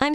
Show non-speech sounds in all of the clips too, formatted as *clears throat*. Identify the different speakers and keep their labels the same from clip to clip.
Speaker 1: I'm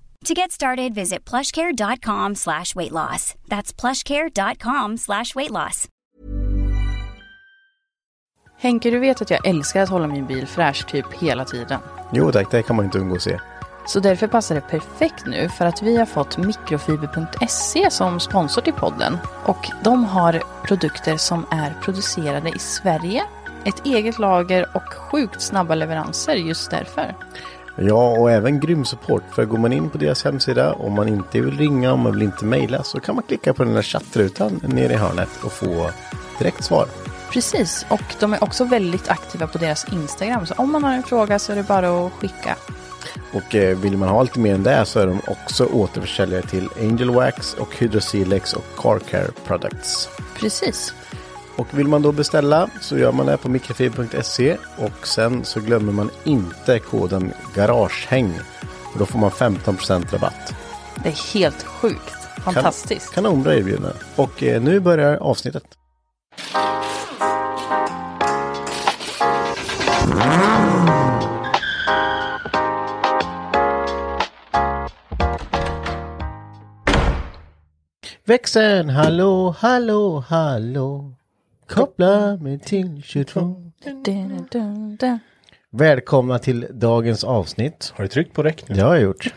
Speaker 2: To get started, visit plushcare.com slash weight loss. That's plushcare.com slash weight loss.
Speaker 3: Henke, du vet att jag älskar att hålla min bil fräsch typ hela tiden.
Speaker 4: Jo tack, det kan man inte undgå att se.
Speaker 3: Så därför passar det perfekt nu för att vi har fått mikrofiber.se som sponsor till podden. Och de har produkter som är producerade i Sverige, ett eget lager och sjukt snabba leveranser just därför.
Speaker 4: Ja, och även grym support. För går man in på deras hemsida, om man inte vill ringa, om man vill inte mejla, så kan man klicka på den där chattrutan nere i hörnet och få direkt svar.
Speaker 3: Precis, och de är också väldigt aktiva på deras Instagram. Så om man har en fråga så är det bara att skicka.
Speaker 4: Och eh, vill man ha lite mer än det så är de också återförsäljare till Angel Wax och Hydrosilex och Car Care Products.
Speaker 3: Precis.
Speaker 4: Och vill man då beställa så gör man det på mikrofiber.se och sen så glömmer man inte koden Garagehäng. Och då får man 15% rabatt.
Speaker 3: Det är helt sjukt. Fantastiskt.
Speaker 4: Kan, kanonbra erbjudande. Och eh, nu börjar avsnittet. Växeln, hallå, hallå, hallå. Koppla mig till 22.
Speaker 3: Dun, dun, dun.
Speaker 4: Välkomna till dagens avsnitt.
Speaker 5: Har du tryckt på räck nu?
Speaker 4: Det har jag gjort.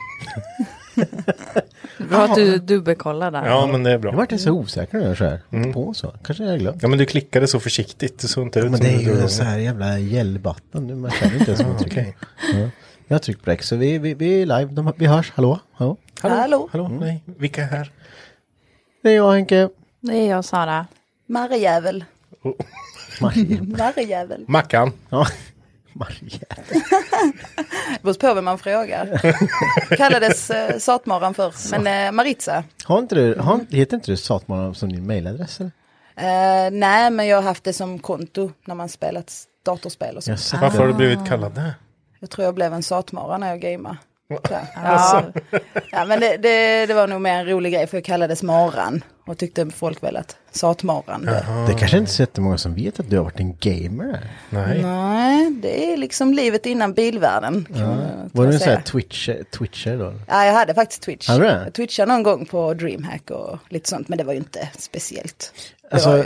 Speaker 3: Bra att du dubbelkollar där.
Speaker 5: Ja, men det är bra.
Speaker 4: Jag vart så osäker när jag så här. På så. Kanske jag glömt.
Speaker 5: Ja, men du klickade så försiktigt. Det såg inte ut
Speaker 4: Men
Speaker 5: som
Speaker 4: det är
Speaker 5: du drog
Speaker 4: ju så här jävla gällvatten. nu, Man känner inte ens vad man trycker. Ja. Jag har tryckt på räck, så vi, vi, vi är live. De, vi hörs. Hallå? Hallå? Mm.
Speaker 5: Hallå? Hallå? Nej, vilka är här?
Speaker 4: Det är jag Henke.
Speaker 3: Det är jag Sara.
Speaker 6: Marrjävel. *laughs*
Speaker 4: Marie.
Speaker 6: Marrjävel.
Speaker 5: Mackan.
Speaker 4: Ja. Marie.
Speaker 6: Det beror på vem man frågar. Kallades eh, satmaran förr, men eh, Maritza.
Speaker 4: Har inte du, har, inte- heter inte du Satmaran som din mailadress? Eller?
Speaker 6: Eh, nej, men jag har haft det som konto när man spelat s- datorspel och så.
Speaker 4: Jag har sett
Speaker 5: Varför
Speaker 4: den.
Speaker 5: har du blivit kallad det?
Speaker 6: Jag tror jag blev en satmara när jag gamade. Så här.
Speaker 7: Alltså,
Speaker 3: Alltså.
Speaker 6: Ja. ja, men det, det, det var nog mer en rolig grej för jag kallades maran och tyckte folk väl att satmaran. Det.
Speaker 4: Det är kanske inte så jättemånga som vet att du har varit en gamer.
Speaker 5: Nej.
Speaker 6: Nej, det är liksom livet innan bilvärlden. Kan man,
Speaker 4: Var du en
Speaker 6: säga.
Speaker 4: sån här twitcher, twitcher då?
Speaker 6: Ja, jag hade faktiskt Twitch.
Speaker 4: Hade du det?
Speaker 6: Jag twitchade någon gång på DreamHack och lite sånt, men det var ju inte speciellt. Det
Speaker 4: Alltså-
Speaker 6: var ju...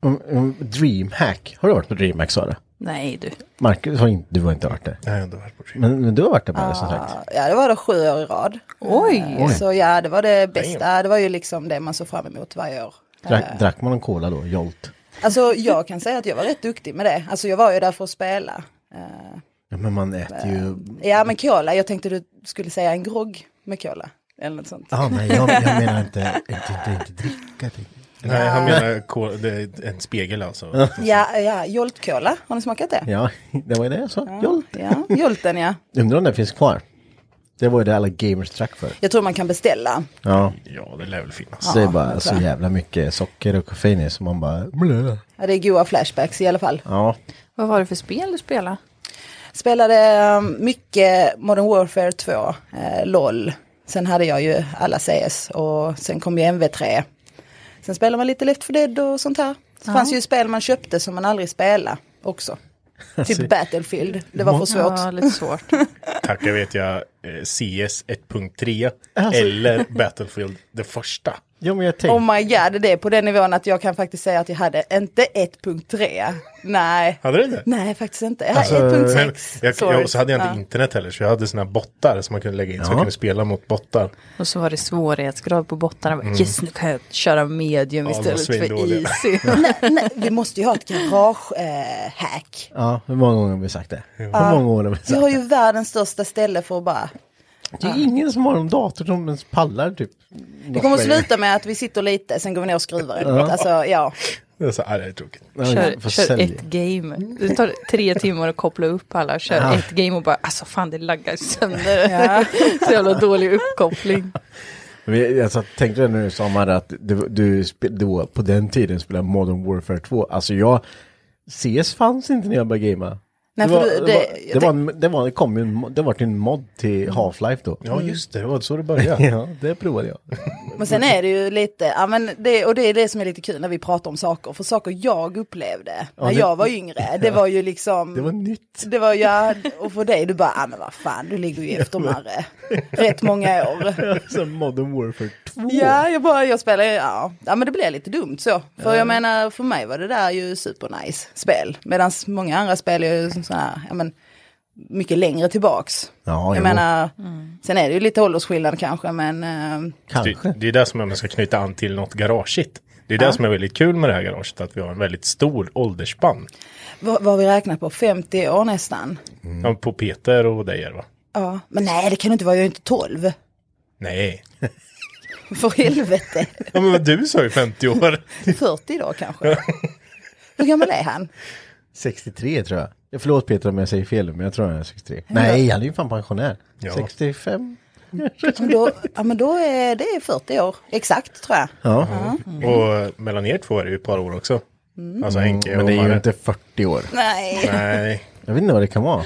Speaker 4: Om- om Dreamhack. Har du varit på Dreamhack Sara?
Speaker 3: Nej du.
Speaker 4: Marcus, har inte, du har inte varit där.
Speaker 5: Nej, jag har inte varit på gym.
Speaker 4: Men, men du har varit där bara som sagt.
Speaker 6: Ja, det var det sju år i rad.
Speaker 3: Oj!
Speaker 4: Oj.
Speaker 6: Så ja, det var det bästa. Det var ju liksom det man såg fram emot varje år.
Speaker 4: Drack, drack man en cola då? Jolt?
Speaker 6: Alltså jag kan säga att jag var rätt duktig med det. Alltså jag var ju där för att spela. Eh,
Speaker 4: Ja, men man äter ju...
Speaker 6: Ja, men cola, jag tänkte du skulle säga en grogg med cola. Eller något sånt.
Speaker 4: Ah, nej, jag, jag menar inte, inte, inte, inte dricka. till.
Speaker 5: Nej, han menar ko- det är en spegel alltså.
Speaker 6: Ja, ja, joltcola, har ni smakat det?
Speaker 4: Ja, det var ju det jag sa. Jolt.
Speaker 6: Ja, jolten ja.
Speaker 4: Undrar om den finns kvar. Det var ju det alla gamers drack för.
Speaker 6: Jag tror man kan beställa.
Speaker 4: Ja.
Speaker 5: Ja, det lär väl finnas.
Speaker 4: Så det är bara så jävla mycket socker och koffein i så man bara... Blö.
Speaker 6: Ja, Det är goa flashbacks i alla fall.
Speaker 4: Ja,
Speaker 3: Vad var det för spel du spelade?
Speaker 6: Spelade eh, mycket Modern Warfare 2, eh, LOL. Sen hade jag ju alla CS och sen kom ju MV3. Sen spelar man lite Left 4 Dead och sånt här. Det fanns ju spel man köpte som man aldrig spelade
Speaker 5: *laughs*
Speaker 6: också. Typ Battlefield, det var för svårt.
Speaker 7: Ja, lite svårt.
Speaker 5: Tackar vet jag eh, CS 1.3
Speaker 4: Alltså.
Speaker 5: eller Battlefield det första.
Speaker 4: Jo, men jag tänkte.
Speaker 6: Oh my god, det är på den nivån att jag kan faktiskt säga att jag hade inte 1.3. Nej.
Speaker 5: Hade du inte?
Speaker 6: Nej, faktiskt inte. Jag
Speaker 5: Alltså,
Speaker 6: hade 1.6.
Speaker 5: jag,
Speaker 6: Sorry.
Speaker 5: jag, och så hade jag inte internet heller så jag hade såna här bottar som man kunde lägga in så jag kunde spela mot bottar.
Speaker 7: Och så var det svårighetsgrad på bottarna. Mm. Yes, nu kan jag köra medium
Speaker 5: Ja, de var
Speaker 7: istället för
Speaker 5: svindåliga.
Speaker 6: *laughs*
Speaker 7: easy.
Speaker 6: nej, nej, vi måste ju ha ett garage-hack. Eh, hack.
Speaker 4: Ja, hur många gånger har vi sagt det? Hur många år har vi sagt
Speaker 6: vi
Speaker 4: det?
Speaker 6: har ju världens största ställe för att bara...
Speaker 4: Det är ingen som har en dator som ens pallar typ.
Speaker 6: Det kommer att sluta med att vi sitter lite, sen går vi ner och skruvar. Alltså, ja.
Speaker 5: Det är så här, det är tråkigt.
Speaker 7: Kör, kör ett game. Det tar tre timmar att koppla upp alla. Kör ett game och bara, alltså fan det laggar sönder. *laughs* Så jävla dålig uppkoppling.
Speaker 4: Men jag satt, tänkte det när du sa Marre att du, du spel, då, på den tiden spelade Modern Warfare 2. Alltså jag, CS fanns inte när jag började gamea.
Speaker 6: Nej,
Speaker 4: det,
Speaker 6: för
Speaker 4: var,
Speaker 6: du-
Speaker 4: det, var,
Speaker 6: det-
Speaker 4: det, var, en- det, var, det kom ju en, mod- det var en mod till Half-Life då.
Speaker 5: Ja just det, det var så det började.
Speaker 4: *laughs* Ja, det provade jag.
Speaker 6: Men sen är det ju lite, ja, men det, och det är det som är lite kul när vi pratar om saker. För saker jag upplevde när
Speaker 4: det-
Speaker 6: jag var yngre, det var ju
Speaker 4: *laughs*
Speaker 6: liksom...
Speaker 4: Det var nytt.
Speaker 6: Det var ja, och för dig, du bara, ah, men vad fan, du ligger ju efter Marre. Rätt många
Speaker 5: *laughs*
Speaker 6: år.
Speaker 4: Alltså Modern Warfare 2.
Speaker 6: Ja, jag bara, jag spelar, ja. ja, men det blev lite dumt så. För jag menar, för mig var det där ju supernice spel. Medan många andra spel är ju sådana här, ja men, mycket längre tillbaks.
Speaker 4: Ja,
Speaker 6: jag
Speaker 4: jo.
Speaker 6: menar, sen är det ju lite åldersskillnad kanske, men eh,
Speaker 4: Kanske.
Speaker 5: Det, det är det som är- man ska knyta an till något garageigt. Det är det som är väldigt kul med det här garaget, att vi har en väldigt stor åldersspann.
Speaker 6: vad, vad har vi räknat på? 50 år nästan?
Speaker 4: Mm.
Speaker 5: Ja, På Peter och dig va?
Speaker 6: Ja, men nej, det kan det inte vara, jag är ju inte 12.
Speaker 4: *laughs*
Speaker 5: Nej.
Speaker 6: *laughs* För helvete,
Speaker 5: Ja, men vad du sa ju 50 år.
Speaker 6: 40 då
Speaker 4: *laughs*
Speaker 6: kanske. Hur gammal är han?
Speaker 4: 63 tror jag. jag. Förlåt Peter om jag säger fel, men jag tror han är 63. Nej, han är ju fan pensionär.
Speaker 5: Ja.
Speaker 4: 65.
Speaker 6: Men då, ja, men då är det 40 år, exakt tror jag.
Speaker 4: Ja, Mm.
Speaker 5: Och mellan er två är det ju ett par år också. Alltså Henke och
Speaker 4: men det är ju
Speaker 5: Mare.
Speaker 4: inte 40 år.
Speaker 6: Nej.
Speaker 4: *laughs*
Speaker 5: Nej,
Speaker 4: Jag vet inte vad det kan vara.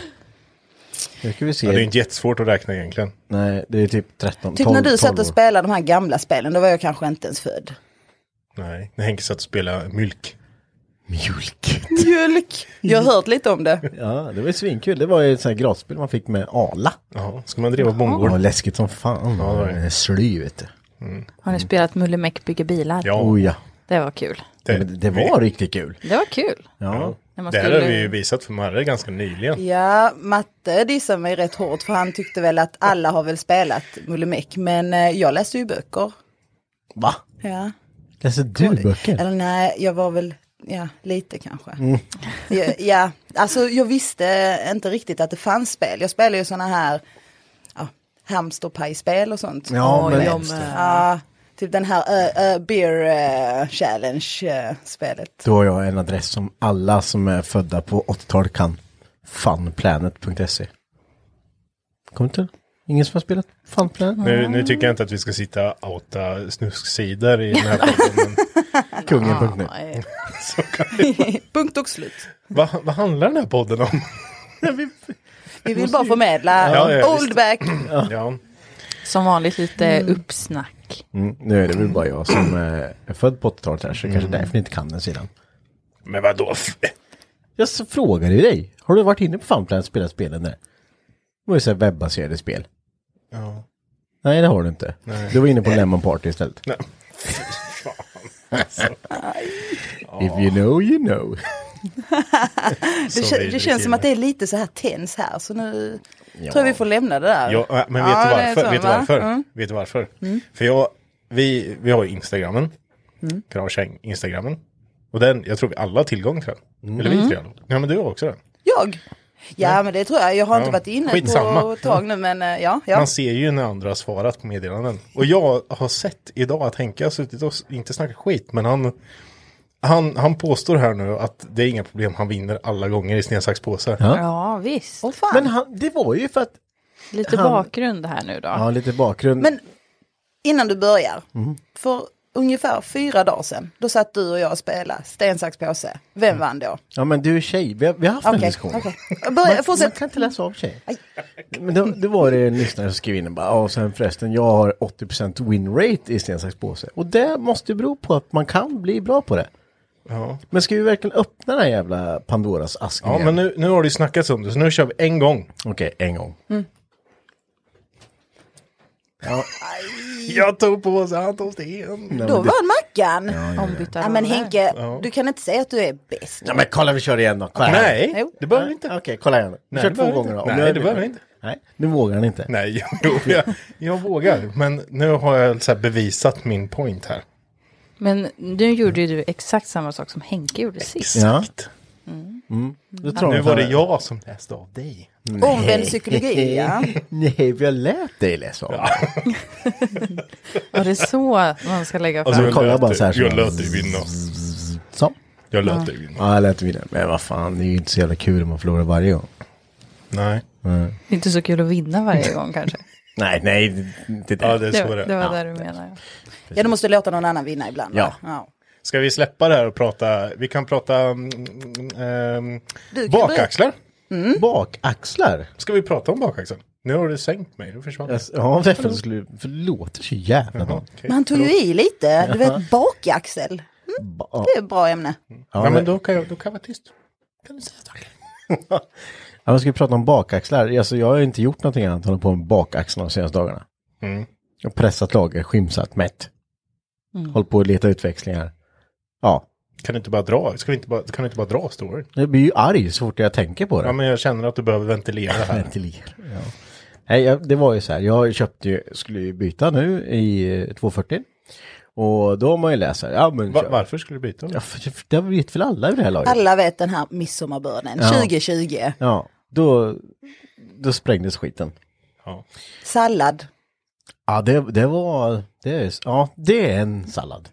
Speaker 4: Nu ska vi se.
Speaker 5: ja, det är ju inte jättesvårt att räkna egentligen.
Speaker 4: Nej, det är typ 13,
Speaker 6: Typ
Speaker 4: 12,
Speaker 6: när du satt
Speaker 4: 12
Speaker 6: och
Speaker 4: år.
Speaker 6: spelade de här gamla spelen, då var jag kanske inte ens född.
Speaker 5: Nej, när Henke satt och spelade Mylk.
Speaker 4: Mjölk.
Speaker 6: Mjölk! Jag har hört lite om det.
Speaker 4: *laughs* Ja, det var ju svinkul. Det var ju ett sånt här gratisspel man fick med Ala.
Speaker 5: Ja, ska man driva
Speaker 4: Det var
Speaker 5: bondgård?
Speaker 4: läskigt som fan.
Speaker 5: Mm. Ja, det var det.
Speaker 4: Ja, Sly vet du.
Speaker 7: Har ni spelat Mulle Meck bygger bilar?
Speaker 5: Ja,
Speaker 4: Oh ja.
Speaker 7: Det var kul.
Speaker 4: Det, men det var riktigt kul.
Speaker 7: Det var kul.
Speaker 4: Ja.
Speaker 7: När man
Speaker 5: Det här
Speaker 7: skulle-
Speaker 5: har vi ju visat för Marre ganska nyligen.
Speaker 6: Ja, Matte dissade mig rätt hårt för han tyckte väl att alla har väl spelat Mulle Meck, men eh, jag läste ju böcker.
Speaker 4: Va?
Speaker 6: Ja.
Speaker 4: Läser du böcker?
Speaker 6: Eller nej, jag var väl, ja, lite kanske.
Speaker 5: Mm.
Speaker 6: Ja, ja, alltså jag visste inte riktigt att det fanns spel. Jag spelar ju sådana här ja, hamsterpajspel och sånt.
Speaker 4: Ja,
Speaker 7: Oj,
Speaker 4: men
Speaker 7: jag med.
Speaker 6: Ja, typ den här ö, ö, beer eh, challenge eh, spelet.
Speaker 4: då har jag en adress som alla som är födda på 80-talet kan. Funplanet.se. Kommer inte? Ingen som har spelat Funplanet?
Speaker 5: Nu, nu tycker jag inte att vi ska sitta och outa snusksidor i
Speaker 4: *laughs*
Speaker 5: den här podden. men
Speaker 4: Kungen.nu.
Speaker 7: Nej.
Speaker 4: *laughs*
Speaker 5: så kan vi-
Speaker 6: Punkt och slut.
Speaker 5: Vad vad handlar den här podden
Speaker 6: *laughs*
Speaker 5: om?
Speaker 6: Vi vill bara förmedla
Speaker 5: Ja, ja, visst.
Speaker 6: Oldback.
Speaker 5: Ja,
Speaker 7: Som vanligt lite uppsnack.
Speaker 4: Mm, nu är det väl bara jag som eh, är född på 80-talet här, så kanske
Speaker 5: Mm.
Speaker 4: därför ni inte kan den sidan.
Speaker 5: men vadå? f-
Speaker 4: Jag så frågade ju dig. Har du varit inne på Funplan och spelat spelen där? Det var ju såhär webbaserade spel.
Speaker 5: Ja.
Speaker 4: Nej, det har du inte. Du var inne på Lemon Party istället.
Speaker 5: Nej.
Speaker 4: If you know, you know.
Speaker 6: Det,
Speaker 5: Så
Speaker 6: kä- det
Speaker 5: vidrig
Speaker 6: känns som
Speaker 5: kille.
Speaker 6: att det är lite så här tens här så nu tror jag vi får lämna det där.
Speaker 5: Ja, äh, men vet
Speaker 6: Ja,
Speaker 5: du
Speaker 6: det är
Speaker 5: varför?
Speaker 6: så,
Speaker 5: vet du
Speaker 6: va?
Speaker 5: varför?
Speaker 6: Mm.
Speaker 5: Vet du varför? För jag, vi, vi har ju Instagrammen.
Speaker 6: Mm.
Speaker 5: Kravkäng, Instagrammen. Och den, jag tror vi alla har tillgång till den.
Speaker 6: Mm.
Speaker 5: Eller vi tre. Ja, men du har också den.
Speaker 6: Jag? Ja men det tror jag, jag har inte varit inne på
Speaker 5: Skitsamma.
Speaker 6: ett tag nu men eh, ja. ja.
Speaker 5: Man ser ju när andra har svarat på meddelanden. Och jag har sett idag att Henke har suttit och s- inte snackat skit, men han, han, han påstår här nu att det är inga problem, han vinner alla gånger i sten, sax, påse.
Speaker 7: Ja, visst.
Speaker 6: Åh, fan.
Speaker 4: Men
Speaker 6: Men,
Speaker 4: han, det var ju för att...
Speaker 7: Lite
Speaker 4: han-
Speaker 7: bakgrund här nu då.
Speaker 4: Ja, lite bakgrund.
Speaker 6: innan du börjar, för ungefär fyra dagar sedan, då satt du och jag och spelade sten, sax, påse. Vem vann då?
Speaker 4: ja, men du är tjej. Vi har, vi har haft en
Speaker 6: Okej,
Speaker 4: diskussion.
Speaker 6: okej. Börja,
Speaker 4: Man, man
Speaker 6: fortsätt.
Speaker 4: kan inte läsa av tjej. Men det, det var det en lyssnare som skrev in och bara, "Ja, och sen förresten, jag har 80% winrate i sten, sax, påse. Och det måste ju bero på att man kan bli bra på det. Men ska vi verkligen öppna den här jävla Pandoras ask
Speaker 5: Ja,
Speaker 4: igen?
Speaker 5: men nu, nu har det ju snackats om det, så nu kör vi en gång.
Speaker 4: Okej, en gång.
Speaker 5: Jag tog på sig, han tog sten.
Speaker 4: Nej,
Speaker 6: Då
Speaker 4: men det-
Speaker 6: vann Mackan. Ja,
Speaker 7: Ombytta
Speaker 6: men
Speaker 7: roller.
Speaker 6: Henke, du kan inte säga att du är bäst.
Speaker 4: Ja, men kolla, vi kör igen då. Kolla här.
Speaker 5: Nej,
Speaker 6: Jo.
Speaker 5: det behöver vi inte.
Speaker 4: Okej, kolla igen. Vi
Speaker 5: Nej,
Speaker 4: kör
Speaker 5: det
Speaker 4: två
Speaker 5: behöver
Speaker 4: gånger
Speaker 5: inte.
Speaker 4: då. Om
Speaker 5: Nej,
Speaker 4: jag-
Speaker 5: det behöver vi inte.
Speaker 4: Nej, nu vågar han inte.
Speaker 5: Nej, *laughs* jo, jag, jag vågar. Men nu har jag så här bevisat min point här.
Speaker 7: Men nu gjorde ju du exakt samma sak som Henke gjorde sist.
Speaker 4: Ja. Mm. Då tror
Speaker 5: Nu
Speaker 4: jag
Speaker 5: var
Speaker 4: att
Speaker 5: det
Speaker 4: han-
Speaker 5: jag som läste av dig.
Speaker 6: Omvänd psykologi, ja.
Speaker 4: *laughs* Nej, vi har lärt dig läsa om det.
Speaker 7: Var det så man ska lägga
Speaker 5: Alltså,
Speaker 7: fram?
Speaker 4: jag kollar lät bara dig- så här så jag
Speaker 5: Jag
Speaker 4: bara- lät
Speaker 5: lät
Speaker 4: dig
Speaker 5: dig vinna.
Speaker 4: Så.
Speaker 5: Jag lät dig vinna.
Speaker 4: Ja, jag lät vidare. Men vad fan, det är ju inte så jävla kul om man förlorar varje gång.
Speaker 5: Nej.
Speaker 7: Det är inte så kul att vinna varje gång kanske.
Speaker 4: Nej, nej, det- inte det.
Speaker 5: Ja, *laughs* det är
Speaker 7: Det,
Speaker 5: så det
Speaker 7: det
Speaker 5: är.
Speaker 7: var det du menade.
Speaker 6: ja, du måste låta någon annan vinna ibland. va?
Speaker 4: Ja.
Speaker 5: Ska vi släppa det här och prata? Vi kan prata mm, mm,
Speaker 6: Du kan
Speaker 5: bakaxlar.
Speaker 4: Mm. Bakaxlar.
Speaker 5: Ska vi prata om bakaxeln? Nu har du sänkt mig, du försvann.
Speaker 4: Alltså, Ja, därför skulle, för det låter så jävla bra.
Speaker 6: Men han tog ju i lite, du vet bakaxel.
Speaker 4: Ba-
Speaker 6: Det är ett bra ämne.
Speaker 4: Ja,
Speaker 5: Nej,
Speaker 4: men
Speaker 5: men då kan jag, då kan jag vara tyst. Kan du säga saker?
Speaker 4: ja, men ska vi prata om bakaxlar? Alltså, jag har ju inte gjort någonting annat än hållit på med bakaxlarna de senaste dagarna.
Speaker 5: Mm.
Speaker 4: Jag har pressat lager, skimsat, mätt. Hållit på att leta utväxlingar. Ja,
Speaker 5: Kan du inte bara dra? Ska vi inte bara, kan du inte bara dra storyn?
Speaker 4: jag blir ju arg så fort jag tänker på det.
Speaker 5: Ja, men jag känner att du behöver ventilera
Speaker 4: *laughs*
Speaker 5: det här.
Speaker 4: Ventilera. Ja. Nej, jag, det var ju så här. Jag köpte ju, skulle ju byta nu i eh, 240. Och då har man ju läst så här. Ja, men
Speaker 5: Va,
Speaker 4: kör.
Speaker 5: varför skulle du byta?
Speaker 4: Ja, för, för, det vet väl alla i det här laget.
Speaker 6: Alla vet den här midsommarbörden,
Speaker 4: Ja.
Speaker 6: 2020.
Speaker 4: Ja, då, då sprängdes skiten.
Speaker 5: Ja.
Speaker 6: Sallad.
Speaker 4: Ja, det, det var, det är, ja, det är en sallad.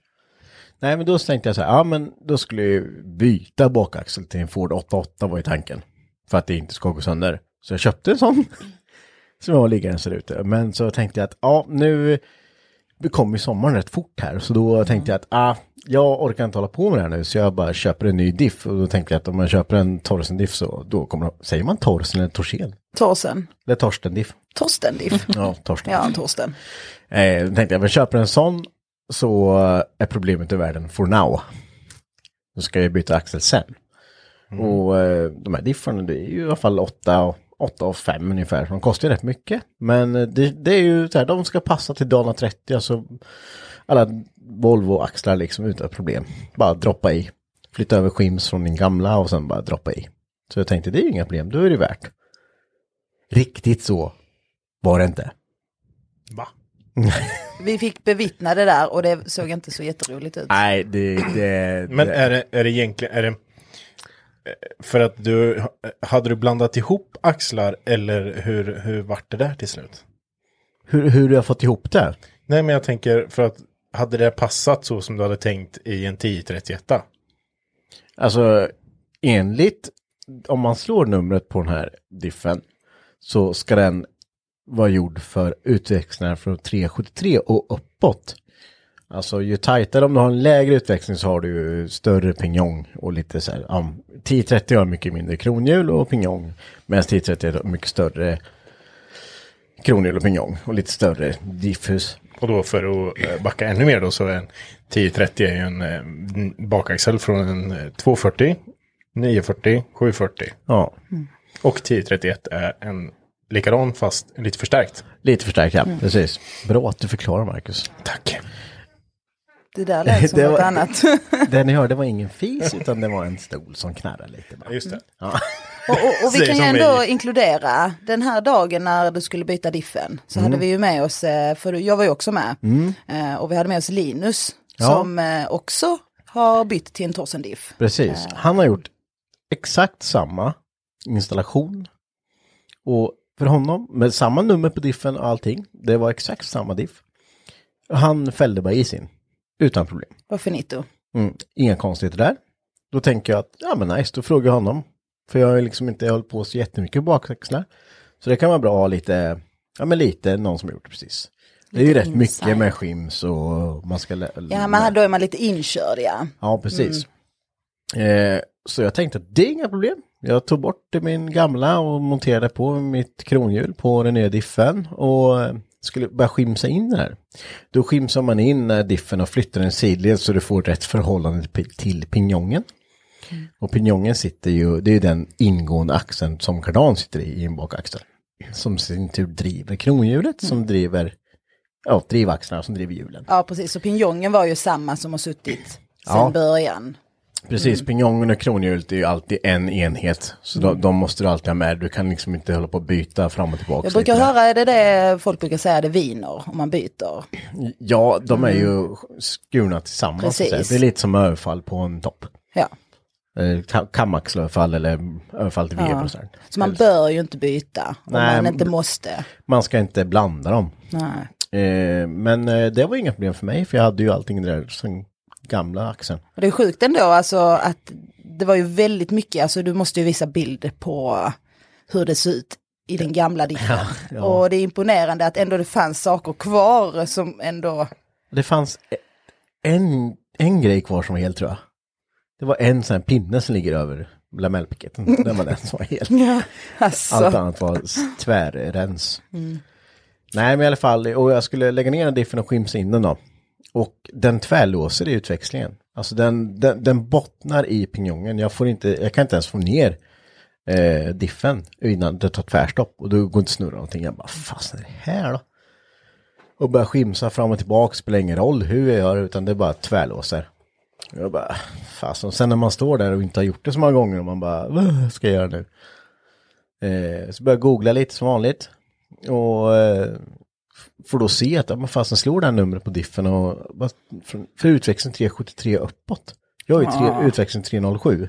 Speaker 4: Nej, men då tänkte jag så här, ja men då skulle jag ju byta bakaxel till en Ford 88 var ju tanken. För att det inte ska gå sönder. Så jag köpte en sån. *laughs* Som jag har liggandes där ute. Men så tänkte jag att, ja nu det kommer ju sommaren rätt fort här. Så då tänkte jag att, ah, jag orkar inte hålla på med det här nu. Så jag bara köper en ny diff. Och då tänkte jag att om man köper en Torsen-diff så då kommer de, säger man Torsen eller Torsen?
Speaker 6: Torsen.
Speaker 4: Eller Torsten-diff? *laughs*
Speaker 6: Torsten Diff.
Speaker 4: Ja, Torsten.
Speaker 6: Ja, Torsten.
Speaker 4: Eh, då tänkte jag, men köper en sån så är problemet ur världen for now. Då ska jag byta axel sen. Och eh, de här diffarna det är ju i alla fall 8 8 och 5 ungefär. så De kostar ju rätt mycket. Men eh, det, det är ju så här, de ska passa till Dana 30. Alltså alla Volvo-axlar liksom utan problem. Bara droppa i. Flytta över skims från din gamla och sen bara droppa i. Så jag tänkte det är ju inga problem, då är det värt. Riktigt så var det inte.
Speaker 5: Va?
Speaker 6: Vi fick bevittna det där och det såg inte så jätteroligt ut.
Speaker 4: Nej, det... det
Speaker 5: Men
Speaker 4: det,
Speaker 5: är det, är det egentligen, är det eh, för att du, eh, hade du blandat ihop axlar eller hur, hur vart det där till slut?
Speaker 4: hur, hur du har fått ihop det?
Speaker 5: Nej men jag tänker för att hade det passat så som du hade tänkt i en 1031?
Speaker 4: Alltså, enligt... Om man slår numret på den här diffen så ska den vara gjord för utväxlingar från 373 och uppåt. Alltså ju tajtare, om du har en lägre utväxling så har du ju större pinjong och lite så här, ja, 1030 har mycket mindre kronhjul och pinjong. Medan 1030 har mycket större kronhjul och pinjong och lite större diffus.
Speaker 5: Och då för att eh, backa ännu mer då så är en 1030 är ju en eh, n- bakaxel från en eh, 240, 940, 740
Speaker 4: Ja,
Speaker 5: och 1031 är en likadan fast lite förstärkt.
Speaker 4: lite förstärkt ja, precis. Bra att du förklarar Marcus.
Speaker 5: Tack.
Speaker 6: Det där
Speaker 4: *laughs*
Speaker 6: lät som
Speaker 4: Det
Speaker 6: något
Speaker 4: var-
Speaker 6: annat.
Speaker 4: *laughs* Det ni hörde var ingen fis utan det var en stol som knarrade lite. Bara.
Speaker 5: Just det.
Speaker 4: Ja.
Speaker 6: Och, och, och vi
Speaker 5: Säger
Speaker 6: kan ju
Speaker 5: som
Speaker 6: ändå
Speaker 5: vi.
Speaker 6: inkludera den här dagen när du skulle byta diffen. Så
Speaker 4: Mm.
Speaker 6: hade vi ju med oss, eh, för jag var ju också med, Eh, och vi hade med oss Linus
Speaker 4: Ja.
Speaker 6: som eh, också har bytt till en Torsen-diff.
Speaker 4: *laughs* Precis, han har gjort exakt samma installation. Och för honom, med samma nummer på diffen och allting, det var exakt samma diff. Han fällde bara i sin, utan problem.
Speaker 6: Vad finito.
Speaker 4: Mm. Inga konstigheter där. Då tänker jag att, ja men nice, då frågar jag honom. För jag har ju liksom inte hållit på så jättemycket bakaxlar. Så det kan vara bra att ha lite, ja men lite någon som har gjort det precis. Det är ju rätt mycket med skims och man ska... lä-
Speaker 6: Ja, men här då är man lite inkörd ja.
Speaker 4: Ja, precis. Eh, så jag tänkte att det är inga problem. Jag tog bort min gamla och monterade på mitt kronhjul på den nya diffen och eh, skulle börja skimsa in den här. Då skimsar man in eh, diffen och flyttar den sidled så du får rätt förhållande pi- till pinjongen. Och pinjongen sitter ju, det är ju den ingående axeln som kardan sitter i, i en bakaxel. Som i sin tur driver kronhjulet som driver, ja, drivaxlarna som driver hjulen.
Speaker 6: Ja, precis. Så pinjongen var ju samma som har suttit sedan
Speaker 4: Ja.
Speaker 6: början. Mm.
Speaker 4: Precis, pinjongen och kronhjulet är ju alltid en enhet. Så de, de måste du alltid ha med. Du kan liksom inte hålla på och byta fram och tillbaka.
Speaker 6: Jag brukar
Speaker 4: lite.
Speaker 6: höra, är det det folk brukar säga, det viner om man byter?
Speaker 4: Ja, de är ju skurna tillsammans. så att säga.
Speaker 6: Mm. Precis.
Speaker 4: Det är lite som överfall på en topp.
Speaker 6: Ja.
Speaker 4: Eh, ka- Kamaxelöverfall eller överfall till vev och sådär.
Speaker 6: Så man bör ju inte byta om
Speaker 4: Nej,
Speaker 6: man
Speaker 4: men-
Speaker 6: inte måste.
Speaker 4: Man ska inte blanda dem.
Speaker 6: Nej.
Speaker 4: Eh, Men eh, det var inga problem för mig, för jag hade ju allting där som gamla axeln.
Speaker 6: Och det är sjukt ändå, alltså att det var ju väldigt mycket, alltså du måste ju visa bild på hur det ser ut i den gamla dikten.
Speaker 4: ja.
Speaker 6: Och det är imponerande att ändå det fanns saker kvar som ändå, *laughs*
Speaker 4: Det fanns e- en, en grej kvar som var hel tror jag. Det var en sån här pinne som ligger över lamellpiketen. Den var den som var hel. Allt
Speaker 6: alltså,
Speaker 4: annat var s- tvärrens. Nej men i alla fall, och jag skulle lägga ner den diffen och skimsa in den då. Och den tvärlåser i utväxlingen. Alltså den, den, den bottnar i pinjongen. Jag, får inte, jag kan inte ens få ner eh, diffen innan det tar tvärstopp. Och då går inte snurra någonting. Jag bara, fasen är det här då? Och börjar skimsa fram och tillbaka, spelar ingen roll hur jag gör, utan det bara tvärlåser. Jag bara, fasen. Sen när man står där och inte har gjort det så många gånger och man bara, vad ska jag göra nu? Eh, så börjar jag googla lite som vanligt. Och eh, får då se att, ja, men fasen slår det här numret på diffen och vad- från, för utväxling 373 uppåt. Jag är ju tre,
Speaker 6: Ah.
Speaker 4: utväxling 307.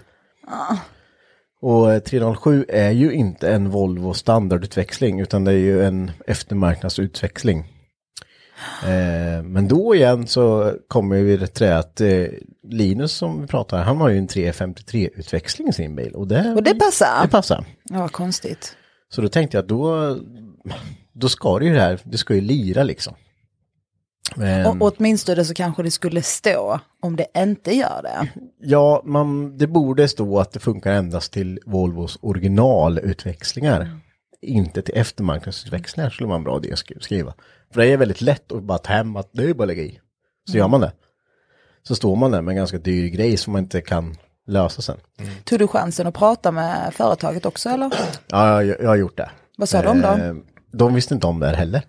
Speaker 4: Och eh, 307 är ju inte en Volvo standardutväxling utan det är ju en eftermarknadsutväxling. Eh, men då igen så kommer vi till det att eh, Linus som vi pratar, han har ju en 353-utväxling i sin bil. Och det,
Speaker 6: och det passar.
Speaker 4: det passar.
Speaker 6: Ja, vad konstigt.
Speaker 4: Så då tänkte jag att då, då ska det ju det här, det ska ju lira liksom. Men,
Speaker 6: Och, åtminstone så kanske det skulle stå om det inte gör det.
Speaker 4: Ja, man, det borde stå att det funkar endast till Volvos originalutväxlingar.
Speaker 6: Mm.
Speaker 4: Inte till eftermarknadsutväxlingar skulle man bra det sk- skriva. För det är väldigt lätt att bara ta hem att det är bara att lägga i. Så
Speaker 6: Mm.
Speaker 4: gör man det. Så står man där med en ganska dyr grej som man inte kan lösa sen.
Speaker 6: Tog du chansen att prata med företaget också eller?
Speaker 4: Ja, jag, jag har gjort det.
Speaker 6: Vad sa de då? Mhm.
Speaker 4: Eh, De visste inte om det här heller.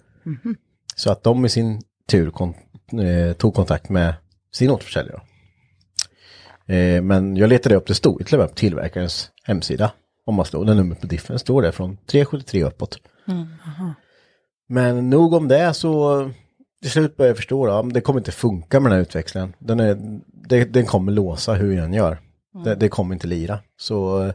Speaker 4: Så att de i sin tur kon eh, tog kontakt med sin återförsäljare. Eh, men jag letade upp, det stod till och med på tillverkarens hemsida. Om man slår det numret på diffen står det från 373 uppåt. Men nog om det så till slut började jag förstå då, ja, men det kommer inte funka med den här utväxlingen. Den, är, det, den kommer låsa hur jag än gör. Det, det kommer inte lira. Så eh,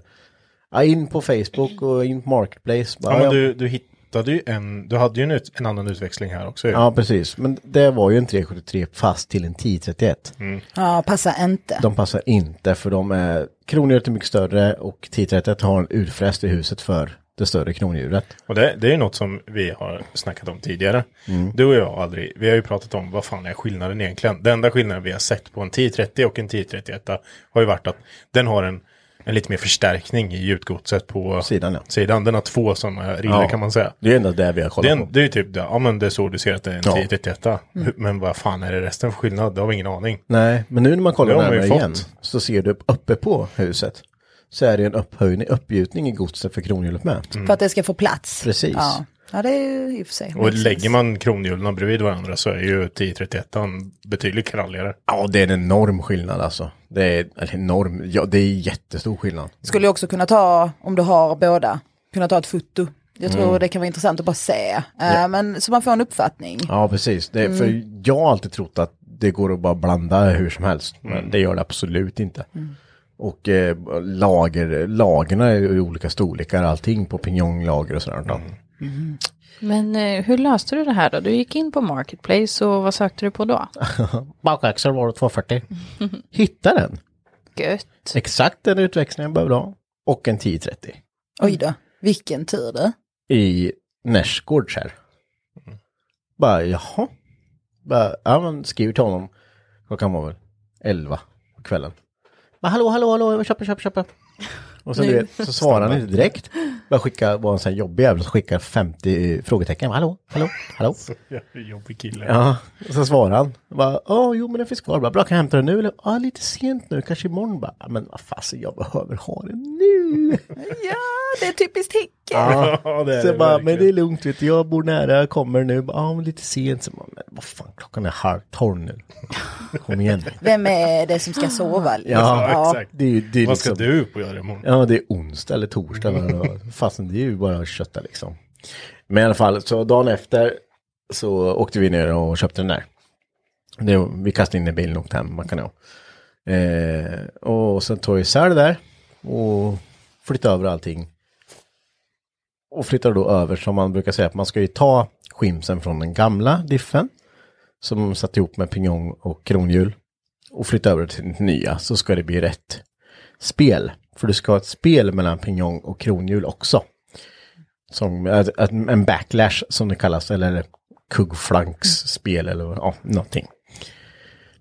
Speaker 4: ja, in på Facebook och in på Marketplace. Bara,
Speaker 5: Ja, men du, du hittade ju en, du hade ju en, ut, en annan utväxling här också. ju.
Speaker 4: Ja, precis. Men det var ju en 373 fast till en 1031.
Speaker 6: Ja, passar inte.
Speaker 4: De passar inte för de är kronhjulet är mycket större och 1031 har en urfräst i huset för det större kronhjulet.
Speaker 5: Och det, det är ju något som vi har snackat om tidigare.
Speaker 4: Mm.
Speaker 5: Du och jag har aldrig, vi har ju pratat om vad fan är skillnaden egentligen. Den enda skillnaden vi har sett på en 1030 och en 1031 har ju varit att den har en, en lite mer förstärkning i gjutgodset på
Speaker 4: Sidan, ja.
Speaker 5: sidan. Den har två sådana riller kan man säga.
Speaker 4: Det är ändå det vi har kollat
Speaker 5: Det är, en,
Speaker 4: på.
Speaker 5: det är ju typ det, ja men det är så du ser att det är en
Speaker 4: Ja.
Speaker 5: 1031. Men vad fan är det resten för skillnad? Det har vi ingen aning.
Speaker 4: Nej, men nu när man kollar
Speaker 5: Det har man ju
Speaker 4: närmare
Speaker 5: fått.
Speaker 4: igen så ser du upp- uppe på huset så är det ju en upphöjning, uppgjutning i godset för kronhjulet med.
Speaker 6: För att det ska få plats.
Speaker 4: Precis.
Speaker 6: Ja, ja det är ju i Mm. och för sig.
Speaker 5: Och lägger man kronhjulen bredvid varandra så är ju 1031 betydligt kralligare.
Speaker 4: Ja, det är en enorm skillnad alltså. Det är eller enorm, ja det är jättestor skillnad.
Speaker 6: Skulle ju också kunna ta, om du har båda, kunna ta ett foto. Jag tror
Speaker 4: Mm.
Speaker 6: det kan vara intressant att bara se. Eh, Men så man får en uppfattning.
Speaker 4: Ja, precis. Det, För jag har alltid trott att det går att bara blanda hur som helst. Men det gör det absolut inte. Och eh, lager, lagerna är ju i olika storlekar, allting på pinjonglager och sådant. då.
Speaker 7: Men eh, hur löste du det här då? Du gick in på Marketplace och vad sökte du på då?
Speaker 4: Bakaxel var det 240. *laughs* Hitta den.
Speaker 7: Gött.
Speaker 4: Exakt den utväxlingen jag behövde ha. Och en 1030.
Speaker 6: Oj då, vilken tur det.
Speaker 4: I Närsgårds här. Bara jaha. Bara, ja men skriver till honom. Klockan var väl 11 på kvällen. Bara hallå, hallå, hallå, jag vill köpa, köpa, köpa. Och sen du vet, så svarar han inte direkt. Bara skicka, var en sån här jobbig jävel som skickar 50 frågetecken. Hallå, hallå, hallå.
Speaker 5: Jävla Jobbig kille.
Speaker 4: Ja, och så svarar han. Bara, ja, jo men den finns kvar. Bara, Bra, kan jag hämta den nu? Eller, ja, lite sent nu, kanske imorgon. Bara, "Ja, men vad fasen, jag behöver ha den nu.
Speaker 6: Ja, det är typiskt Hicke.
Speaker 5: *laughs* Ja, det är
Speaker 4: så
Speaker 5: det
Speaker 4: jag bara, men
Speaker 5: verkligen.
Speaker 4: det är lugnt, vet du, jag bor nära, jag kommer nu. Bara, Ja, men lite sent. Så bara, men vad fan, klockan är halv tolv
Speaker 5: *laughs*
Speaker 4: nu. Kom igen.
Speaker 6: Vem är det som ska sova? liksom?
Speaker 4: Ja,
Speaker 5: exakt.
Speaker 4: Det är ju det är
Speaker 5: Vad ska
Speaker 4: liksom-
Speaker 5: du upp och göra imorgon?
Speaker 4: Ja, det är onsdag eller torsdag. Mm. Fastän det är ju bara att kötta liksom. Men i alla fall, så dagen efter så åkte vi ner och köpte den där. Det, vi kastade in den i bilen och åkte hem, man kan ha. Eh, och sen tog jag isär det där och flyttade över allting. Och flyttade då över, som man brukar säga, att man ska ju ta skimsen från den gamla diffen som satt ihop med pinjong och kronhjul och flytta över till den nya så ska det bli rätt spel. För du ska ha ett spel mellan pinjong och kronhjul också. Som att- att- en backlash som det kallas, eller kuggflanksspel eller ja, någonting.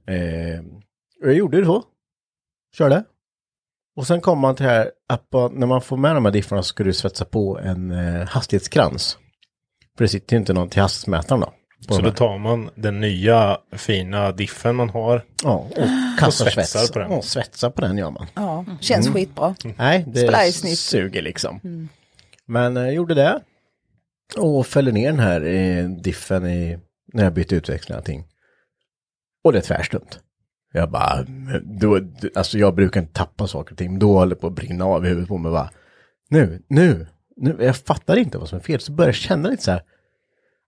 Speaker 4: Eh, och jag gjorde det så. Körde. Och sen kom man till det här att på- när man får med de här diffarna så ska du svetsa på en eh, hastighetskrans. För det sitter ju inte någon till hastighetsmätaren då. på
Speaker 5: Så
Speaker 4: de
Speaker 5: då
Speaker 4: här.
Speaker 5: tar man den nya fina diffen man har.
Speaker 4: Ja, och kastar
Speaker 5: svetsar
Speaker 4: svets.
Speaker 5: på den.
Speaker 4: Ja, svetsar på den gör man.
Speaker 6: Ja, känns
Speaker 4: Mm.
Speaker 6: skitbra.
Speaker 4: Nej,
Speaker 6: Spelar i
Speaker 4: det
Speaker 6: snitt. Mm.
Speaker 4: suger liksom. Men jag gjorde det. Och fällde ner den här eh, diffen i, när jag bytte utväxling och allting. Och det är tvärstumt. Jag bara, men då, alltså jag brukar inte tappa saker och ting, men då höll det på att brinna av i huvudet på mig. Bara, nu, nu, nu, jag fattar inte vad som är fel. Så började jag känna lite så här,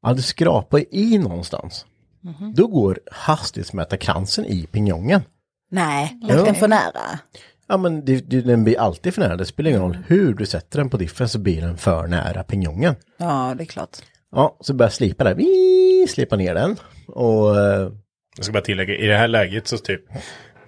Speaker 4: ja det skrapar i någonstans.
Speaker 6: Mhm.
Speaker 4: Då går hastighetsmätarkransen i pinjongen.
Speaker 6: Nej,
Speaker 4: Mm.
Speaker 6: låg den för nära.
Speaker 4: Ja men det, det, den blir alltid för nära, det spelar ingen roll hur du sätter den på diffen så blir den för nära pinjongen.
Speaker 6: Ja, det är klart.
Speaker 4: Ja, så börjar jag slipa där, Vi slipa ner den. Och eh,
Speaker 5: Jag ska bara tillägga, i det här läget så typ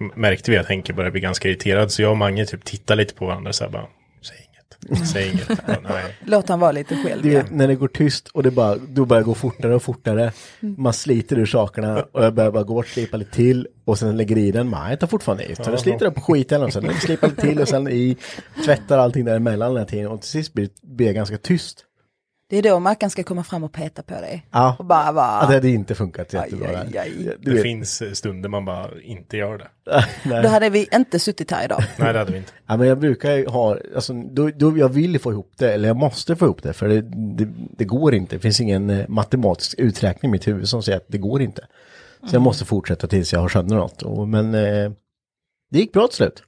Speaker 5: m- märkte vi att Henke började bli ganska irriterad. Så jag och Mange typ tittade lite på varandra så här bara, säg inget, säg inget. Ja, nej.
Speaker 6: Låt han vara lite själv.
Speaker 4: du
Speaker 6: Ja.
Speaker 4: vet, när det går tyst och det bara, då börjar det gå fortare och fortare. Man sliter ur sakerna och jag börjar bara gå och slipa lite till. Och sen lägger i den, nej jag tar fortfarande i. Så jag sliter upp skiten och sen slipar lite till och sen i. Tvättar allting däremellan den här tiden och till sist blir det blir det ganska tyst.
Speaker 6: Det är då Mackan ska komma fram och peta på dig.
Speaker 4: Ja.
Speaker 6: Och bara,
Speaker 4: Ja, det
Speaker 6: bara
Speaker 4: hade inte funkat jättebra.
Speaker 6: Ah. aj,
Speaker 4: där.
Speaker 6: aj.
Speaker 4: *laughs* Du
Speaker 5: Det
Speaker 4: vet,
Speaker 5: finns eh, stunder man bara inte gör det.
Speaker 6: då hade vi inte suttit
Speaker 4: *laughs*
Speaker 6: här idag.
Speaker 5: Nej, det hade vi inte.
Speaker 4: Ja, men jag brukar ju ha, alltså, då, då jag vill få ihop det, eller jag måste få ihop det, för det, det, det går inte. Det finns ingen eh, matematisk uträkning i mitt huvud som säger att det går inte. Så jag måste fortsätta tills jag har sönder något. Och, men eh, det gick bra till slut.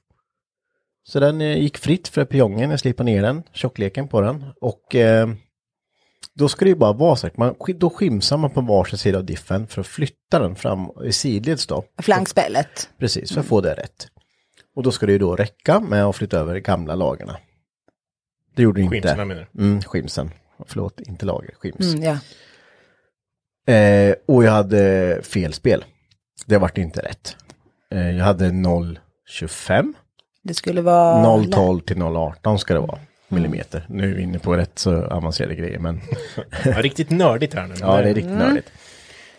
Speaker 4: Så den eh, gick fritt för piongen, jag slipade ner den, tjockleken på den. Och eh, då ska det ju bara vara så att man, då skimsar man på varsin sida av diffen för att flytta den fram i sidleds då.
Speaker 6: Flankspelet.
Speaker 4: Precis, för att få det rätt. Och då ska det ju då räcka med att flytta över gamla lagarna. Det gjorde det inte.
Speaker 5: Skimsarna menar du?
Speaker 4: Mm, skimsen. Förlåt, inte lager, skims.
Speaker 6: Mm, ja.
Speaker 4: Eh, och jag hade fel spel. Det vart inte rätt. Eh, jag hade 0,25.
Speaker 6: Det skulle vara...
Speaker 4: 0,12 till 0,18 ska det vara. Millimeter. Nu är vi inne på rätt så avancerade grejer men *laughs*
Speaker 5: Ja, riktigt nördigt här nu.
Speaker 4: ja det är riktigt nördigt.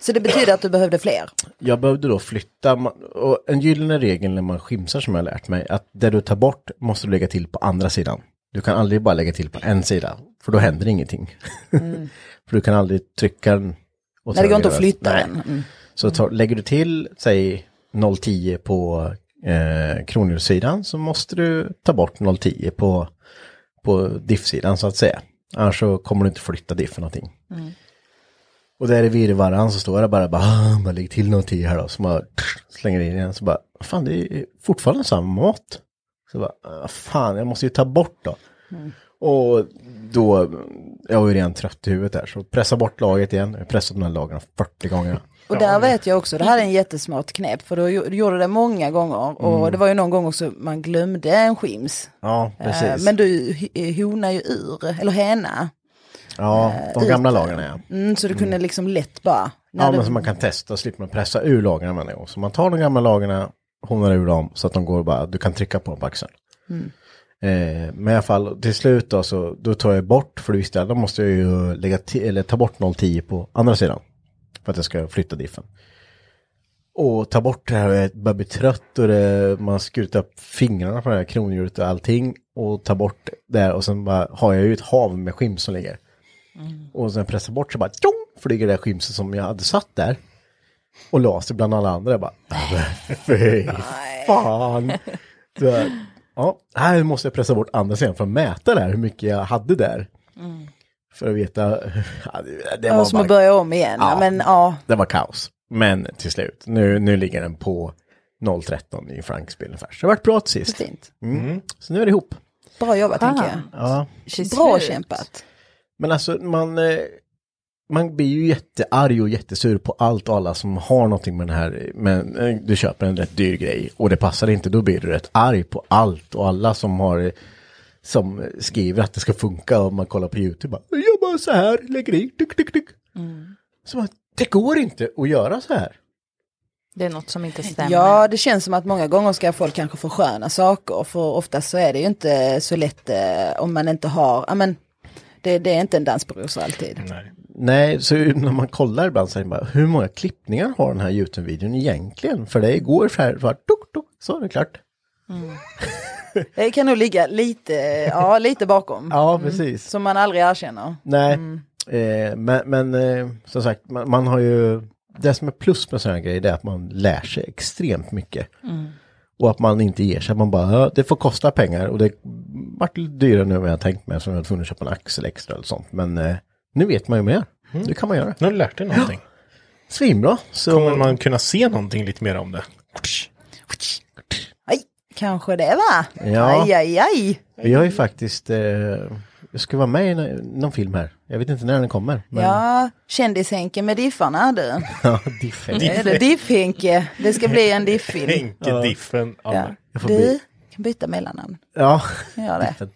Speaker 6: Så det betyder att du behövde fler.
Speaker 4: Jag behövde då flytta, ma- och en gyllene regel när man skimsar som jag har lärt mig, att det du tar bort måste du lägga till på andra sidan. Du kan aldrig bara lägga till på en sida, för då händer ingenting. *laughs* för du kan aldrig trycka den. och
Speaker 6: Mm. Nej, det
Speaker 4: sen
Speaker 6: går inte att
Speaker 4: göra-
Speaker 6: flytta
Speaker 4: Nej.
Speaker 6: den. Mm.
Speaker 4: Så tar, lägger du till, säg 0,10 på eh, kronhjulssidan så måste du ta bort 0,10 på, på diffsidan så att säga. Annars så kommer du inte flytta diff någonting. Och där i virrvarran så står det bara, bara, "Ah, bara lägg till 0,10 här då. Så man slänger in igen så bara, fan det är fortfarande samma mått. Så bara, "Ah, fan jag måste ju ta bort då. Och då, jag var ju redan trött i huvudet där, så pressa bort laget igen. Jag har pressat de här lagren 40 gånger.
Speaker 6: Och där vet jag också, det här är en jättesmart knep, för då gjo- du gjorde det många gånger. Och
Speaker 4: Mm.
Speaker 6: det var ju någon gång också man glömde en skims.
Speaker 4: Ja, precis.
Speaker 6: Eh, Men du h- honar ju ur, eller hena.
Speaker 4: ja, de gamla lagarna ja.
Speaker 6: Mm, så du kunde liksom lätt bara... när
Speaker 4: Ja,
Speaker 6: eh, du-
Speaker 4: men så man kan testa, slipper man pressa ur lagarna varje gång. Så man tar de gamla lagarna, honar ur dem så att de går bara, du kan trycka på dem på axeln.
Speaker 6: Mm.
Speaker 4: Eh, men i alla fall, till slut då så, då tar jag bort, för du visste jag, då måste jag ju lägga till, eller ta bort 0,10 på andra sidan. För att jag ska flytta diffen. och ta bort det här, jag börjar bli trött och det, man skurit upp fingrarna på det här kronhjulet och allting och ta bort det här och sen bara har jag ju ett hav med skims som ligger.
Speaker 6: Mm.
Speaker 4: Och sen pressar bort så bara tjong, flyger det här skimset som jag hade satt där. Och la sig bland alla andra. Jag bara, *laughs* "Men fy
Speaker 6: *laughs*
Speaker 4: fan. Så, här, ja, här måste jag pressa bort andra sidan för att mäta det här, hur mycket jag hade där. För att veta, *laughs* ja, det, det
Speaker 6: Det var Mm. som att börja om igen.
Speaker 4: Ja.
Speaker 6: Ja. Men ja,
Speaker 4: det var kaos. Men till slut, nu, nu ligger den på 0,13 i Franksby ungefär. Så det har varit bra till
Speaker 6: så
Speaker 4: sist.
Speaker 6: fint.
Speaker 4: Mm. Så nu är det ihop.
Speaker 6: Bra jobbat
Speaker 7: Skönt.
Speaker 6: tänker jag.
Speaker 4: Ja.
Speaker 7: Till
Speaker 6: Bra
Speaker 7: slut.
Speaker 6: kämpat.
Speaker 4: Men alltså man, eh, man blir ju jättearg och jättesur på allt och alla som har någonting med den här, men eh, du köper en rätt dyr grej och det passar inte, då blir du rätt arg på allt och alla som har eh, som skriver att det ska funka och man kollar på YouTube bara, jag gör bara så här, lägger i, tick, tick, tick. Så man, det går inte att göra så här.
Speaker 7: Det är något som inte stämmer.
Speaker 6: Ja, det känns som att många gånger ska folk kanske få sköna saker, för oftast så är det ju inte så lätt eh, om man inte har, ja men det, det är inte en dans på rosor alltid.
Speaker 5: Nej.
Speaker 4: Nej, så när man kollar ibland så är det bara, hur många klippningar har den här YouTube-videon egentligen? För det går så här, så här tok, tok, så är det klart.
Speaker 6: Det kan nog ligga lite, ja lite bakom,
Speaker 4: Ja, precis.
Speaker 6: som man aldrig erkänner.
Speaker 4: Nej, eh, men, men eh, som sagt, man, man har ju, det som är plus med sådana här grejer det är att man lär sig extremt mycket. Och att man inte ger sig, man bara, "Ja, det får kosta pengar och det vart lite dyrare nu än jag tänkt mig som jag var tvungen att köpa en axel extra eller sånt. Men eh, nu vet man ju mer, nu kan man göra.
Speaker 5: Nu har du lärt dig någonting.
Speaker 4: Svinbra, så
Speaker 5: Kommer man kunna se någonting lite mer om det?
Speaker 6: Aj, kanske det va?
Speaker 4: Ja.
Speaker 6: Aj, aj, aj.
Speaker 4: vi har ju faktiskt, eh, jag ska vara med i nå- någon film här, jag vet inte när den kommer. Men,
Speaker 6: Ja, kändishänke med Diffarna du.
Speaker 4: *laughs* ja, diff.
Speaker 6: Är det Diff-Henke? Det ska bli en Diff-film.
Speaker 5: Hänkediffen.
Speaker 6: Ja.
Speaker 5: Ja.
Speaker 4: Jag får
Speaker 6: Du
Speaker 4: bli-
Speaker 6: kan byta mellannamn.
Speaker 4: ja.
Speaker 6: Gör det.
Speaker 5: Diffen.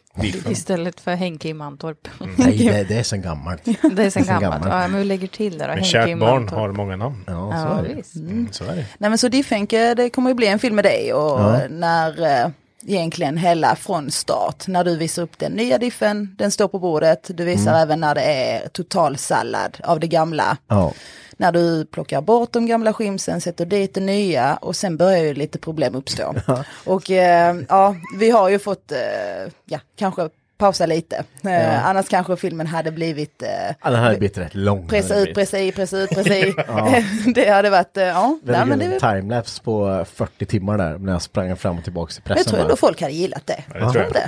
Speaker 7: *laughs* Istället för Henke i Mantorp.
Speaker 5: Mm.
Speaker 4: Nej, det, det är sen gammalt.
Speaker 7: *laughs* Det är sen
Speaker 4: sen
Speaker 7: gammalt.
Speaker 4: gammalt.
Speaker 7: Ja, men vi lägger till det då.
Speaker 5: Men
Speaker 7: Henke i
Speaker 5: kärt barn
Speaker 7: Mantorp.
Speaker 5: har många namn.
Speaker 4: Ja, så
Speaker 7: Ja,
Speaker 4: är det.
Speaker 7: visst.
Speaker 5: Mm, så är det.
Speaker 6: Nej men så Diffenke, det kommer ju bli en film med dig och när eh, egentligen hela från start, när du visar upp den nya diffen, den står på bordet, du visar
Speaker 4: Mm.
Speaker 6: även när det är total sallad av det gamla.
Speaker 4: Ja.
Speaker 6: När du plockar bort de gamla skimsen, sätter dit det nya och sen börjar ju lite problem uppstå.
Speaker 5: *laughs*
Speaker 6: Och eh, ja, vi har ju fått, eh, ja, kanske pausa lite. Eh, Annars kanske filmen hade blivit eh,
Speaker 4: Ja, den här har blivit rätt lång.
Speaker 6: Pressa ut, pressa i, pressa ut, pressa
Speaker 5: *laughs*
Speaker 6: i. *laughs* det hade varit, eh, ja. Nej, men
Speaker 4: Väldigt
Speaker 6: det,
Speaker 4: en timelapse på 40 timmar där, när jag sprang fram och tillbaka till pressen.
Speaker 6: jag tror
Speaker 4: bara.
Speaker 6: ändå folk hade gillat det.
Speaker 5: Ja, det tror jag.
Speaker 6: Inte?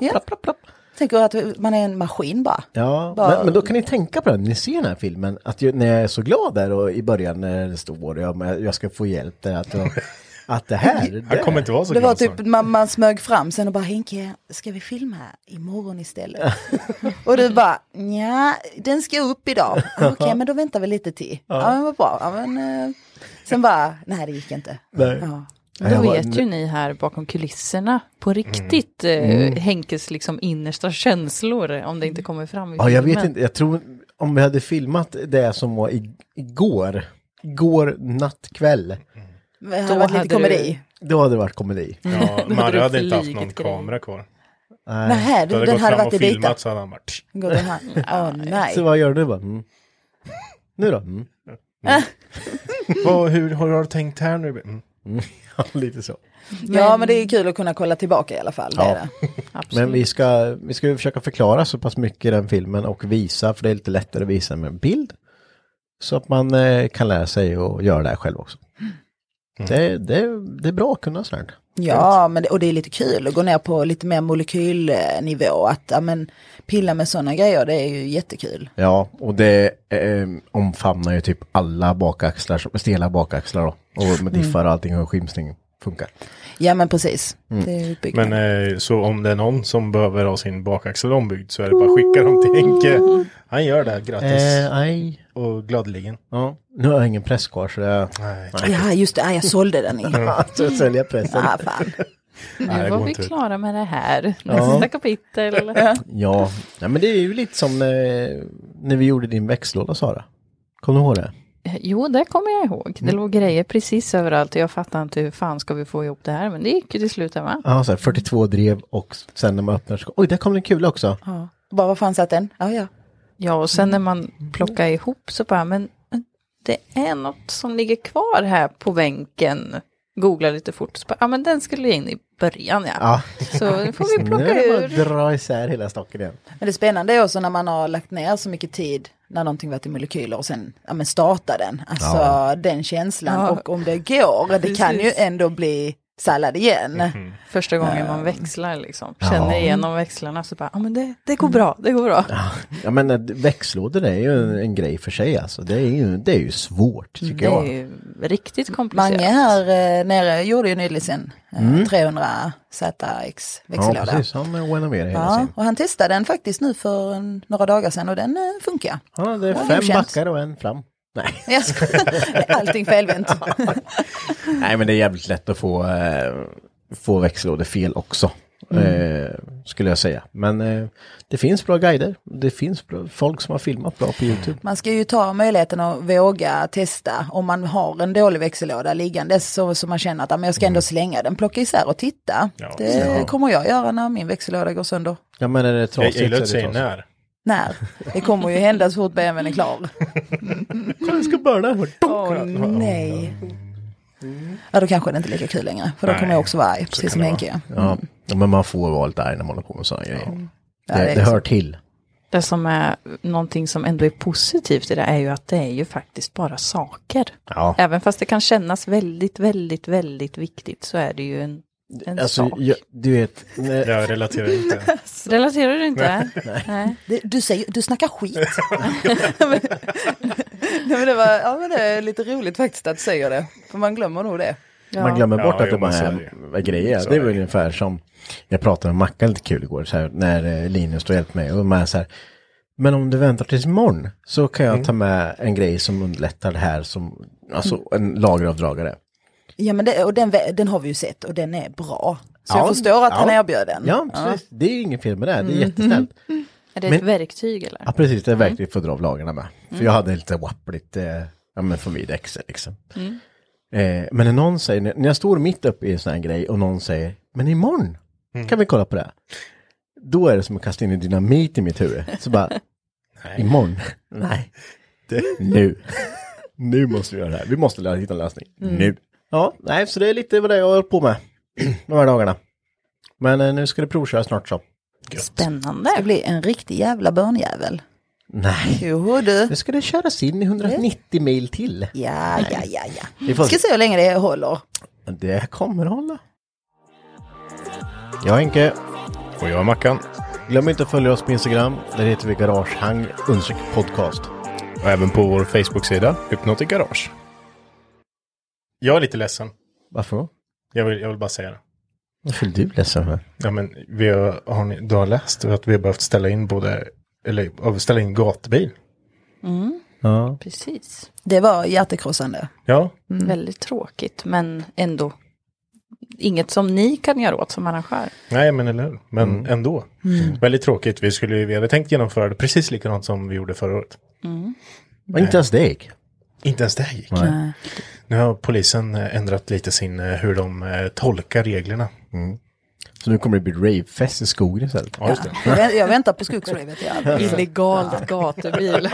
Speaker 6: Ja. Tänker att man är en maskin bara.
Speaker 4: Ja,
Speaker 6: Bara-
Speaker 4: men, men då kan ni tänka på det, när ni ser den här filmen, att ju, när jag är så glad där och i början när det står jag, men jag ska få hjälp där, att,
Speaker 5: *laughs*
Speaker 4: att det här, det,
Speaker 5: Han kommer inte vara så
Speaker 6: Det var
Speaker 5: glad
Speaker 6: typ, *laughs*
Speaker 5: snart.
Speaker 6: man, man smög fram sen och bara Henke, ska vi filma imorgon istället? *laughs* och du bara, nja, den ska upp idag. "Ah, Okej, men då väntar vi lite till. Ja, men vad bra. Ja, men, eh, sen bara, nej det gick inte.
Speaker 4: Nej.
Speaker 6: Ja.
Speaker 7: Men
Speaker 4: Jag
Speaker 7: då
Speaker 4: var- Mm.
Speaker 7: vet ju ni här bakom kulisserna på riktigt Eh, Henkes liksom innersta känslor om det inte kommer fram i
Speaker 4: Ja, jag vet
Speaker 7: filmen.
Speaker 4: inte, jag tror om vi hade filmat det som var i, igår, igår natt kväll,
Speaker 6: Det hade
Speaker 7: Då
Speaker 6: varit lite
Speaker 7: hade
Speaker 6: komedi.
Speaker 4: då hade det varit komedi.
Speaker 5: Ja, Marre
Speaker 7: du
Speaker 5: hade inte haft
Speaker 7: flugit
Speaker 5: någon
Speaker 7: grejer.
Speaker 5: kamera kvar.
Speaker 6: Du... Nej,
Speaker 5: Då hade
Speaker 6: den
Speaker 5: gått
Speaker 6: hade
Speaker 5: fram
Speaker 6: varit
Speaker 5: och
Speaker 6: i bitar.
Speaker 5: filmat så hade han bara... tsch.
Speaker 6: Gått och hand- Åh nej.
Speaker 4: Så vad gör du? Bara, mm. Nu då? Mm.
Speaker 5: "Mm, Vad, hur har du tänkt här nu? Mm.
Speaker 4: Ja, lite så.
Speaker 6: Ja, men det är kul att kunna kolla tillbaka i alla fall. Det
Speaker 4: Ja.
Speaker 6: är det.
Speaker 7: Absolut.
Speaker 4: Men vi ska, vi ska ju försöka förklara så pass mycket i den filmen och visa, för det är lite lättare att visa med en bild. Så att man eh, kan lära sig och göra det här själv också.
Speaker 7: Mm.
Speaker 4: Det, det, det är bra att kunna sånt här.
Speaker 6: Ja, men det, och det är lite kul att gå ner på lite mer molekylnivå. Att ja, men, pilla med sådana grejer, det är ju jättekul.
Speaker 4: Ja, och det eh, omfamnar ju typ alla bakaxlar, som- stela bakaxlar då. Och med diffar och allting och skimsning funkar.
Speaker 6: Ja, men precis. Det är ju
Speaker 5: Men
Speaker 6: utbyggnad.
Speaker 5: eh, så om det är någon som behöver ha sin bakaxel ombyggd så är det bara att skicka dem till Henke. Han gör det, grattis.
Speaker 4: Eh, nej.
Speaker 5: Och gladeligen.
Speaker 4: Ja, nu har jag ingen press kvar så *laughs* det...
Speaker 5: Nej,
Speaker 6: Ja, just det. Ja, jag sålde den. i.
Speaker 4: Så sälja pressen.
Speaker 6: Ah, fan.
Speaker 7: nu
Speaker 5: det
Speaker 7: var
Speaker 5: går
Speaker 7: vi
Speaker 5: inte.
Speaker 7: klara med det här. Nästa kapitel.
Speaker 4: *laughs* Ja, ja men det är ju lite som eh, när vi gjorde din växtlåda Sara. Kommer du ihåg det?
Speaker 7: Jo, det kommer jag ihåg.
Speaker 4: Mm.
Speaker 7: Det låg grejer precis överallt och jag fattar inte hur fan ska vi få ihop det här. Men det gick ju till slut va?
Speaker 4: Ja, så här, 42 drev och sen när man öppnar så, oj, där kom det en kula också.
Speaker 6: Bara, var fan satt den? Ja, ja.
Speaker 4: Mm.
Speaker 7: Ja, och sen när man plockar ihop så bara, men men
Speaker 3: det är något som ligger kvar här på bänken. Googla lite fort. Så bara, Ja, men den skulle in i början, ja.
Speaker 4: Ja.
Speaker 3: Så
Speaker 4: *laughs*
Speaker 3: nu får vi
Speaker 4: Nu är
Speaker 3: plocka
Speaker 4: det bara att
Speaker 3: ur.
Speaker 4: dra isär hela stocken igen.
Speaker 6: Men det spännande är också när man har lagt ner så mycket tid när någonting varit i molekyler och sen ja, men starta den. Alltså
Speaker 4: Ja.
Speaker 6: den känslan
Speaker 3: Ja.
Speaker 6: och om det går, det kan ju
Speaker 3: Precis.
Speaker 6: ändå bli sallad igen.
Speaker 3: Första gången man växlar liksom.
Speaker 4: Ehm. Ja. Mm.
Speaker 3: Känner igenom växlarna så bara, ja men det, det går bra, det går bra.
Speaker 4: Ja men eh, växtlådor är ju en, en grej för sig alltså. Det är ju, det är ju svårt tycker
Speaker 3: Det är
Speaker 4: jag.
Speaker 3: ju riktigt komplicerat.
Speaker 6: Mange här eh, nere gjorde ju nyligen eh, 300 ZX
Speaker 4: Ja
Speaker 6: växellåda.
Speaker 4: precis, han renoverar hela
Speaker 6: Ja,
Speaker 4: sin.
Speaker 6: och han testade den faktiskt nu för en, några dagar sedan och den eh, funkar.
Speaker 4: Ja det är
Speaker 6: Ja, det
Speaker 4: fem
Speaker 6: känns.
Speaker 4: backar och en fram. Nej. *laughs*
Speaker 6: Jag skojar. Allting felvänt.
Speaker 4: Nej men det är jävligt lätt att få, eh, få växellådor fel också.
Speaker 6: Mm.
Speaker 4: Eh, skulle jag säga. Men eh, det finns bra guider. Det finns bra, folk som har filmat bra på YouTube.
Speaker 6: Man ska ju ta möjligheten att våga testa om man har en dålig växellåda liggandes så, så man känner att "Ah, men jag ska ändå slänga den, plocka isär och titta.
Speaker 5: Mm. Ja.
Speaker 6: det
Speaker 5: Ja.
Speaker 6: kommer jag göra när min växellåda går sönder.
Speaker 4: Ja men är det
Speaker 5: Jag
Speaker 4: trasigt
Speaker 5: gillar att
Speaker 4: så är
Speaker 5: säga
Speaker 4: det trasigt.
Speaker 5: när.
Speaker 6: Nej, det kommer ju hända så fort BMWn
Speaker 5: *laughs*
Speaker 6: är klar.
Speaker 4: Kolla jag ska börna.
Speaker 6: Åh nej. Ja då kanske det inte är lika kul längre, för då kommer
Speaker 5: Nej,
Speaker 6: jag också vara arg,
Speaker 5: kan
Speaker 6: precis som
Speaker 5: det vara.
Speaker 6: Henke.
Speaker 4: Ja, men man får vara lite arg när man håller på med sådana grejer.
Speaker 6: Ja,
Speaker 4: det,
Speaker 6: det
Speaker 4: det,
Speaker 6: är så.
Speaker 4: hör till.
Speaker 3: Det som är någonting som ändå är positivt i det är ju att det är ju faktiskt bara saker.
Speaker 4: Ja.
Speaker 3: Även fast det kan kännas väldigt, väldigt, väldigt viktigt så är det ju en, en
Speaker 4: Alltså,
Speaker 3: sak.
Speaker 4: jag, du vet, när,
Speaker 5: Jag relaterar
Speaker 4: *laughs*
Speaker 5: inte.
Speaker 3: Relaterar du inte? Nej.
Speaker 6: Det- Du, säger, du snackar skit.
Speaker 5: *laughs*
Speaker 6: *laughs* Nej, men det var, ja, men det är lite roligt faktiskt att du säger det, för man glömmer nog det.
Speaker 3: Ja.
Speaker 4: Man glömmer bort
Speaker 5: Ja,
Speaker 4: att det
Speaker 5: jo,
Speaker 4: bara
Speaker 5: men så
Speaker 4: är
Speaker 5: är det
Speaker 4: vad grejer.
Speaker 5: Så
Speaker 4: Det är
Speaker 5: är
Speaker 4: väl
Speaker 5: det.
Speaker 4: ungefär som, jag pratade med Mackan lite kul igår, så här, när eh, Linus då hjälpte mig. Och man är så här, men om du väntar tills imorgon så kan jag
Speaker 5: Mm.
Speaker 4: ta med en grej som underlättar det här som,
Speaker 6: Mm.
Speaker 4: alltså en lageravdragare.
Speaker 6: Ja men det, och den, vä- den har vi ju sett och den är bra. Så
Speaker 4: Ja,
Speaker 6: jag förstår att han
Speaker 4: ja.
Speaker 6: erbjöd den. Mm.
Speaker 4: Ja, precis. Det är ju inget fel med det, här. det är jättesnällt.
Speaker 3: Är det
Speaker 4: Men-
Speaker 3: ett verktyg eller?
Speaker 4: Ja, precis. Det är verkligen för att dra av lagarna med. För jag hade lite wappligt, eh, ja men för vid exet liksom. Eh, men när någon säger, när jag står mitt uppe i en sån här grej och någon säger, men imorgon kan vi kolla på det. här." Då är det som att kasta in en dynamit i mitt huvud. Så bara, imorgon? Nej. Nu. nu måste vi göra det här. Vi måste lä- hitta en lösning. Nu. Ja, nej, så det är lite vad det är jag har hållit på med de här dagarna. Men eh, nu ska det provköras snart så.
Speaker 3: Spännande.
Speaker 6: Det blir en riktig jävla börnjävel.
Speaker 4: Nej.
Speaker 6: Joho du.
Speaker 4: Nu ska det köras in i 190 mil till.
Speaker 6: Ja, ja, ja, ja.
Speaker 4: Vi får
Speaker 6: Ska se hur länge det håller.
Speaker 4: Det kommer att hålla. Jag är Henke.
Speaker 5: Och jag är Mackan.
Speaker 4: Glöm inte att följa oss på Instagram. Där heter vi Garagehang undersök podcast.
Speaker 5: Och även på vår Facebook-sida, Hypnotic Garage. Jag är lite ledsen.
Speaker 4: Varför då?
Speaker 5: Jag vill, jag vill bara säga det.
Speaker 4: Varför är du ledsen för?
Speaker 5: Ja, men vi har, har ni, du har läst att vi har behövt ställa in både, eller ställa in gatubil.
Speaker 4: Ja.
Speaker 3: Precis.
Speaker 6: Det var hjärtekrossande.
Speaker 5: Ja,
Speaker 6: Mm.
Speaker 3: Väldigt tråkigt men ändå inget som ni kan göra åt som arrangör.
Speaker 5: nej men eller hur? Men
Speaker 4: Mm.
Speaker 5: ändå.
Speaker 3: Mm.
Speaker 5: Väldigt tråkigt. Vi, skulle, vi hade tänkt genomföra det precis likadant som vi gjorde förra året.
Speaker 4: Men inte ens det gick.
Speaker 5: Inte ens det gick.
Speaker 4: Nej.
Speaker 5: Nu har polisen eh, ändrat lite sin, eh, hur de eh, tolkar reglerna.
Speaker 4: Så nu kommer det bli ravefest i skogen istället.
Speaker 5: Ja, just det.
Speaker 6: Jag, vä- jag väntar på skogsravet. Ja.
Speaker 3: Illegalt *laughs* gatubil.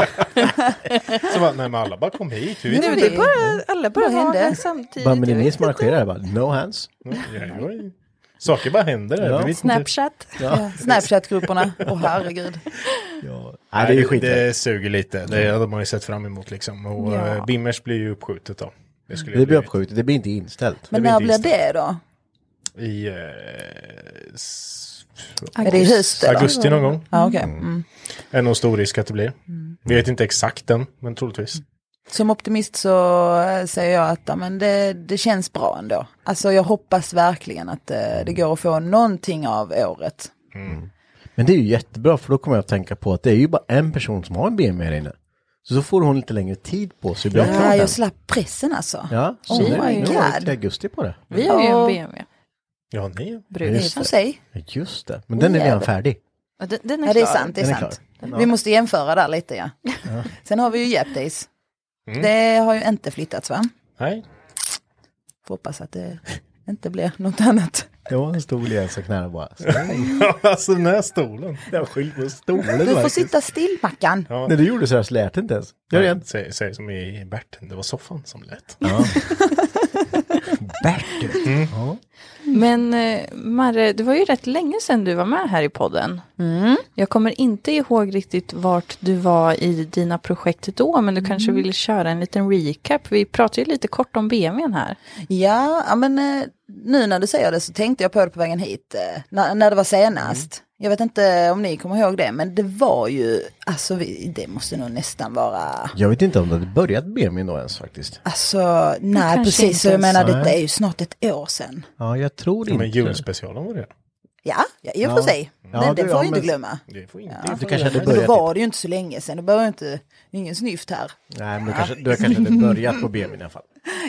Speaker 5: Så bara, nej men alla bara kom hit. Vi vet
Speaker 3: Nu
Speaker 5: inte.
Speaker 3: det är bara, alla bara
Speaker 6: Vad hände?
Speaker 3: var samtidigt.
Speaker 4: Bara men
Speaker 3: Jag
Speaker 4: ni
Speaker 3: vet
Speaker 4: som
Speaker 3: inte.
Speaker 4: marscherar här bara, no hands.
Speaker 5: Mm, Ja, ja, ja. Saker bara händer.
Speaker 4: Ja.
Speaker 5: Vi vet inte.
Speaker 3: Snapchat.
Speaker 6: Ja. Snapchat-grupperna, åh herregud.
Speaker 4: Nej, det är ju Mm. skit. Det,
Speaker 5: det suger lite. Det hade man ju sett fram emot liksom. Och
Speaker 3: Ja.
Speaker 5: eh, Bimmers blir ju uppskjutet då. Det, skulle
Speaker 4: blir
Speaker 5: blivit
Speaker 4: uppskjutet, det blir inte inställt.
Speaker 6: Men
Speaker 5: blir
Speaker 6: när
Speaker 5: inte
Speaker 6: blir
Speaker 5: istället.
Speaker 6: det då?
Speaker 5: I... Eh, s-
Speaker 6: Är det i höst? eller?
Speaker 5: augusti någon gång.
Speaker 6: Ja, Mm. okej. mm.
Speaker 5: Är nog stor risk att det blir. Vi vet inte exakt än, men troligtvis.
Speaker 6: Som optimist så eh, säger jag att ja, men det, det känns bra ändå. Alltså jag hoppas verkligen att eh, det går att få någonting av året.
Speaker 4: Men det är ju jättebra för då kommer jag att tänka på att det är ju bara en person som har en BMW här inne. Så då får hon lite längre tid på sig. att bli av med
Speaker 6: Ja,
Speaker 4: den.
Speaker 6: jag slapp pressen alltså.
Speaker 4: Ja, så
Speaker 6: Oh
Speaker 4: nu, nu
Speaker 6: my
Speaker 4: har jag
Speaker 6: God.
Speaker 4: till augusti på det.
Speaker 3: Vi har ju
Speaker 6: Ja.
Speaker 3: en BMW.
Speaker 5: Ja, nej.
Speaker 6: Det
Speaker 3: Brus.
Speaker 6: är för sig.
Speaker 4: Ja, Just det, men den är redan
Speaker 6: Jävlar.
Speaker 4: färdig.
Speaker 3: Ja, Den, den är
Speaker 6: Ja, det är
Speaker 3: klar.
Speaker 6: sant. Det är
Speaker 4: Den är
Speaker 6: sant.
Speaker 4: klar.
Speaker 6: Vi måste jämföra där lite ja. Sen har vi ju Yap Days.
Speaker 4: Mm.
Speaker 6: Det har ju inte flyttats va?
Speaker 5: Nej.
Speaker 6: Får hoppas att det inte blir något annat.
Speaker 4: Det var en stol igen så knäna *laughs* bara.
Speaker 6: Mm.
Speaker 5: *laughs* alltså den här stolen.
Speaker 4: Det var skylt på stolen
Speaker 6: Du får sitta still Mackan.
Speaker 5: Ja.
Speaker 4: När du gjorde så här så lät det inte ens. Gör det igen.
Speaker 5: Säg, säg som i Bert, det var soffan som lät.
Speaker 4: Bert du.
Speaker 3: Men eh, Marre, det var ju rätt länge sedan du var med här i podden.
Speaker 6: Mm.
Speaker 3: Jag kommer inte ihåg riktigt vart du var i dina projekt då, men du
Speaker 6: Mm.
Speaker 3: kanske ville köra en liten recap. Vi pratade ju lite kort om BMWn här.
Speaker 6: Ja, ja, men eh, nu när du säger det så tänkte jag på det på vägen hit. eh, När, när det var senast.
Speaker 4: Mm.
Speaker 6: Jag vet inte om ni kommer ihåg det, men det var ju, alltså vi, det måste nog nästan vara,
Speaker 4: Jag vet inte om det hade börjat BMW då ens faktiskt.
Speaker 6: alltså nej
Speaker 3: kanske
Speaker 6: precis,
Speaker 3: inte
Speaker 6: så jag
Speaker 3: ens-
Speaker 6: menar
Speaker 4: Nej.
Speaker 6: detta är ju snart ett år sedan.
Speaker 4: Ja, jag tror
Speaker 5: Men
Speaker 4: inte.
Speaker 5: julspecialen var det.
Speaker 6: Ja, ja i och
Speaker 4: Ja.
Speaker 6: för sig.
Speaker 4: Ja,
Speaker 6: den
Speaker 4: det- typ-
Speaker 6: den får
Speaker 4: ja,
Speaker 6: ju inte
Speaker 4: men-
Speaker 6: glömma.
Speaker 5: Det får inte.
Speaker 6: Ja.
Speaker 4: Du kanske hade
Speaker 6: Men då
Speaker 4: börjat.
Speaker 6: var det ju inte så länge sedan, då behöver jag inte, ingen snyft här.
Speaker 4: Nej, men du kanske, du kanske hade börjat på BMW i alla fall.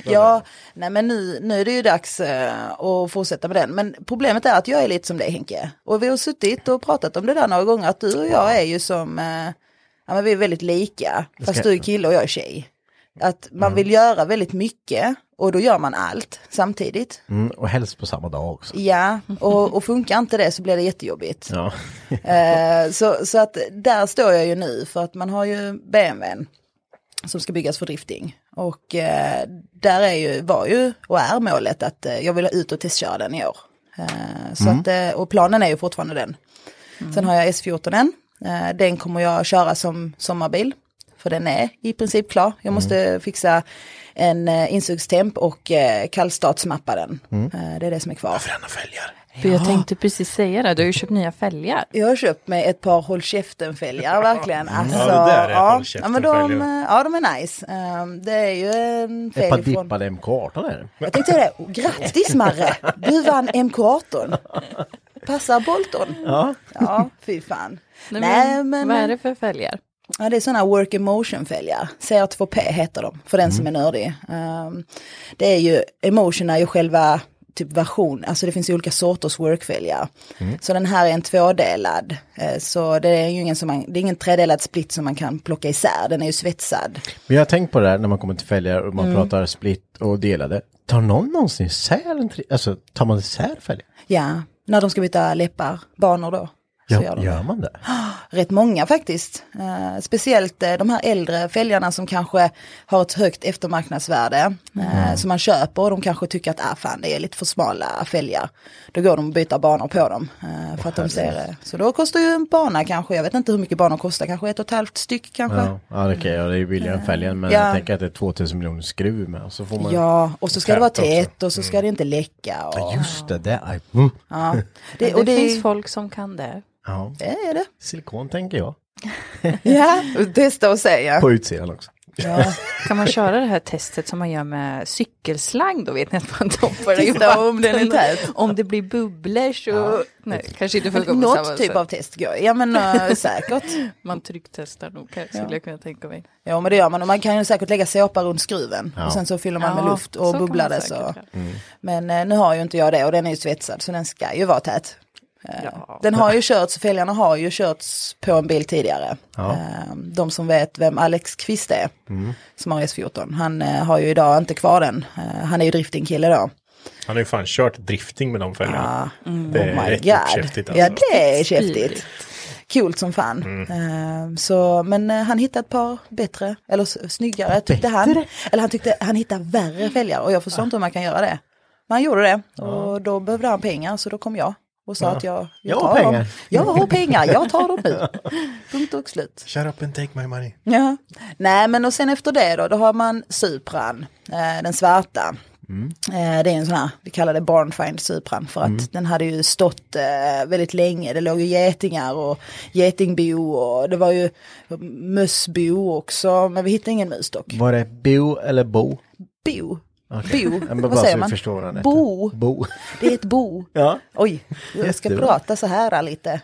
Speaker 6: Ja, nej men nu, nu är det ju dags eh, att fortsätta med den. Men problemet är att jag är lite som dig Henke. Och vi har suttit och pratat om det där några gånger, att du och jag är ju som, eh, ja men vi är väldigt lika, fast
Speaker 4: ska-
Speaker 6: du är kille och jag är tjej. Att man vill göra väldigt mycket och då gör man allt samtidigt.
Speaker 4: Mm, och helst på samma dag också.
Speaker 6: Ja, och, och funkar inte det så blir det jättejobbigt.
Speaker 4: Ja.
Speaker 6: Eh, så, så att där står jag ju nu för att man har ju BMWn som ska byggas för drifting. Och eh, där är ju, var ju och är målet att eh, jag vill ut och testköra den i år. Eh, så att, eh, och planen är ju fortfarande den. Sen har jag S14n. Eh, den kommer jag köra som sommarbil. För den är i princip klar. Jag måste fixa en eh, insugstemp och eh, kallstartsmappa den. Eh, det är det som är kvar.
Speaker 5: Bränna fälgar.
Speaker 3: För jag tänkte precis säga det, du har ju köpt nya fälgar.
Speaker 6: Jag har köpt mig ett par håll käften-fälgar verkligen. Alltså,
Speaker 5: Mm. Ja, det där är
Speaker 6: ja.
Speaker 5: håll
Speaker 6: ja, men de,
Speaker 5: käften-fälgar.
Speaker 6: ja, de är nice. Ehm, det är ju en
Speaker 4: Ett par
Speaker 6: fälg från...
Speaker 4: dippade MK18 är det.
Speaker 6: Jag tänkte säga det, grattis Marre, du vann MK18. Passar Bolton?
Speaker 4: Ja.
Speaker 6: Ja, fy fan.
Speaker 3: Nej,
Speaker 6: Nej,
Speaker 3: men,
Speaker 6: men-
Speaker 3: Vad är det för fälgar?
Speaker 6: Ja, det är sådana work emotion fälgar. CR2P heter de, för den som är nördig. Ehm, det är ju, emotion är ju själva typ version, alltså det finns ju olika sorters workfälgar. Så den här är en tvådelad, eh, så det är ju ingen, som man, det är ingen tredelad split som man kan plocka isär, den är ju svetsad.
Speaker 4: Men jag har tänkt på det här när man kommer till fälgar och
Speaker 6: Mm.
Speaker 4: man pratar split och delade. Tar någon någonsin isär en tri- Alltså tar man isär fälgar?
Speaker 6: Ja, när de ska byta läppar, banor då. Så gör
Speaker 4: Ja,
Speaker 6: de.
Speaker 4: gör man det?
Speaker 6: Rätt många faktiskt. Eh, speciellt eh, de här äldre fälgarna som kanske har ett högt eftermarknadsvärde. Eh,
Speaker 4: Mm.
Speaker 6: Som man köper och de kanske tycker att ah, fan, det är lite för smala fälgar. Då går de och byter banor på dem. Eh, för att de ser, eh, så då kostar ju en bana kanske, jag vet inte hur mycket banor kostar, kanske ett och ett halvt styck kanske.
Speaker 4: Ja, ja det kan jag. Det är ju billigare än fälgen. Men
Speaker 6: Eh, Ja.
Speaker 4: jag tänker att det är 2000 miljoner skruv med. Och så får man... Mm.
Speaker 6: Ja, och så ska det vara
Speaker 5: Tätt också.
Speaker 6: tätt och så ska det inte läcka. Och,
Speaker 4: Ja, Just det, det är... Mm.
Speaker 6: ja. det,
Speaker 3: Det,
Speaker 6: och det,
Speaker 3: finns folk som kan det.
Speaker 4: Ja,
Speaker 6: det är det.
Speaker 4: silikon tänker jag.
Speaker 6: Ja, testa och säga.
Speaker 4: På utsidan också.
Speaker 6: Ja.
Speaker 3: Kan man köra det här testet som man gör med cykelslang då vet ni att man doppar det i
Speaker 6: Titta om den är
Speaker 3: vatten.
Speaker 6: tät.
Speaker 3: Om det blir bubblor så... Nej, kanske inte funkar på samma
Speaker 6: Något typ
Speaker 3: sätt.
Speaker 6: av test går Ja men eh,
Speaker 3: *laughs*
Speaker 6: säkert.
Speaker 3: Man trycktestar nog, kan- skulle jag kunna tänka mig.
Speaker 6: Ja men det gör man och man kan ju säkert lägga såpa runt skruven
Speaker 4: Ja.
Speaker 6: och sen så fyller man med
Speaker 3: Ja,
Speaker 6: luft
Speaker 3: så
Speaker 6: och
Speaker 3: kan
Speaker 6: bubblar
Speaker 3: man
Speaker 6: det så.
Speaker 3: säkert
Speaker 6: Men eh, nu har ju inte jag det och den är ju svetsad så den ska ju vara tät. Eh,
Speaker 3: Ja.
Speaker 6: Den har ju körts, fälgarna har ju körts på en bil tidigare. Eh, De som vet vem Alex Kvist är, som har S14, han eh, har ju idag inte kvar den. Eh, Han är ju driftingkille då.
Speaker 5: Han har ju fan kört drifting med de fälgarna. Det
Speaker 6: Oh
Speaker 5: är
Speaker 6: my
Speaker 5: rätt
Speaker 6: god.
Speaker 5: uppkäftigt alltså.
Speaker 6: Ja det är käftigt.
Speaker 3: Spydigt.
Speaker 6: Coolt som fan.
Speaker 5: Mm.
Speaker 6: Eh, så, men eh, han hittade ett par bättre, eller s- snyggare tyckte han. Eller han tyckte han hittade värre fälgar och jag förstår inte hur man kan göra det. Men han gjorde det och då behövde han pengar så då kom jag och sa att jag,
Speaker 4: Jag har
Speaker 6: tar
Speaker 4: pengar.
Speaker 6: Dem. Jag har pengar, jag tar dem
Speaker 4: *laughs*
Speaker 6: nu. Punkt och slut.
Speaker 5: Shut up and take my money.
Speaker 6: Ja. Nej men och sen efter det då, då har man Supran, eh, den svarta.
Speaker 4: Mm.
Speaker 6: Eh, det är en sån här, vi kallar det Barnfind Supran för att den hade ju stått eh, väldigt länge. Det låg ju getingar och getingbo och det var ju mössbo också. Men vi hittade ingen mus dock.
Speaker 4: Var det bo eller bo?
Speaker 6: Bo,
Speaker 4: Okej.
Speaker 6: Bo.
Speaker 4: Ja, men
Speaker 6: Vad
Speaker 4: bara
Speaker 6: säger
Speaker 4: så vi
Speaker 6: man?
Speaker 4: Förstår vad den heter.
Speaker 6: Bo.
Speaker 4: Bo.
Speaker 6: det är ett bo.
Speaker 4: Ja.
Speaker 6: Oj, jag ska
Speaker 4: Jättebra.
Speaker 6: prata så
Speaker 4: *laughs*
Speaker 6: här lite.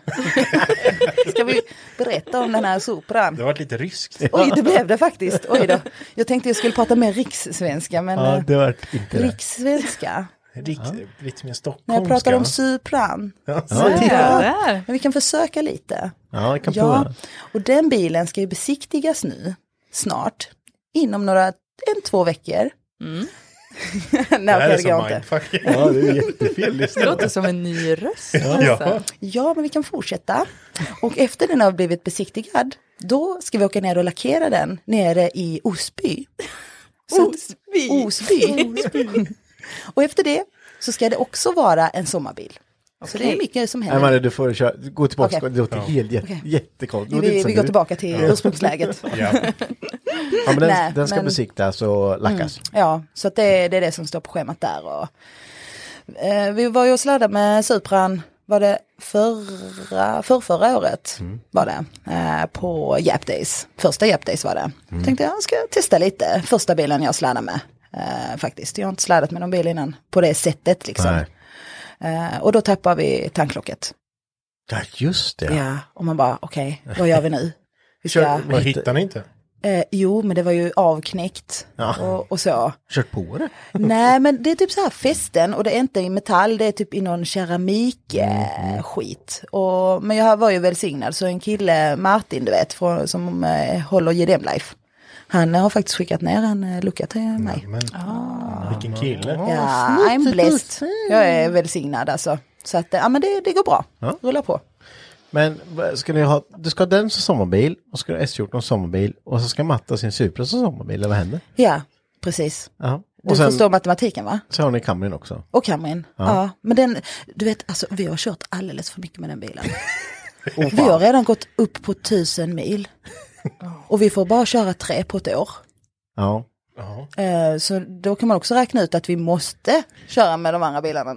Speaker 6: ska vi berätta om den här Supran?
Speaker 5: Det har varit lite ryskt.
Speaker 6: Oj, det blev det faktiskt. Oj då. Jag tänkte jag skulle prata mer rikssvenska, men
Speaker 4: Ja,
Speaker 6: eh,
Speaker 4: det vart inte det.
Speaker 6: rikssvenska.
Speaker 5: Rikt, Lite mer
Speaker 6: När jag
Speaker 5: stockholmska.
Speaker 6: pratar om Supran.
Speaker 3: Ja,
Speaker 6: Ja.
Speaker 3: där.
Speaker 6: Men vi kan försöka lite.
Speaker 4: Ja, jag kan
Speaker 6: Ja,
Speaker 4: prova.
Speaker 6: och den bilen ska ju besiktigas nu, snart, inom några, en, två veckor.
Speaker 5: Det
Speaker 6: *laughs* Nej,
Speaker 5: här
Speaker 6: okej,
Speaker 5: är
Speaker 6: det går
Speaker 5: som
Speaker 6: inte.
Speaker 5: mindfuck.
Speaker 4: Ja, det är
Speaker 6: *laughs*
Speaker 4: jättefel
Speaker 3: Det
Speaker 4: lista.
Speaker 3: låter som en ny röst.
Speaker 5: Ja.
Speaker 3: Alltså.
Speaker 6: Ja, men vi kan fortsätta. Och efter den har blivit besiktigad, då ska vi åka ner och lackera den nere i Osby. *laughs* Så att-
Speaker 3: Osby.
Speaker 6: Osby. *laughs* och efter det så ska det också vara en sommarbil. Så det är mycket som
Speaker 4: Nej,
Speaker 6: händer.
Speaker 4: Maria, du får köra. Gå tillbaka.
Speaker 6: Okej.
Speaker 4: Det låter helt jä- jättekonstigt. Det låter inte
Speaker 6: vi, vi
Speaker 4: som
Speaker 6: går
Speaker 4: du.
Speaker 6: tillbaka till
Speaker 4: *laughs*
Speaker 6: ursprungsläget.
Speaker 5: Ja.
Speaker 4: Ja, men den,
Speaker 6: Nej,
Speaker 4: den ska
Speaker 6: men- Mm.
Speaker 4: besiktas och lackas.
Speaker 6: Ja, så att det, det är det som står på schemat där. Och, eh, vi var ju och sladdade med Supran, var det förra, förrförra året?
Speaker 4: Mm.
Speaker 6: Var det, eh, på Jap Days. Första Jap Days var det.
Speaker 4: Mm.
Speaker 6: Tänkte jag ska testa lite, första bilen jag sladdade med. Eh, faktiskt, jag har inte sladdat med någon bil innan på det sättet liksom.
Speaker 4: Nej.
Speaker 6: Eh, och då tappar vi tanklocket.
Speaker 4: Ja, just det.
Speaker 6: Ja. och man bara okej, vad gör vi nu? Vi ska,
Speaker 5: Kör, vad hittar ni inte?
Speaker 6: eh, jo, men det var ju avknäckt
Speaker 4: Ja.
Speaker 6: och, och så.
Speaker 4: Kört på det.
Speaker 6: Nej men det är typ så här fästen och det är inte i metall, det är typ i någon keramik eh, skit. Och, men jag var ju välsignad så en kille, Martin du vet, från, som eh, håller JDM Life. Han eh, har faktiskt skickat ner en eh, lucka till mig.
Speaker 5: Men, Vilken kille.
Speaker 6: Ja, I'm blessed. Jag är välsignad alltså. Så att, eh, ja men det, det går bra.
Speaker 4: Ja.
Speaker 6: Rulla på.
Speaker 4: Men vad ska ni ha, du ska ha den som sommarbil och ska du ha S14 som sommarbil och så ska Matta ha sin Supra som sommarbil, eller vad händer?
Speaker 6: Ja, precis.
Speaker 4: Ja.
Speaker 6: Du
Speaker 4: Och sen
Speaker 6: förstår matematiken va?
Speaker 4: så har ni Camryn också.
Speaker 6: Och Camryn. Ja. men den, du vet, alltså, vi har kört alldeles för mycket med den bilen. vi har redan gått upp på tusen mil. Och vi får bara köra tre på ett år.
Speaker 4: Ja.
Speaker 5: Ja.
Speaker 6: Eh, Så då kan man också räkna ut att vi måste köra med de andra bilarna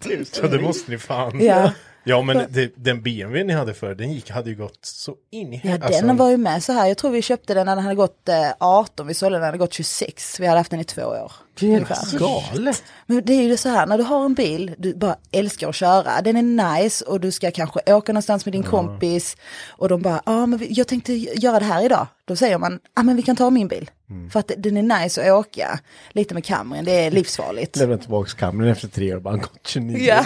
Speaker 6: nu.
Speaker 5: Så det måste ni fan.
Speaker 6: Ja.
Speaker 5: Ja men det, den BMW ni hade förr, den gick, hade ju gått så in i
Speaker 6: Ja,
Speaker 5: alltså,
Speaker 6: den var ju med så här. Jag tror vi köpte den när den hade gått eh, 18, vi sålde den när den hade gått 26. Vi hade haft den i två år. ungefär.
Speaker 5: Alltså,
Speaker 4: Galet.
Speaker 6: Men det är ju så här, när du har en bil, du bara älskar att köra, den är nice och du ska kanske åka någonstans med din kompis och de bara, ja ah, men vi- jag tänkte göra det här idag. Då säger man, ja ah, men vi kan ta min bil.
Speaker 5: Mm.
Speaker 6: För att den är nice att åka, lite med Camryn, det är livsfarligt.
Speaker 4: Lämnade tillbaka Camryn efter tre år och bara han gått 29.
Speaker 6: Ja.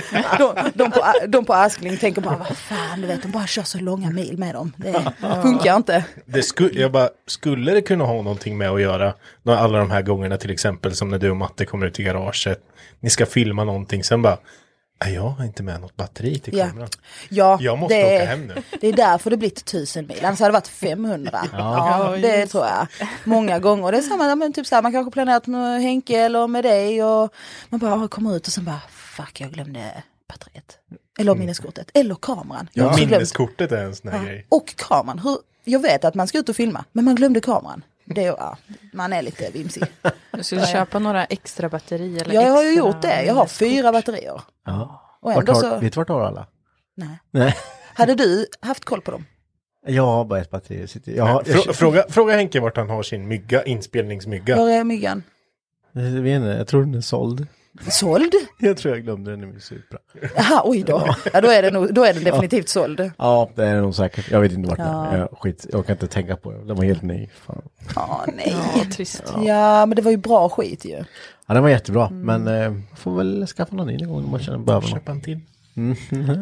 Speaker 6: *laughs* De, de, på, de på Askling tänker bara, vad fan du vet, de bara kör så långa mil med dem.
Speaker 5: *laughs*
Speaker 6: Det funkar inte.
Speaker 5: Det skulle, jag bara, skulle det kunna ha någonting med att göra? När alla de här gångerna till exempel som när du och Matte kommer ut i garaget. Ni ska filma någonting, sen bara, "Nej, jag har inte med något batteri till
Speaker 6: Ja.
Speaker 5: kameran.
Speaker 6: Ja,
Speaker 5: Jag måste
Speaker 6: det,
Speaker 5: åka hem nu.
Speaker 6: Det är därför det blivit 1000 mil, annars hade det varit 500. Ja, det tror jag. Många gånger. Det är samma, ja, men typ så här, man kanske planerat med Henke eller med dig och man bara ah, kommer ut och sen bara fuck jag glömde batteriet. Eller minneskortet, eller kameran. Jag har
Speaker 5: Ja.
Speaker 6: också glömt-
Speaker 5: Minneskortet är en sån här grej.
Speaker 6: Och kameran, hur, jag vet att man ska ut och filma, men man glömde kameran. Det, ja, man är lite vimsig.
Speaker 3: Du skulle köpa några extra batterier. Eller
Speaker 6: Jag har ju
Speaker 3: extra
Speaker 6: gjort det, jag har fyra batterier.
Speaker 4: Ja.
Speaker 6: Och
Speaker 4: Vart
Speaker 6: ändå
Speaker 4: har,
Speaker 6: så,
Speaker 4: Vet du vart har alla?
Speaker 6: nej.
Speaker 4: Nej.
Speaker 6: Hade du haft koll på dem?
Speaker 4: *laughs* Jag har bara ett batteri. Sitter- Jag har, jag,
Speaker 5: Frå, *laughs* fråga, fråga Henke vart han har sin mygga, inspelningsmygga.
Speaker 6: Var är myggan?
Speaker 4: *laughs* jag vet inte, jag tror den är såld.
Speaker 6: Såld?
Speaker 4: *laughs* Jag tror jag glömde den i min Supra.
Speaker 6: Jaha, oj då. Ja, då, är den, nog- då är den definitivt såld.
Speaker 4: Ja, det är nog säkert. Jag vet inte vart den
Speaker 6: Ja.
Speaker 4: är. Jag, skit, jag kan inte tänka på det. Den var helt ny. Fan.
Speaker 6: Ja, nej.
Speaker 3: Ja, trist.
Speaker 6: Ja, men det var ju bra skit ju.
Speaker 4: Ja, den var jättebra.
Speaker 6: Mm.
Speaker 4: Men eh, jag får väl skaffa någon ny någon gång om man känner behöver någon. Mm.
Speaker 5: Köp en till.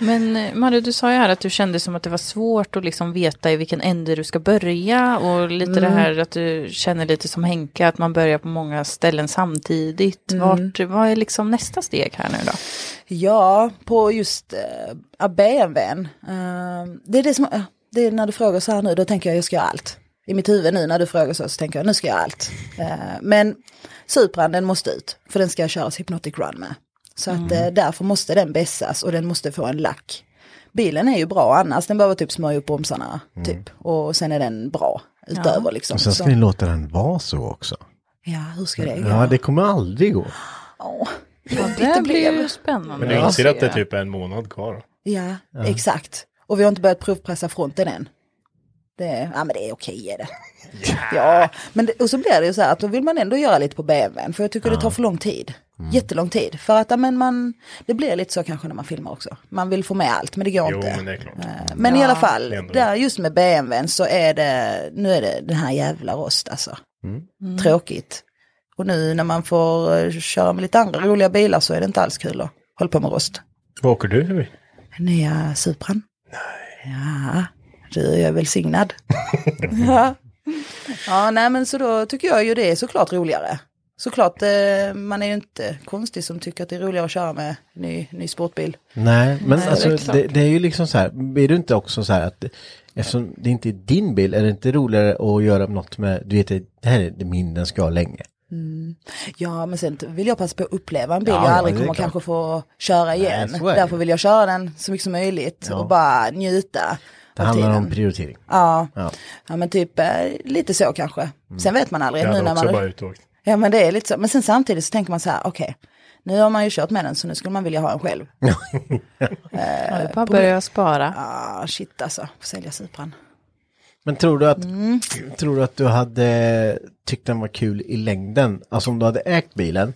Speaker 3: Men eh, Marie, du sa ju här att du kände som att det var svårt att liksom veta i vilken ände du ska börja. Och lite
Speaker 6: Mm.
Speaker 3: det här att du känner lite som Henka, att man börjar på många ställen samtidigt.
Speaker 6: Mm.
Speaker 3: Vart, vad är liksom nästa steg här nu då?
Speaker 6: Ja, på just uh, BMWn. eh, det är det som, eh, det är när du frågar så här nu, då tänker jag jag ska göra allt. I mitt huvud nu när du frågar så, så tänker jag nu ska jag göra allt. Eh, men Supran den måste ut, för den ska jag köra Hypnotic Run med. Så att eh, därför måste den vässas och den måste få en lack. Bilen är ju bra annars, den behöver typ smörja upp bromsarna typ. Och sen är den bra utöver
Speaker 4: *laughs*
Speaker 6: liksom.
Speaker 4: Och sen ska
Speaker 6: Så-
Speaker 4: ni låta den vara så också.
Speaker 6: Ja, hur ska det gå?
Speaker 4: Ja, det kommer aldrig gå.
Speaker 6: Åh,
Speaker 3: Ja,
Speaker 6: jobbigt
Speaker 3: det
Speaker 6: det
Speaker 3: blir
Speaker 6: blev.
Speaker 3: ju spännande.
Speaker 5: Men du
Speaker 3: att
Speaker 5: inser att det
Speaker 3: se.
Speaker 5: typ är en månad kvar.
Speaker 6: Ja, exakt. Och vi har inte börjat provpressa fronten än. Det, ja men det är okej är det. Ja, men det, och så blir det ju så här att då vill man ändå göra lite på BMWn för jag tycker det tar för lång tid.
Speaker 5: Mm.
Speaker 6: Jättelång tid. För att ja, men man, det blir lite så kanske när man filmar också. Man vill få med allt men det går
Speaker 5: Jo,
Speaker 6: inte.
Speaker 5: men det är klart.
Speaker 6: Eh, Men i alla fall,
Speaker 5: det är ändå-
Speaker 6: där just med BMWn så är det, nu är det den här jävla rost alltså.
Speaker 5: Mm.
Speaker 6: Tråkigt. Och nu när man får eh, köra med lite andra roliga bilar så är det inte alls kul att hålla på med rost.
Speaker 5: Vad åker du i?
Speaker 6: Nya Supran. Nej. Ja, du
Speaker 4: *laughs*
Speaker 6: är välsignad. ja. ja, nej men så då tycker jag ju det är såklart roligare. såklart, eh, man är ju inte konstig som tycker att det är roligare att köra med ny, ny sportbil.
Speaker 4: Nej, men
Speaker 3: Nej,
Speaker 4: alltså,
Speaker 3: det är
Speaker 4: det,
Speaker 3: klart.
Speaker 4: det, är ju liksom så här, är du inte också så här att eftersom det inte är din bil, är det inte roligare att göra något med, du vet, det här är min, den ska ha länge.
Speaker 6: Ja, men sen vill jag passa på att uppleva en bil
Speaker 4: Ja,
Speaker 6: jag
Speaker 4: ja,
Speaker 6: aldrig
Speaker 4: det är
Speaker 6: kommer
Speaker 4: klart.
Speaker 6: kanske få köra igen.
Speaker 4: så är det.
Speaker 6: Därför vill jag köra den så mycket som möjligt
Speaker 4: Ja.
Speaker 6: och bara njuta
Speaker 4: Det
Speaker 6: av
Speaker 4: handlar
Speaker 6: tiden.
Speaker 4: om prioritering.
Speaker 6: ja.
Speaker 4: Ja. Mm.
Speaker 6: ja, men typ eh, lite så kanske. Sen vet man aldrig.
Speaker 5: Jag
Speaker 6: nu
Speaker 5: hade
Speaker 6: när
Speaker 5: också
Speaker 6: man...
Speaker 5: bara ut och åkt.
Speaker 6: Ja, men det är lite så. Men sen samtidigt så tänker man så här, okej, nu har man ju kört med den så nu skulle man vilja ha en själv.
Speaker 3: Ja, det är bara att börja spara.
Speaker 6: Ah, shit alltså, får sälja Supran.
Speaker 4: Men tror du, att,
Speaker 3: Mm.
Speaker 4: tror du att du hade tyckt den var kul i längden? Alltså om du hade ägt bilen,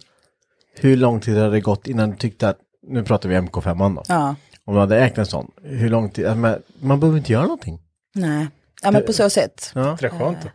Speaker 4: hur lång tid hade det gått innan du tyckte att, nu pratar vi MK5 då,
Speaker 6: Ja,
Speaker 4: om du hade ägt en sån, hur lång tid, ja, men man behöver inte göra någonting.
Speaker 6: nej. Ja, men på så sätt.
Speaker 4: Ja.
Speaker 5: Det är skönt. då.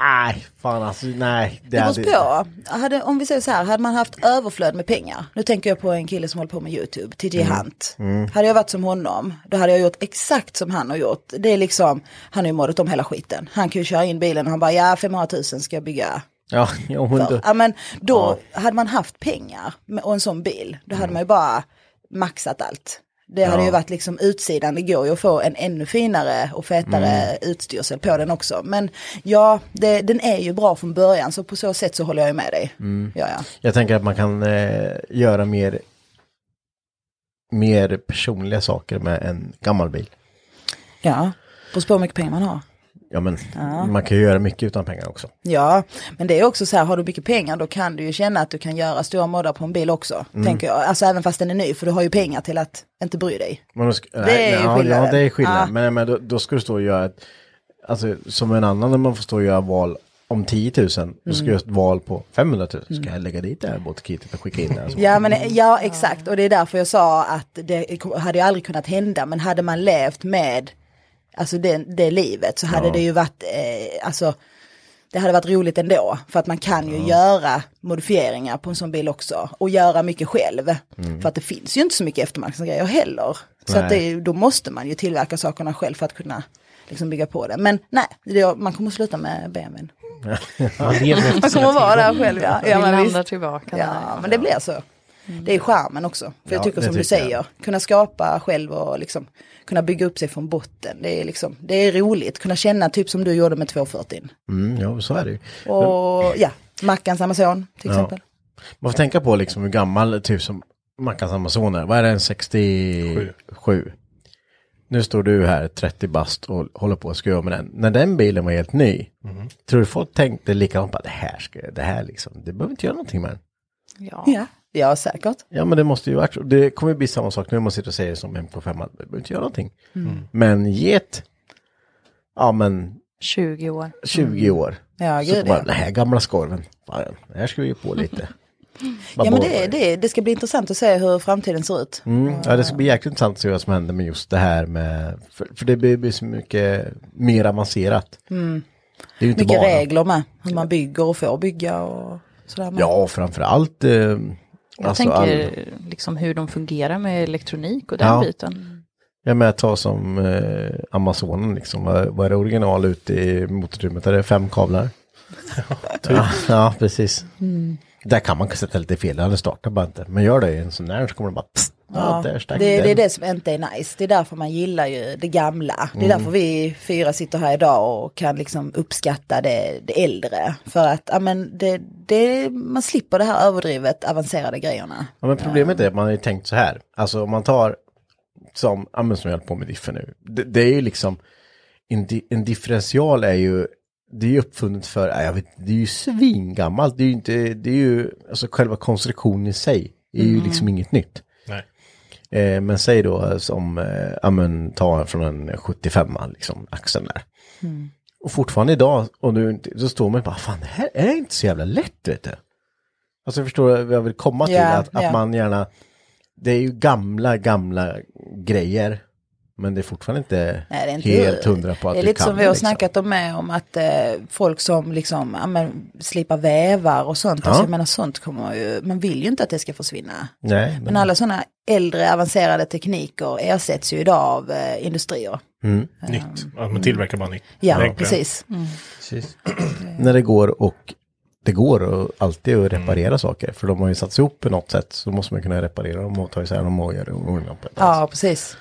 Speaker 4: Nej, fan alltså, nej.
Speaker 6: Det beror
Speaker 4: hade-
Speaker 6: på. Hade, om vi säger så här, hade man haft överflöd med pengar, nu tänker jag på en kille som håller på med YouTube, TJ Hunt. Hade jag varit som honom, då hade jag gjort exakt som han har gjort. Det är liksom, han har ju målat om hela skiten. Han kan ju köra in bilen och han bara, ja 500 000 ska jag bygga
Speaker 4: Ja, *laughs* jo, men
Speaker 6: för.
Speaker 4: då,
Speaker 6: Ja, men då hade man haft pengar med- och en sån bil, då hade man ju bara maxat allt. Det hade ju varit liksom utsidan, det går ju att få en ännu finare och fetare utstyrsel på den också. Men ja, det, den är ju bra från början så på så sätt så håller jag ju med dig. Ja, ja.
Speaker 4: mm. jag tänker att man kan eh, göra mer, mer personliga saker med en gammal bil.
Speaker 6: ja. Beror på hur mycket pengar man har.
Speaker 4: Ja, men man kan ju göra mycket utan pengar också.
Speaker 6: Ja, men det är också så här, har du mycket pengar då kan du ju känna att du kan göra stora moddar på en bil också. Tänker jag, alltså även fast den är ny för du har ju pengar till att inte bry dig.
Speaker 4: Men då ska, det
Speaker 6: är ju
Speaker 4: ja, ja,
Speaker 6: skillnaden.
Speaker 4: det är skillnad.
Speaker 6: Ja.
Speaker 4: Men, men då, då ska du stå och göra ett, alltså som en annan när man får stå och göra val om 10 000, då
Speaker 6: Mm.
Speaker 4: ska jag göra ett val på 500 000. Ska jag lägga dit det här båtkitet och skicka in det? här? Så-
Speaker 6: *laughs* Ja, men, ja exakt och det är därför jag sa att det kom- hade ju aldrig kunnat hända men hade man levt med alltså det, det livet så hade det ju varit eh, alltså det hade varit roligt ändå för att man kan ju göra modifieringar på en sån bil också och göra mycket själv för att det finns ju inte så mycket eftermarknadsgrejer heller så att det, är ju- då måste man ju tillverka sakerna själv för att kunna liksom bygga på det men nej det, man kommer sluta med BMWn man kommer vara där själv ja, ja
Speaker 3: Vi
Speaker 6: men
Speaker 3: landar
Speaker 6: visst.
Speaker 3: tillbaka
Speaker 6: Ja,
Speaker 3: där.
Speaker 6: men det blir så.
Speaker 3: Mm.
Speaker 6: Det är charmen också. För
Speaker 4: Ja,
Speaker 6: jag tycker
Speaker 4: det
Speaker 6: som du
Speaker 4: tycker jag.
Speaker 6: säger, kunna skapa själv och liksom kunna bygga upp sig från botten. Det är, liksom, det är roligt, kunna känna typ som du gjorde med 240.
Speaker 4: Mm, ja, så är det ju.
Speaker 6: Och ja, Mackans Amazon till
Speaker 4: Ja.
Speaker 6: exempel.
Speaker 4: Man får tänka på liksom hur gammal, typ som Mackans Amazon är. Vad är den, 67? Nu står du här 30 bast och håller på att skruva med den. När den bilen var helt ny, tror du folk tänkte likadant på det här ska jag, det här liksom, det behöver inte göra någonting med den.
Speaker 3: Ja.
Speaker 6: Ja, ja säkert.
Speaker 4: Ja men det måste ju vara, det kommer ju bli samma sak nu om man sitter och säger som MK5, att det behöver inte göra någonting.
Speaker 6: Mm.
Speaker 4: Men get, ja men
Speaker 3: 20 år.
Speaker 4: 20 år.
Speaker 6: Mm. Ja,
Speaker 4: så
Speaker 6: gud
Speaker 4: bara,
Speaker 6: ja.
Speaker 4: den här gamla skorven, fan, det här ska vi ju på
Speaker 6: *laughs*
Speaker 4: lite.
Speaker 6: Ja men det, är- det, är- det ska bli intressant att se hur framtiden ser ut.
Speaker 4: Mm, ja, det ska bli jäkligt intressant att se vad som händer med just det här med, för, för det blir, blir så mycket mer avancerat. Det är ju inte
Speaker 6: Mm. Mycket
Speaker 4: bara.
Speaker 6: regler med, hur man bygger och får bygga och sådär. med.
Speaker 4: Ja, framför allt. Eh,
Speaker 3: Jag
Speaker 4: alltså,
Speaker 3: tänker
Speaker 4: all-
Speaker 3: liksom hur de fungerar med elektronik och den
Speaker 4: Ja.
Speaker 3: biten.
Speaker 4: jag menar, ta som eh, Amazonen, liksom. vad, vad är det original ute i motorutrymmet? Är det fem kablar? ja, ja, precis.
Speaker 6: Mm.
Speaker 4: Där kan man sätta lite fel, den startar bara inte. Men gör det i en sån där så kommer den bara... Pst, ja, där stack
Speaker 6: Det, det är
Speaker 4: den.
Speaker 6: det som inte är nice. Det är därför man gillar ju det gamla. Det är
Speaker 4: Mm.
Speaker 6: därför vi fyra sitter här idag och kan liksom uppskatta det, det äldre. För att ja, men det, det, man slipper det här överdrivet avancerade grejerna.
Speaker 4: Ja, men problemet är att man har ju tänkt så här. Alltså om man tar som, ja, men som jag höll på med diffen nu. Det, det är ju liksom, en, di, en differential är ju, det är ju uppfunnet för, ja, jag vet, det är ju svingammalt. Det är ju inte, det är ju, alltså själva konstruktionen i sig är ju
Speaker 6: Mm.
Speaker 4: liksom inget nytt.
Speaker 5: Nej.
Speaker 4: Eh, men säg då som, eh, ja men ta från en 75 liksom, axeln där.
Speaker 6: Mm.
Speaker 4: Och fortfarande idag, och nu, så står man ju bara, fan det här är inte så jävla lätt vet du. Alltså förstår du vad jag vill komma till?
Speaker 6: Ja,
Speaker 4: att,
Speaker 6: ja.
Speaker 4: att man gärna, det är ju gamla, gamla grejer. Men det är fortfarande inte,
Speaker 6: Nej, det är inte
Speaker 4: helt hundra på att
Speaker 6: Det är
Speaker 4: du
Speaker 6: lite
Speaker 4: kan
Speaker 6: som vi har
Speaker 4: liksom.
Speaker 6: snackat om med om att eh, folk som liksom ja, men, slipar vävar och sånt. Alltså, jag menar sånt kommer ju, man vill ju inte att det ska försvinna.
Speaker 4: Nej,
Speaker 6: Men alla sådana äldre avancerade tekniker ersätts ju idag av eh, industrier.
Speaker 4: Mm.
Speaker 5: Nytt. Att man tillverkar bara nytt.
Speaker 6: Ja,
Speaker 4: *clears throat*
Speaker 6: Mm.
Speaker 5: Enklare.
Speaker 6: precis.
Speaker 4: När det går och det går att alltid att reparera saker. För de har ju satts ihop på något sätt så måste man kunna reparera dem och ta isär dem och göra dem på ett
Speaker 6: Ja, precis.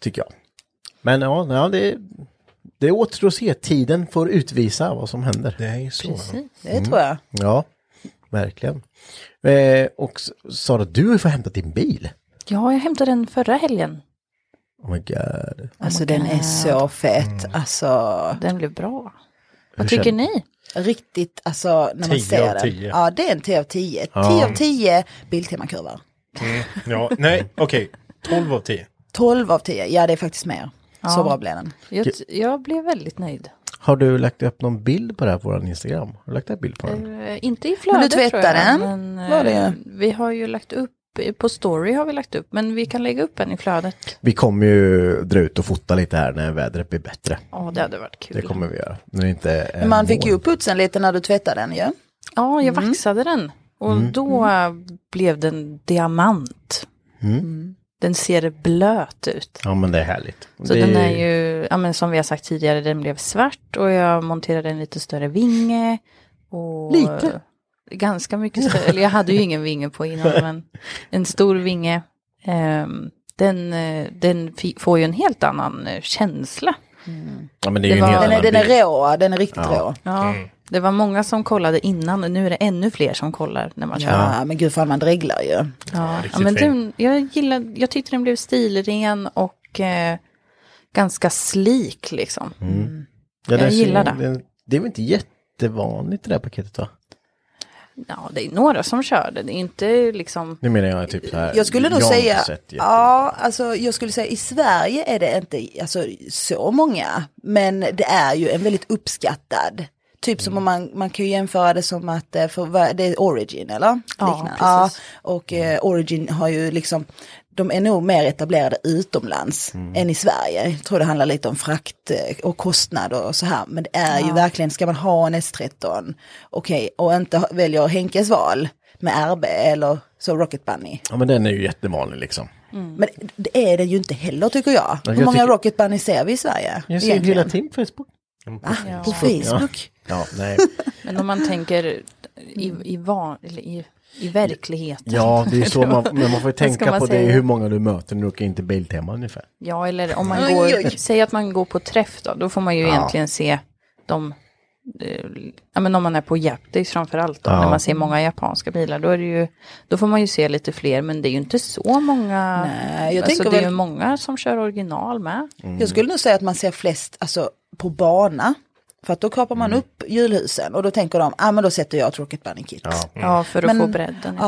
Speaker 4: Tycker jag. Men ja, ja det, det återstår att se. Tiden får utvisa vad som händer.
Speaker 5: Det är ju så.
Speaker 6: Det tror jag.
Speaker 4: Ja, verkligen. Eh, och s- Sara, du har ju fått hämta din bil.
Speaker 3: Ja, jag hämtade den förra helgen.
Speaker 4: Oh my god.
Speaker 6: Alltså den är så fet. Alltså
Speaker 3: Den blev bra. Vad
Speaker 4: Hur
Speaker 3: tycker
Speaker 4: känner-
Speaker 3: ni?
Speaker 6: riktigt, alltså när man
Speaker 5: 10
Speaker 6: ser
Speaker 5: av
Speaker 6: den.
Speaker 5: 10.
Speaker 6: Ja, det är en 10 av 10. 10 av 10 Biltemakurvor.
Speaker 5: Mm. Ja, nej, okej. 12 av 10.
Speaker 6: 12 av 10, ja det är faktiskt mer. Så bra blev den.
Speaker 3: Jag, t- jag blev väldigt nöjd.
Speaker 4: Har du lagt upp någon bild på det här på vår Instagram? Har du lagt upp bild på den?
Speaker 3: Eh, inte i flödet
Speaker 6: tvättar
Speaker 3: tror jag,
Speaker 6: den?
Speaker 3: Men, eh,
Speaker 6: Var det-
Speaker 3: Vi har ju lagt upp, på story har vi lagt upp, men vi kan lägga upp en i flödet.
Speaker 4: Vi kommer ju dra ut och fota lite här när vädret blir bättre.
Speaker 3: Ja, det hade varit kul.
Speaker 4: Det kommer vi göra. När det inte är
Speaker 6: Man fick ju
Speaker 4: moln.
Speaker 6: upp putsen lite när du tvättade den ju.
Speaker 3: Ja, jag vaxade den. Och
Speaker 4: Mm.
Speaker 3: då eh, blev den diamant.
Speaker 4: Mm.
Speaker 3: Den ser blöt ut.
Speaker 4: Ja, men det är härligt.
Speaker 3: Så
Speaker 4: det
Speaker 3: den är ju, ja, men som vi har sagt tidigare, den blev svart och jag monterade en lite större vinge. Och
Speaker 4: Lite?
Speaker 3: Ganska mycket större, eller jag hade ju ingen vinge på innan, men en stor vinge. Ehm, den eh, den fi- får ju en helt annan eh, känsla.
Speaker 4: Ja, men det är ju
Speaker 3: det
Speaker 4: en
Speaker 3: var-
Speaker 4: helt
Speaker 6: Den är,
Speaker 4: annan
Speaker 6: den är
Speaker 4: bild.
Speaker 6: rå, den är riktigt rå.
Speaker 3: Ja, Det var många som kollade innan och nu är det ännu fler som kollar när man kör. Ja.
Speaker 6: Ja, men gud fan man dreglar ju.
Speaker 3: Ja,
Speaker 5: riktigt
Speaker 3: men
Speaker 5: fin.
Speaker 3: den, jag, gillade, jag tyckte den blev stilren och eh, ganska slik liksom.
Speaker 4: Ja,
Speaker 3: jag
Speaker 4: den
Speaker 3: gillar
Speaker 4: ser-
Speaker 3: det.
Speaker 4: den- Det är väl inte jättevanligt det där paketet va?
Speaker 3: Ja, det är några som kör det. Det är inte liksom...
Speaker 4: Nu menar jag typ så här.
Speaker 6: Jag skulle nog
Speaker 4: har inte
Speaker 6: säga,
Speaker 4: sett jätte-
Speaker 6: ja, alltså jag skulle säga i Sverige är det inte alltså, så många, men det är ju en väldigt uppskattad. Typ som om man, man kan ju jämföra det som att eh, för, vad- det är Origin eller?
Speaker 3: Ja,
Speaker 6: Liknande.
Speaker 3: precis.
Speaker 6: och eh, Origin har ju liksom, de är nog mer etablerade utomlands
Speaker 4: Mm.
Speaker 6: än i Sverige. Jag tror det handlar lite om frakt eh, och kostnader och så här. Men det är ju verkligen, ska man ha en S13, okej, och inte ha- väljer Henkes val med RB eller så Rocket Bunny.
Speaker 4: Ja, men den är ju jättevanlig liksom.
Speaker 6: Men det är den ju inte heller tycker jag.
Speaker 4: jag
Speaker 6: Hur många
Speaker 4: tycker-
Speaker 6: Rocket Bunny ser vi i Sverige?
Speaker 4: Jag ser ju
Speaker 6: egentligen?
Speaker 4: hela tiden på Facebook.
Speaker 6: Va? På Facebook?
Speaker 4: Ja, nej.
Speaker 3: Men om man tänker i, i, van, eller i, i verkligheten.
Speaker 4: Ja, det är så man, men man får ju
Speaker 3: ska
Speaker 4: tänka
Speaker 3: man
Speaker 4: på det
Speaker 3: säga?
Speaker 4: hur många du möter när du åker in till Biltema ungefär.
Speaker 3: Ja, eller om man
Speaker 6: Oj,
Speaker 3: går...
Speaker 6: oj.
Speaker 3: Säg att man går på träff då. Då får man ju egentligen se de... eh, Ja, men om man är på Japdis framför allt då, när man ser många japanska bilar, då, är det ju, då får man ju se lite fler, men det är ju inte så många.
Speaker 6: Nej, jag
Speaker 3: alltså,
Speaker 6: tänker
Speaker 3: det är
Speaker 6: väl-
Speaker 3: ju många som kör original med.
Speaker 4: Mm.
Speaker 6: Jag skulle nog säga att man ser flest alltså, på bana. För att då kapar
Speaker 4: Mm.
Speaker 6: man upp julhusen och då tänker de, ah, men då sätter jag ett Rocket Bunny kit. Ja.
Speaker 3: Ja, för att
Speaker 6: Men-
Speaker 3: få bredden.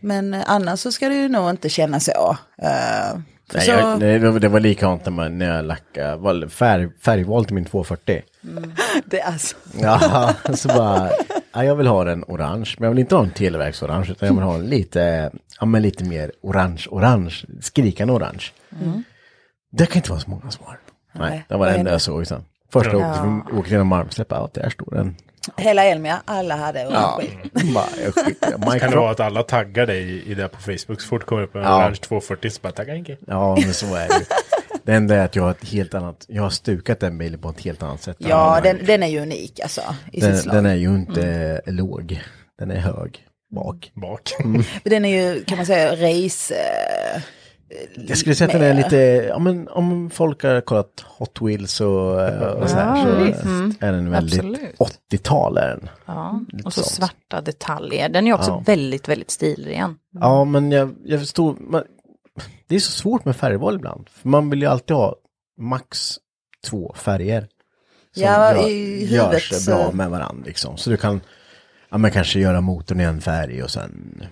Speaker 6: men annars så ska det ju nog inte kännas så. Eh, för
Speaker 4: Nej,
Speaker 6: så
Speaker 4: jag, nej, det var- det var likadant när, man, när jag lackade val- färg, färgval till min 240.
Speaker 6: det, är alltså,
Speaker 4: Ja, *laughs* så bara, ja, jag vill ha en orange, men jag vill inte ha en televerksorange, utan jag vill ha en lite, ja men lite mer orange-orange, skrikande orange. Det kan inte vara så många som har. Nej, det var det enda jag såg sen. Första åket som åkte genom Malmsläpp, ja, där står den.
Speaker 6: hela Elmia, alla hade ja.
Speaker 4: Bara, jag skickar, mic
Speaker 5: Kan det
Speaker 4: drop.
Speaker 5: vara att alla taggar dig i det på Facebook? Så fort kommer upp en
Speaker 4: Ja.
Speaker 5: orange 240 så bara tagga Henke.
Speaker 4: Ja, men så är det ju. Det enda är att jag har ett helt annat, jag har stukat den bilen på ett helt annat sätt. än vad
Speaker 6: Ja,
Speaker 4: jag har
Speaker 6: den,
Speaker 4: gjort.
Speaker 6: den är ju unik alltså. I sitt
Speaker 4: den,
Speaker 6: slag. Mm.
Speaker 4: den är ju inte låg, den är hög bak.
Speaker 5: Bak.
Speaker 3: Mm.
Speaker 6: Men den är ju, kan man säga, race... eh,
Speaker 4: Jag skulle säga att den är lite, ja men om folk har kollat Hot Wheels och, eh, och sådär så
Speaker 6: Mm.
Speaker 4: är den väldigt
Speaker 3: Absolut.
Speaker 4: 80-tal är den.
Speaker 3: Ja, och så
Speaker 4: sånt.
Speaker 3: svarta detaljer. Den är också
Speaker 4: Ja.
Speaker 3: väldigt, väldigt stilren.
Speaker 4: Ja men jag, jag förstår, man, det är så svårt med färgval ibland. För man vill ju alltid ha max två färger. Som
Speaker 6: Ja,
Speaker 4: gör,
Speaker 6: i
Speaker 4: gör
Speaker 6: huvudet
Speaker 4: sig
Speaker 6: så-
Speaker 4: bra med varandra liksom. Så du kan, ja men kanske göra motorn i en färg och sen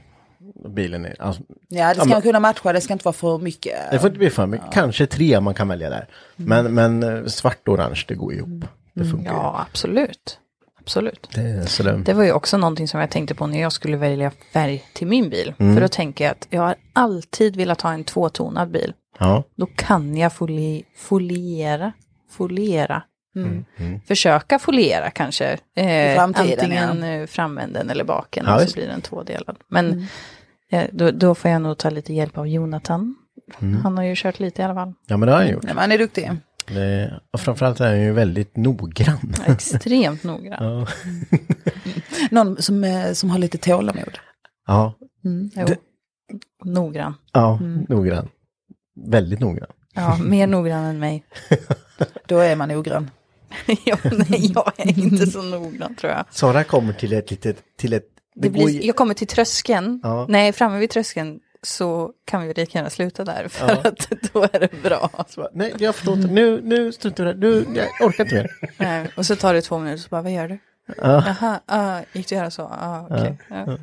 Speaker 4: bilen i, alltså,
Speaker 6: Ja, det ska
Speaker 4: men-
Speaker 6: man kunna matcha, det ska inte vara för mycket.
Speaker 4: Det får inte bli för mycket. Kanske tre man kan välja där. Men, men eh, svart och orange, det går ihop. Det funkar ju.
Speaker 3: Mm, Ja, absolut. Absolut.
Speaker 4: Det, är så det,
Speaker 3: Det var ju också någonting som jag tänkte på när jag skulle välja färg till min bil.
Speaker 4: Mm.
Speaker 3: För då tänker jag att jag har alltid velat ha en tvåtonad bil.
Speaker 4: ja.
Speaker 3: Då kan jag foli, foliera. Foliera. Mm.
Speaker 4: Mm,
Speaker 3: Försöka foliera kanske. Eh,
Speaker 6: framtiden,
Speaker 3: antingen eh, framänden eller baken.
Speaker 4: Ja,
Speaker 3: och
Speaker 4: visst.
Speaker 3: så blir den tvådelad. Men eh, då, då
Speaker 4: Mm.
Speaker 3: får jag nog ta lite hjälp av Jonathan. Han har ju kört lite i alla fall.
Speaker 4: ja, men det har han gjort.
Speaker 6: Nej, men han är duktig.
Speaker 4: Det, och framförallt är han ju väldigt noggrann.
Speaker 3: Extremt *laughs* noggrann.
Speaker 4: *laughs* Ja.
Speaker 6: Någon som, eh, som har lite tålamod.
Speaker 4: Ja,
Speaker 3: Jo.
Speaker 4: Det-
Speaker 3: Noggrann.
Speaker 4: ja
Speaker 3: Mm.
Speaker 4: noggrann. Väldigt noggrann.
Speaker 3: Ja, mer noggrann än mig.
Speaker 6: Då är man noggrann.
Speaker 3: *laughs* ja, nej, jag är inte så noggrann tror jag.
Speaker 4: Sara kommer till ett litet, till ett...
Speaker 3: Det
Speaker 4: går
Speaker 3: blir,
Speaker 4: ju-
Speaker 3: jag kommer till tröskeln.
Speaker 4: Ja.
Speaker 3: Nej, framme vid tröskeln så kan vi väl lika gärna sluta där för att då är det bra.
Speaker 4: Så bara, Nej, jag förstår inte. Nu, nu struntar jag i det här. Nu, jag orkar inte mer.
Speaker 3: Nej, och så tar det två minuter så bara, vad gör du? Jaha, ah, gick du göra så? Ah, okej. ja.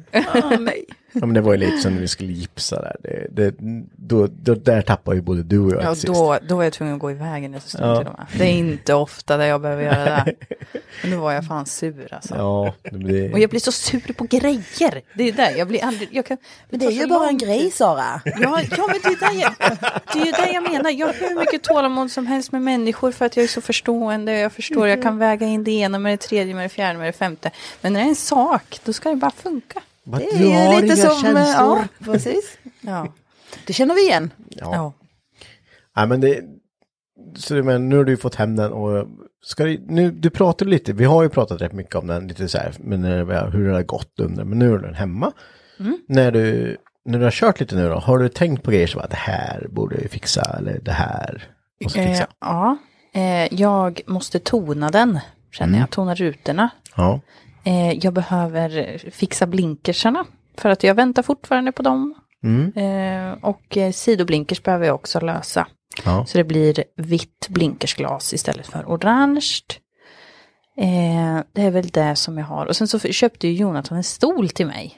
Speaker 3: Ah,
Speaker 6: *laughs*
Speaker 3: nej.
Speaker 4: Ja, men det var ju lite som när vi skulle gipsa där. Det, det, då, då, där tappar ju både du och jag
Speaker 3: Ja,
Speaker 4: ett sist.
Speaker 3: då, då var jag tvungen att gå i vägen ett stund till och med. Det är inte ofta där jag behöver göra det. Men nu var jag fan sur alltså.
Speaker 4: Ja, det blir...
Speaker 3: Och jag blir så sur på grejer. Det är där jag blir aldrig... Jag kan,
Speaker 6: Men det är ju bara en grej Sara. *laughs*
Speaker 3: Ja, ja men det är, där jag, det är ju det jag menar. Jag har hur mycket tålamod som helst med människor för att jag är så förstående. Jag förstår, jag kan väga in det ena med det tredje med det fjärde med det femte. Men när det är en sak, då ska det bara funka.
Speaker 4: Vad,
Speaker 6: Det
Speaker 4: du
Speaker 6: är
Speaker 4: har
Speaker 6: ju lite
Speaker 4: inga
Speaker 6: som, eh,
Speaker 4: känslor.
Speaker 6: ja, precis.
Speaker 3: Ja.
Speaker 6: Det känner vi igen.
Speaker 4: Ja.
Speaker 3: ja.
Speaker 4: Nej, men det... Så det, men nu har du ju fått hem den och ska du, nu, du pratar lite, vi har ju pratat rätt mycket om den, lite så här, men när det, hur det har gått under, men nu är den hemma. När, du, när du har kört lite nu då, har du tänkt på grejer som att det här borde vi fixa eller det här måste vi fixa?
Speaker 3: Eh, ja. Eh, jag måste tona den, känner jag. Tona rutorna.
Speaker 4: Ja.
Speaker 3: Eh, jag behöver fixa blinkersarna. För att jag väntar fortfarande på dem. Eh, och eh, sidoblinkers behöver jag också lösa.
Speaker 4: Ja.
Speaker 3: Så det blir vitt blinkersglas istället för orange. Eh, det är väl det som jag har. Och sen så f- köpte ju Jonathan en stol till mig.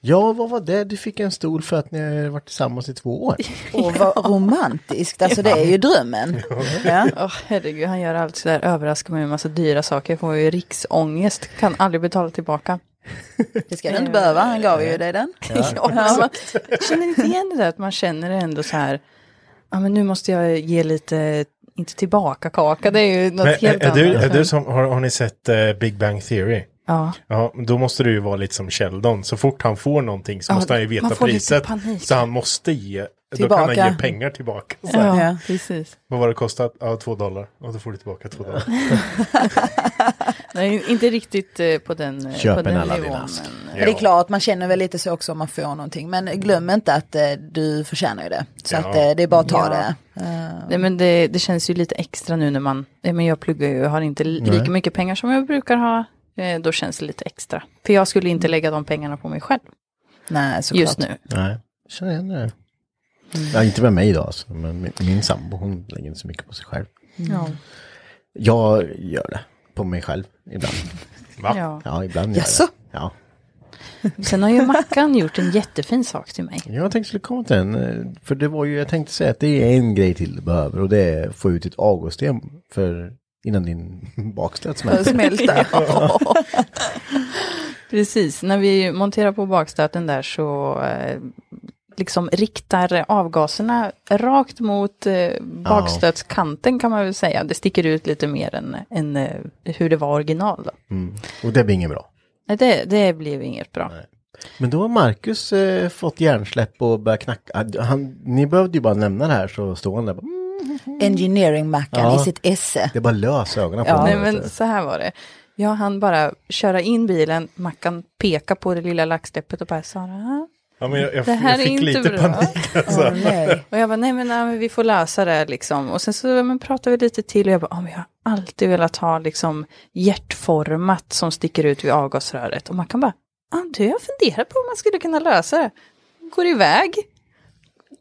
Speaker 4: ja, vad var det? Du fick en stol för att ni har varit tillsammans i två år.
Speaker 6: Och vad romantiskt, alltså det är ju drömmen. Ja.
Speaker 3: Åh herregud, han gör allt sådär, överraskar mig med en massa dyra saker. Jag får ju riksångest, kan aldrig betala tillbaka.
Speaker 6: Det ska du inte behöva, han gav ju dig den.
Speaker 3: *laughs* Ja, men man känner inte igen det där att man känner ändå så här, ja men nu måste jag ge lite, inte tillbaka kaka, det är ju något
Speaker 5: Men,
Speaker 3: helt
Speaker 5: är, är du,
Speaker 3: annat.
Speaker 5: är du som, har, har ni sett eh, Big Bang Theory?
Speaker 3: Ja.
Speaker 5: Ja, men då måste du ju vara lite som Sheldon. Så fort han får någonting så
Speaker 3: Ja,
Speaker 5: måste han ju veta
Speaker 3: man får lite
Speaker 5: priset.
Speaker 3: panik.
Speaker 5: Så han måste ge, då kan
Speaker 6: Tillbaka.
Speaker 5: han ge pengar tillbaka. Så, här,
Speaker 3: Ja,
Speaker 6: Ja.
Speaker 3: precis.
Speaker 5: Vad var det kostat? Ja, två dollar. Och då får du tillbaka två dollar.
Speaker 3: Nej, inte riktigt eh, på den, eh,
Speaker 4: Köp
Speaker 3: på
Speaker 4: en
Speaker 3: den
Speaker 4: Aladdin
Speaker 3: nivån.
Speaker 4: ask.
Speaker 3: men- eh,
Speaker 6: Men det är klart, man känner väl lite så också om man får någonting. Men glöm inte att eh, du förtjänar ju det. Så
Speaker 5: Ja.
Speaker 6: att eh, det är bara att ta
Speaker 3: Ja.
Speaker 6: det. Eh,
Speaker 3: Nej, men det, det känns ju lite extra nu när man, eh, men jag pluggar ju och har inte li- lika mycket pengar som jag brukar ha. Eh, Då känns det lite extra. För jag skulle inte lägga de pengarna på mig själv
Speaker 6: nej, såklart.
Speaker 3: just nu.
Speaker 4: Nej, jag känner igen det. Ja, inte med mig då, alltså, men min, min sambo hon lägger inte så mycket på sig själv.
Speaker 3: Ja.
Speaker 4: Jag gör det på mig själv ibland.
Speaker 3: Ja.
Speaker 4: Ja, ibland gör jag
Speaker 6: Jaså?
Speaker 4: det. Ja.
Speaker 3: Sen har ju Mackan gjort en jättefin sak till mig.
Speaker 4: Jag tänkte skulle komma till den, eh, för det var ju, jag tänkte säga att det är en grej till du behöver och det är att få ut ditt avgassystem för innan din *laughs* bakslät
Speaker 6: För att
Speaker 4: smälter.
Speaker 6: *laughs* smälta.
Speaker 3: Precis, när vi monterar på bakstöten där så eh, liksom riktar avgaserna rakt mot eh, bakstötskanten kan man väl säga. Det sticker ut lite mer än, än eh, hur det var original. Då.
Speaker 4: Mm. Och det blir inget bra.
Speaker 3: Nej, det, det blev inget bra.
Speaker 4: Men då har Marcus eh, fått hjärnsläpp och börjat knacka. Ah, Han, ni behövde ju bara nämna det här så står han där. och bara, "Mm."
Speaker 6: Engineering-Mackan
Speaker 4: Ja.
Speaker 6: i sitt
Speaker 4: *laughs*
Speaker 6: esse.
Speaker 4: Det bara lös ögonen på
Speaker 6: Ja.
Speaker 4: honom.
Speaker 3: Nej,
Speaker 4: vet
Speaker 3: men
Speaker 4: du.
Speaker 3: så här var det. Jag hann bara köra in bilen, Mackan peka på det lilla laxläppet och bara Sara.
Speaker 5: Ja, men jag, jag,
Speaker 3: Det här
Speaker 5: jag
Speaker 3: är
Speaker 5: fick
Speaker 3: inte
Speaker 5: lite
Speaker 3: bra.
Speaker 5: panik. Alltså.
Speaker 6: Åh, nej.
Speaker 3: Och jag bara, nej men, nej men vi får lösa det liksom. Och sen så men, pratade vi lite till och jag bara, "Ja, men jag har alltid velat ha liksom hjärtformat som sticker ut vid avgasröret. Och man kan bara, ah, du jag funderar på om man skulle kunna lösa det. Går iväg,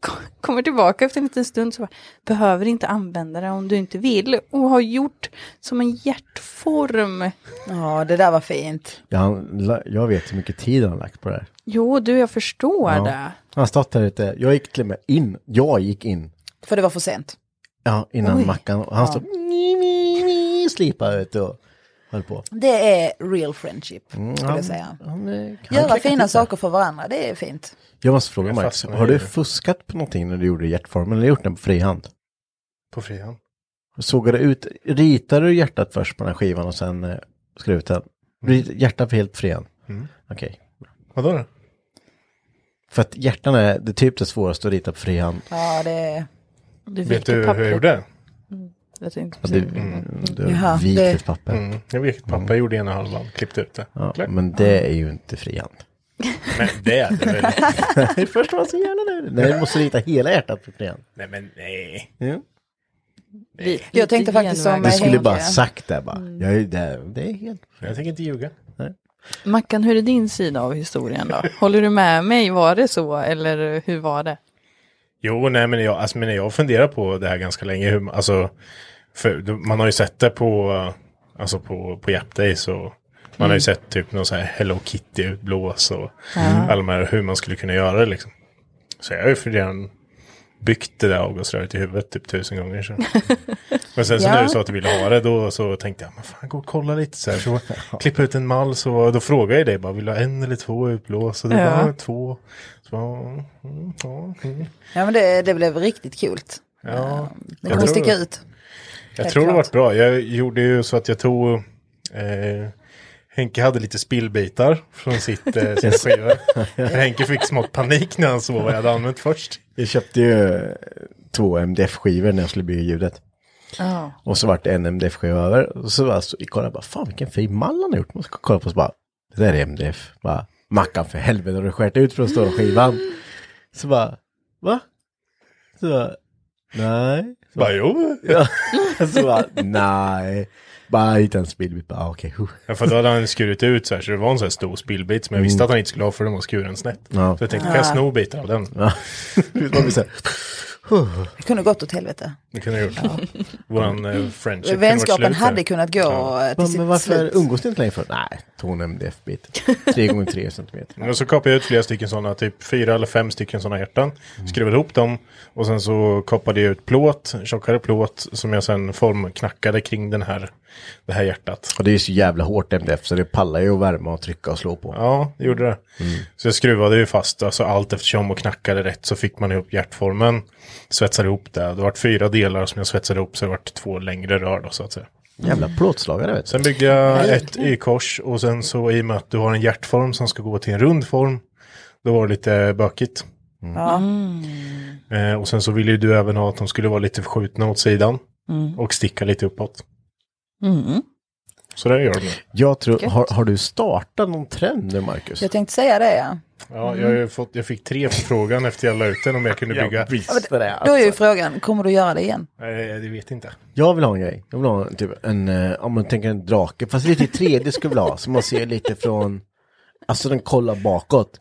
Speaker 3: kom- kommer tillbaka efter en liten stund så bara, behöver inte använda det om du inte vill. Och har gjort som en hjärtform.
Speaker 6: Ja, det där var fint.
Speaker 4: Ja, han, la- jag vet hur mycket tid han har lagt på det här.
Speaker 3: Jo, du jag förstår det.
Speaker 4: Han har stått här ute. Jag gick till och med in. Jag gick in.
Speaker 6: För det var för sent.
Speaker 4: Ja, innan Mackan. Och han stod ni, ni, ni, slipa ut och höll på.
Speaker 6: Det är real friendship, skulle
Speaker 4: Mm, han-
Speaker 6: jag säga.
Speaker 4: Han, eh, kan
Speaker 6: Göra
Speaker 4: knäcka
Speaker 6: fina
Speaker 4: till sig.
Speaker 6: saker för varandra, det är fint.
Speaker 4: Jag måste fråga
Speaker 5: Jag
Speaker 4: Marcus,
Speaker 5: fastnar
Speaker 4: har
Speaker 5: i
Speaker 4: du
Speaker 5: det.
Speaker 4: fuskat på någonting när du gjorde hjärtformen? Eller gjort den på frihand?
Speaker 5: På frihan.
Speaker 4: Såg du ut, ritade du hjärtat först på den här skivan och sen eh, skrev ut den? Rit- Hjärtat för helt på frihand? Okej.
Speaker 5: Mm. Vadå då?
Speaker 4: För att hjärtan är det är typ det svåraste att rita på frihand.
Speaker 6: Ja, det är...
Speaker 3: Du
Speaker 5: Vet
Speaker 3: viker
Speaker 5: du hur
Speaker 3: pappret.
Speaker 5: jag gjorde?
Speaker 3: Jag tänkte
Speaker 4: Ja, mm, Du,
Speaker 3: precis.
Speaker 4: du
Speaker 6: Jaha,
Speaker 4: har vikt
Speaker 6: det-
Speaker 4: ett papper.
Speaker 5: Mm. Jag vet att pappa gjorde ena halvan, klippte ut det.
Speaker 4: Ja,
Speaker 5: Klart.
Speaker 4: men det är ju inte frihand. *laughs*
Speaker 5: Men det är det väl? *laughs*
Speaker 4: Det första man så gärna nu. Nej, du måste rita hela hjärtat för frihand.
Speaker 5: Nej men nej.
Speaker 4: Ja.
Speaker 3: Vi-
Speaker 6: Jag tänkte
Speaker 3: vi
Speaker 6: faktiskt som-
Speaker 4: Du
Speaker 6: Men
Speaker 3: genvägar.
Speaker 4: skulle
Speaker 6: Henke-
Speaker 4: bara sagt det bara.
Speaker 6: Mm.
Speaker 4: Jag är ju där. Det är helt...
Speaker 5: Jag tänker inte ljuga.
Speaker 3: Mackan, hur är din sida av historien då? Håller du med mig? Var det så eller hur var det?
Speaker 5: Jo, nej men jag, alltså, men jag funderar på det här ganska länge. Hur, alltså, för, då- man har ju sett det på, eh, alltså, på, på Yap Days och man har ju sett typ någon så här Hello Kitty-utblås och alla de här hur man skulle kunna göra det liksom. Så jag har ju för redan byggt det där avgasröret i huvudet typ tusen gånger. Så. Men sen så
Speaker 6: Ja.
Speaker 5: när du sa att du ville ha det då så tänkte jag, men fan gå och kolla lite så här. Så klippa ut en mall så då frågade jag dig bara, vill du ha en eller två utblås? Och du
Speaker 3: Ja.
Speaker 5: bara, två. Så, bara, mm, ja, mm.
Speaker 6: Ja men det, det blev riktigt kul.
Speaker 5: Ja,
Speaker 6: Det
Speaker 5: Jag
Speaker 6: kommer
Speaker 5: tror-
Speaker 6: sticka ut.
Speaker 5: jag
Speaker 6: Helt
Speaker 5: tror det
Speaker 6: klart.
Speaker 5: varit bra. Jag gjorde ju så att jag tog... Eh, Henke hade lite spillbitar
Speaker 4: *laughs*
Speaker 5: från sitt, eh, sin skiva. För Henke fick smått panik när han såg vad jag hade använt först.
Speaker 4: Jag köpte ju eh, två MDF-skivor när jag skulle bygga ljudet.
Speaker 3: Ja.
Speaker 4: Och så vart det en MDF-skiva över. Och så var jag så, jag kollade bara, fan vilken fin mall han har gjort. Man ska kolla på så bara, det där är MDF. Bara, Mackan för helvete har du skärt ut från stora skivan? Så bara, va? Så bara, nej. Så
Speaker 5: Bara jo.
Speaker 4: bara, så bara nej. Bara hittade en spillbit, bara ah, okej. huh.
Speaker 5: Ja, för då hade han skurit ut så här så det var en så här stor spillbit som jag visste att han inte skulle ha för den var skuren snett.
Speaker 4: Ja.
Speaker 5: Så jag tänkte, kan jag sno bitar av den? *laughs*
Speaker 4: Ja. Man blir så här,
Speaker 6: Det kunde gått åt helvete.
Speaker 5: Det kunde jag gjort. Våran eh, friendship kunde varit
Speaker 6: Vänskapen
Speaker 5: slut där.
Speaker 6: hade kunnat gå eh, till
Speaker 4: "Va,
Speaker 6: sitt
Speaker 4: men varför
Speaker 6: slut.
Speaker 4: umgås ni inte längre för? Nej, tog en MDF-bit. Tre gånger tre centimeter.
Speaker 5: Och så kapade jag ut flera stycken sådana, typ fyra eller fem stycken sådana hjärtan. Skrev ihop dem och sen så kapade jag ut plåt, tjockare plåt som jag sen formknackade kring den här, det här hjärtat.
Speaker 4: Och det är ju så jävla hårt MDF så det pallar ju att värma och trycka och slå på.
Speaker 5: Ja, det gjorde det. Så jag skruvade ju fast alltså allt eftersom och knackade rätt så fick man ihop hjärtformen. Svetsade ihop det. Det var fyra delar som jag svetsade ihop så det var två längre rör då så att säga.
Speaker 4: Jävla plåtslagare vet du.
Speaker 5: Sen byggde jag ett Y-kors och sen så i och med att du har en hjärtform som ska gå till en rund form, då var det lite bökigt.
Speaker 6: Ja.
Speaker 5: Eh, och sen så ville ju du även ha att de skulle vara lite skjutna åt sidan
Speaker 4: Mm.
Speaker 5: och sticka lite uppåt. Så det gör de.
Speaker 4: Jag tror, har, har du startat någon trend nu Marcus?
Speaker 6: Jag tänkte säga det ja.
Speaker 5: Ja,
Speaker 4: Mm.
Speaker 5: jag, har ju fått, jag fick tre på frågan efter jag la ut den om jag kunde bygga.
Speaker 4: visste det. alltså.
Speaker 6: Då är ju frågan, kommer du göra det igen?
Speaker 5: Nej, det vet inte.
Speaker 4: Jag vill ha en grej. Jag vill ha en, typ en, eh, om man tänker en drake, fast lite i 3D skulle jag vilja ha. Så man ser lite från, alltså den kollar bakåt.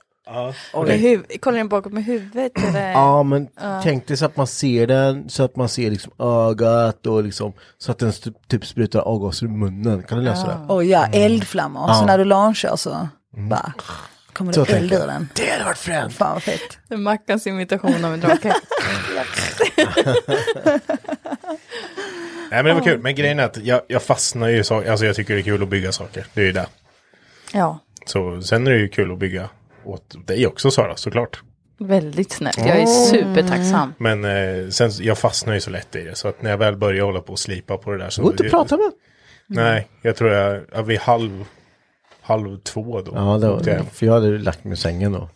Speaker 3: Med huv- Kollar den bakåt med huvudet? Eller?
Speaker 4: Ja men tänk dig så att man ser den, så att man ser liksom ögat och liksom, så att den stu- typ sprutar avgaser ur munnen. Kan du lösa det?
Speaker 6: Åh ja, eldflammor. Så när du launchar så bara kommer
Speaker 4: Så
Speaker 6: det eld
Speaker 4: tänker jag.
Speaker 6: ur den.
Speaker 4: Det hade varit fränt!
Speaker 6: Fan vad fett.
Speaker 3: Mackans imitation av en drake.
Speaker 5: Nej, men det var kul. Men grejen är att jag, jag fastnar ju i saker. Alltså jag tycker det är kul att bygga saker. Det är ju det.
Speaker 3: *laughs* ja,
Speaker 5: Så sen är det ju kul att bygga åt dig också Sara, såklart.
Speaker 3: väldigt snällt. Jag är supertacksam.
Speaker 5: Men eh, sen, jag fastnar ju så lätt i det. Så att när jag väl börjar hålla på och slipa på det där så...
Speaker 4: Det går inte att prata med.
Speaker 5: Nej, jag tror jag, jag vid halv, halv två då.
Speaker 4: Ja, det
Speaker 5: åkte jag Mm.
Speaker 4: var,
Speaker 5: hem.
Speaker 4: för jag hade lagt mig i sängen då.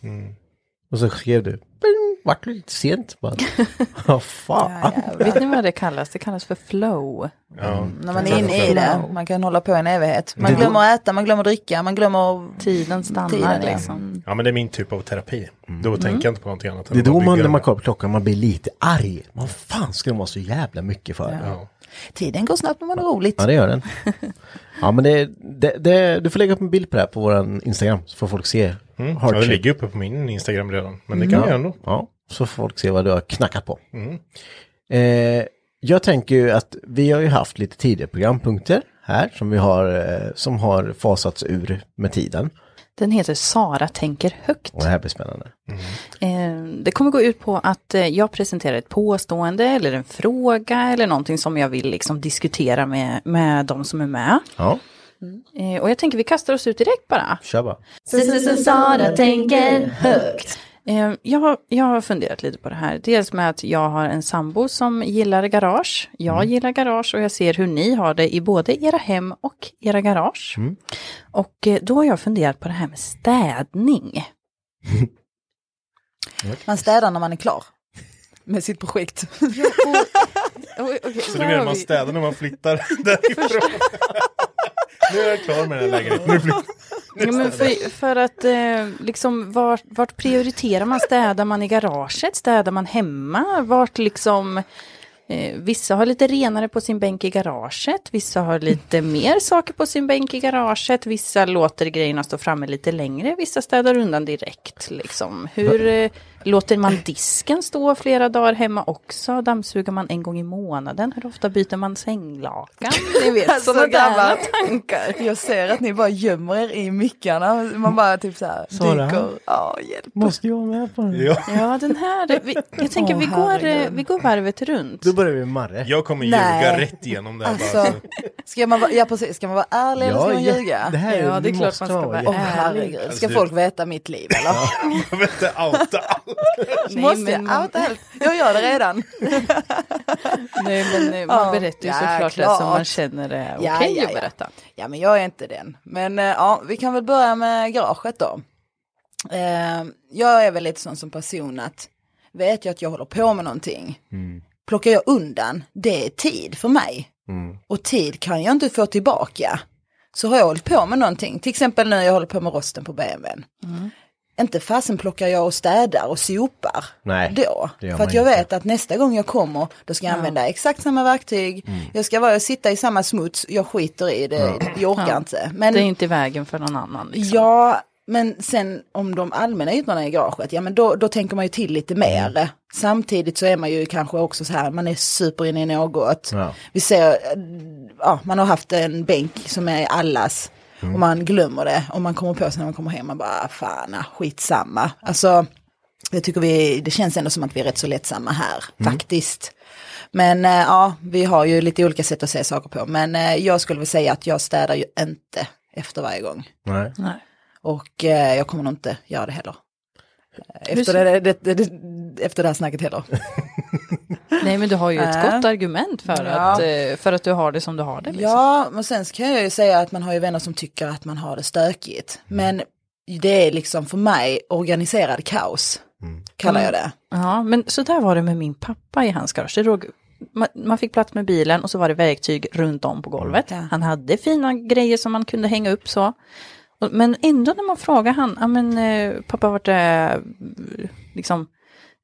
Speaker 4: Och så skrev du, pling, vart du lite sent bara.
Speaker 5: *laughs*
Speaker 4: Ja, fan.
Speaker 3: Vet ni vad det kallas? Det kallas för flow.
Speaker 6: När man är inne i det, man kan hålla på en evighet. Man
Speaker 4: Det-
Speaker 6: glömmer äta, man glömmer dricka, man glömmer...
Speaker 3: Tiden stannar
Speaker 6: Tiden, ja.
Speaker 3: liksom.
Speaker 5: Ja men det är min typ av terapi. Då tänker jag inte på någonting annat. än
Speaker 4: Det är
Speaker 5: att bara
Speaker 4: då man, när
Speaker 5: bygga
Speaker 4: man
Speaker 5: Mm. det.
Speaker 4: kollar på klockan, man blir lite arg. Vad fan ska de vara så jävla mycket för? Ja,
Speaker 5: Ja.
Speaker 6: Tiden går snabbt när man har roligt.
Speaker 4: det gör *laughs* den. Ja, men det, det, det, du får lägga upp en bild på det här på vår Instagram, så får folk se. Mm.
Speaker 5: Ja, det ligger uppe på min Instagram redan. Men det kan vi göra ändå.
Speaker 4: Ja, så får folk se vad du har knackat på.
Speaker 5: Mm.
Speaker 4: Eh, jag tänker ju att vi har ju haft lite tidigare programpunkter här som vi har, eh, som har fasats ur med tiden.
Speaker 3: Den heter Sara tänker högt.
Speaker 4: Och det här blir spännande.
Speaker 3: Eh, Det kommer gå ut på att eh, jag presenterar ett påstående eller en fråga eller någonting som jag vill liksom diskutera med, med de som är med.
Speaker 4: Ja,
Speaker 3: Eh, Och jag tänker vi kastar oss ut direkt bara.
Speaker 4: kör bara.
Speaker 8: Sara tänker högt.
Speaker 3: Eh, Jag, har- jag har funderat lite på det här. Dels med att jag har en sambo som gillar garage. Jag
Speaker 5: Mm.
Speaker 3: gillar garage och jag ser hur ni har det i både era hem och era garage.
Speaker 5: Mm.
Speaker 3: Och eh, då har jag funderat på det här med städning.
Speaker 6: Man städar när man är klar med sitt projekt.
Speaker 3: Oj, okej,
Speaker 5: Så
Speaker 3: här
Speaker 5: nu menar
Speaker 3: har
Speaker 5: man
Speaker 3: vi-
Speaker 5: städar när man flyttar därifrån. nu är jag klar med den här lägenheten. Nu flyttar-
Speaker 3: Ja, men för, för att eh, liksom vart, vart prioriterar man? Städar man i garaget? Städar man hemma? Vart liksom... Eh, vissa har lite renare på sin bänk i garaget. Vissa har lite mer saker på sin bänk i garaget. Vissa låter grejerna stå framme lite längre. Vissa städar undan direkt. Liksom. Hur eh, låter man disken stå flera dagar hemma också? Dammsuger man en gång i månaden? Hur ofta byter man sänglakan? Ni vet,
Speaker 6: Alltså,
Speaker 3: sådana där
Speaker 6: grabbar.
Speaker 3: tankar.
Speaker 6: Jag ser att ni bara gömmer er i mickarna. Man bara typ så här
Speaker 4: Sara?
Speaker 6: dyker. Ja, hjälp.
Speaker 4: Måste jag med på den?
Speaker 5: Ja.
Speaker 3: Ja, den här. *laughs* Vi, jag tänker
Speaker 6: Åh,
Speaker 3: vi, går,
Speaker 6: herregud.
Speaker 3: eh, vi går varvet runt.
Speaker 4: Då börjar vi med Marre.
Speaker 5: Jag kommer ljuga
Speaker 6: Nej.
Speaker 5: rätt igenom det här. bara,
Speaker 6: Alltså,
Speaker 5: så-
Speaker 6: ska man vara, ja precis, ska man vara ärlig eller ska man
Speaker 4: ja,
Speaker 6: ljuga?
Speaker 4: Det här är,
Speaker 3: Ja, det är
Speaker 4: vi
Speaker 3: klart
Speaker 4: måste
Speaker 3: man ska
Speaker 4: ha
Speaker 3: vara
Speaker 6: Åh
Speaker 4: jätte-
Speaker 6: herregud, ska
Speaker 5: Alltså,
Speaker 6: folk veta mitt liv eller?
Speaker 5: Jag vet inte, outa allt.
Speaker 3: Nej,
Speaker 6: Måste
Speaker 3: men
Speaker 6: jag
Speaker 3: man,
Speaker 6: outa allt? Jag gör det redan.
Speaker 3: nej, men eh, man
Speaker 6: Ja,
Speaker 3: berättar ju
Speaker 6: ja,
Speaker 3: såklart det
Speaker 6: klart.
Speaker 3: som man känner är okej
Speaker 6: Ja, ja,
Speaker 3: att
Speaker 6: ja.
Speaker 3: berätta.
Speaker 6: Ja men jag är inte den. Men eh, ja, vi kan väl börja med garaget då. Eh, jag är väl lite sån som person att vet jag att jag håller på med någonting,
Speaker 4: Mm.
Speaker 6: plockar jag undan, det är tid för mig.
Speaker 4: Mm.
Speaker 6: Och tid kan jag inte få tillbaka. Så har jag hållit på med någonting, till exempel nu jag håller på med rosten på BMWn. Inte fasen plockar jag och städar och sopar
Speaker 4: Nej,
Speaker 6: då.
Speaker 4: det gör
Speaker 6: För
Speaker 4: man
Speaker 6: att jag
Speaker 4: inte.
Speaker 6: vet att nästa gång jag kommer, då ska jag använda exakt samma verktyg.
Speaker 3: Mm.
Speaker 6: Jag ska vara och sitta i samma smuts, jag skiter i det, jag orkar inte. Men
Speaker 3: Det är inte i vägen för någon annan. Liksom.
Speaker 6: Ja, men sen om de allmänna ytorna i garaget, ja men då, då tänker man ju till lite mer. Samtidigt så är man ju kanske också så här, man är super inne i något.
Speaker 4: Ja.
Speaker 6: Vi ser, eh, ja, man har haft en bänk som är allas och man glömmer det och man kommer på sig när man kommer hem, man bara, fan, ah, skitsamma. Alltså, jag tycker vi, det känns ändå som att vi är rätt så lättsamma här, faktiskt. Men eh, ja, vi har ju lite olika sätt att se saker på. Men eh, jag skulle väl säga att jag städar ju inte efter varje gång.
Speaker 4: Nej.
Speaker 3: Nej.
Speaker 6: Och eh, jag kommer nog inte göra det heller. Eh, Efter
Speaker 3: ser-
Speaker 6: det, det, det, det, efter det här snacket heller.
Speaker 3: nej, men du har ju ett
Speaker 6: Äh.
Speaker 3: gott argument för,
Speaker 6: Ja.
Speaker 3: att, eh, för att du har det som du har det. Liksom.
Speaker 6: Ja, men sen kan jag ju säga att man har ju vänner som tycker att man har det stökigt. Men det är liksom för mig organiserad kaos, kallar jag det.
Speaker 3: Ja, men så där var det med min pappa i hans garage. Det låg, man, man fick plats med bilen och så var det verktyg runt om på golvet.
Speaker 6: Ja.
Speaker 3: Han hade fina grejer som man kunde hänga upp så. Och- Men ändå när man frågar han, ja men eh, pappa vart är liksom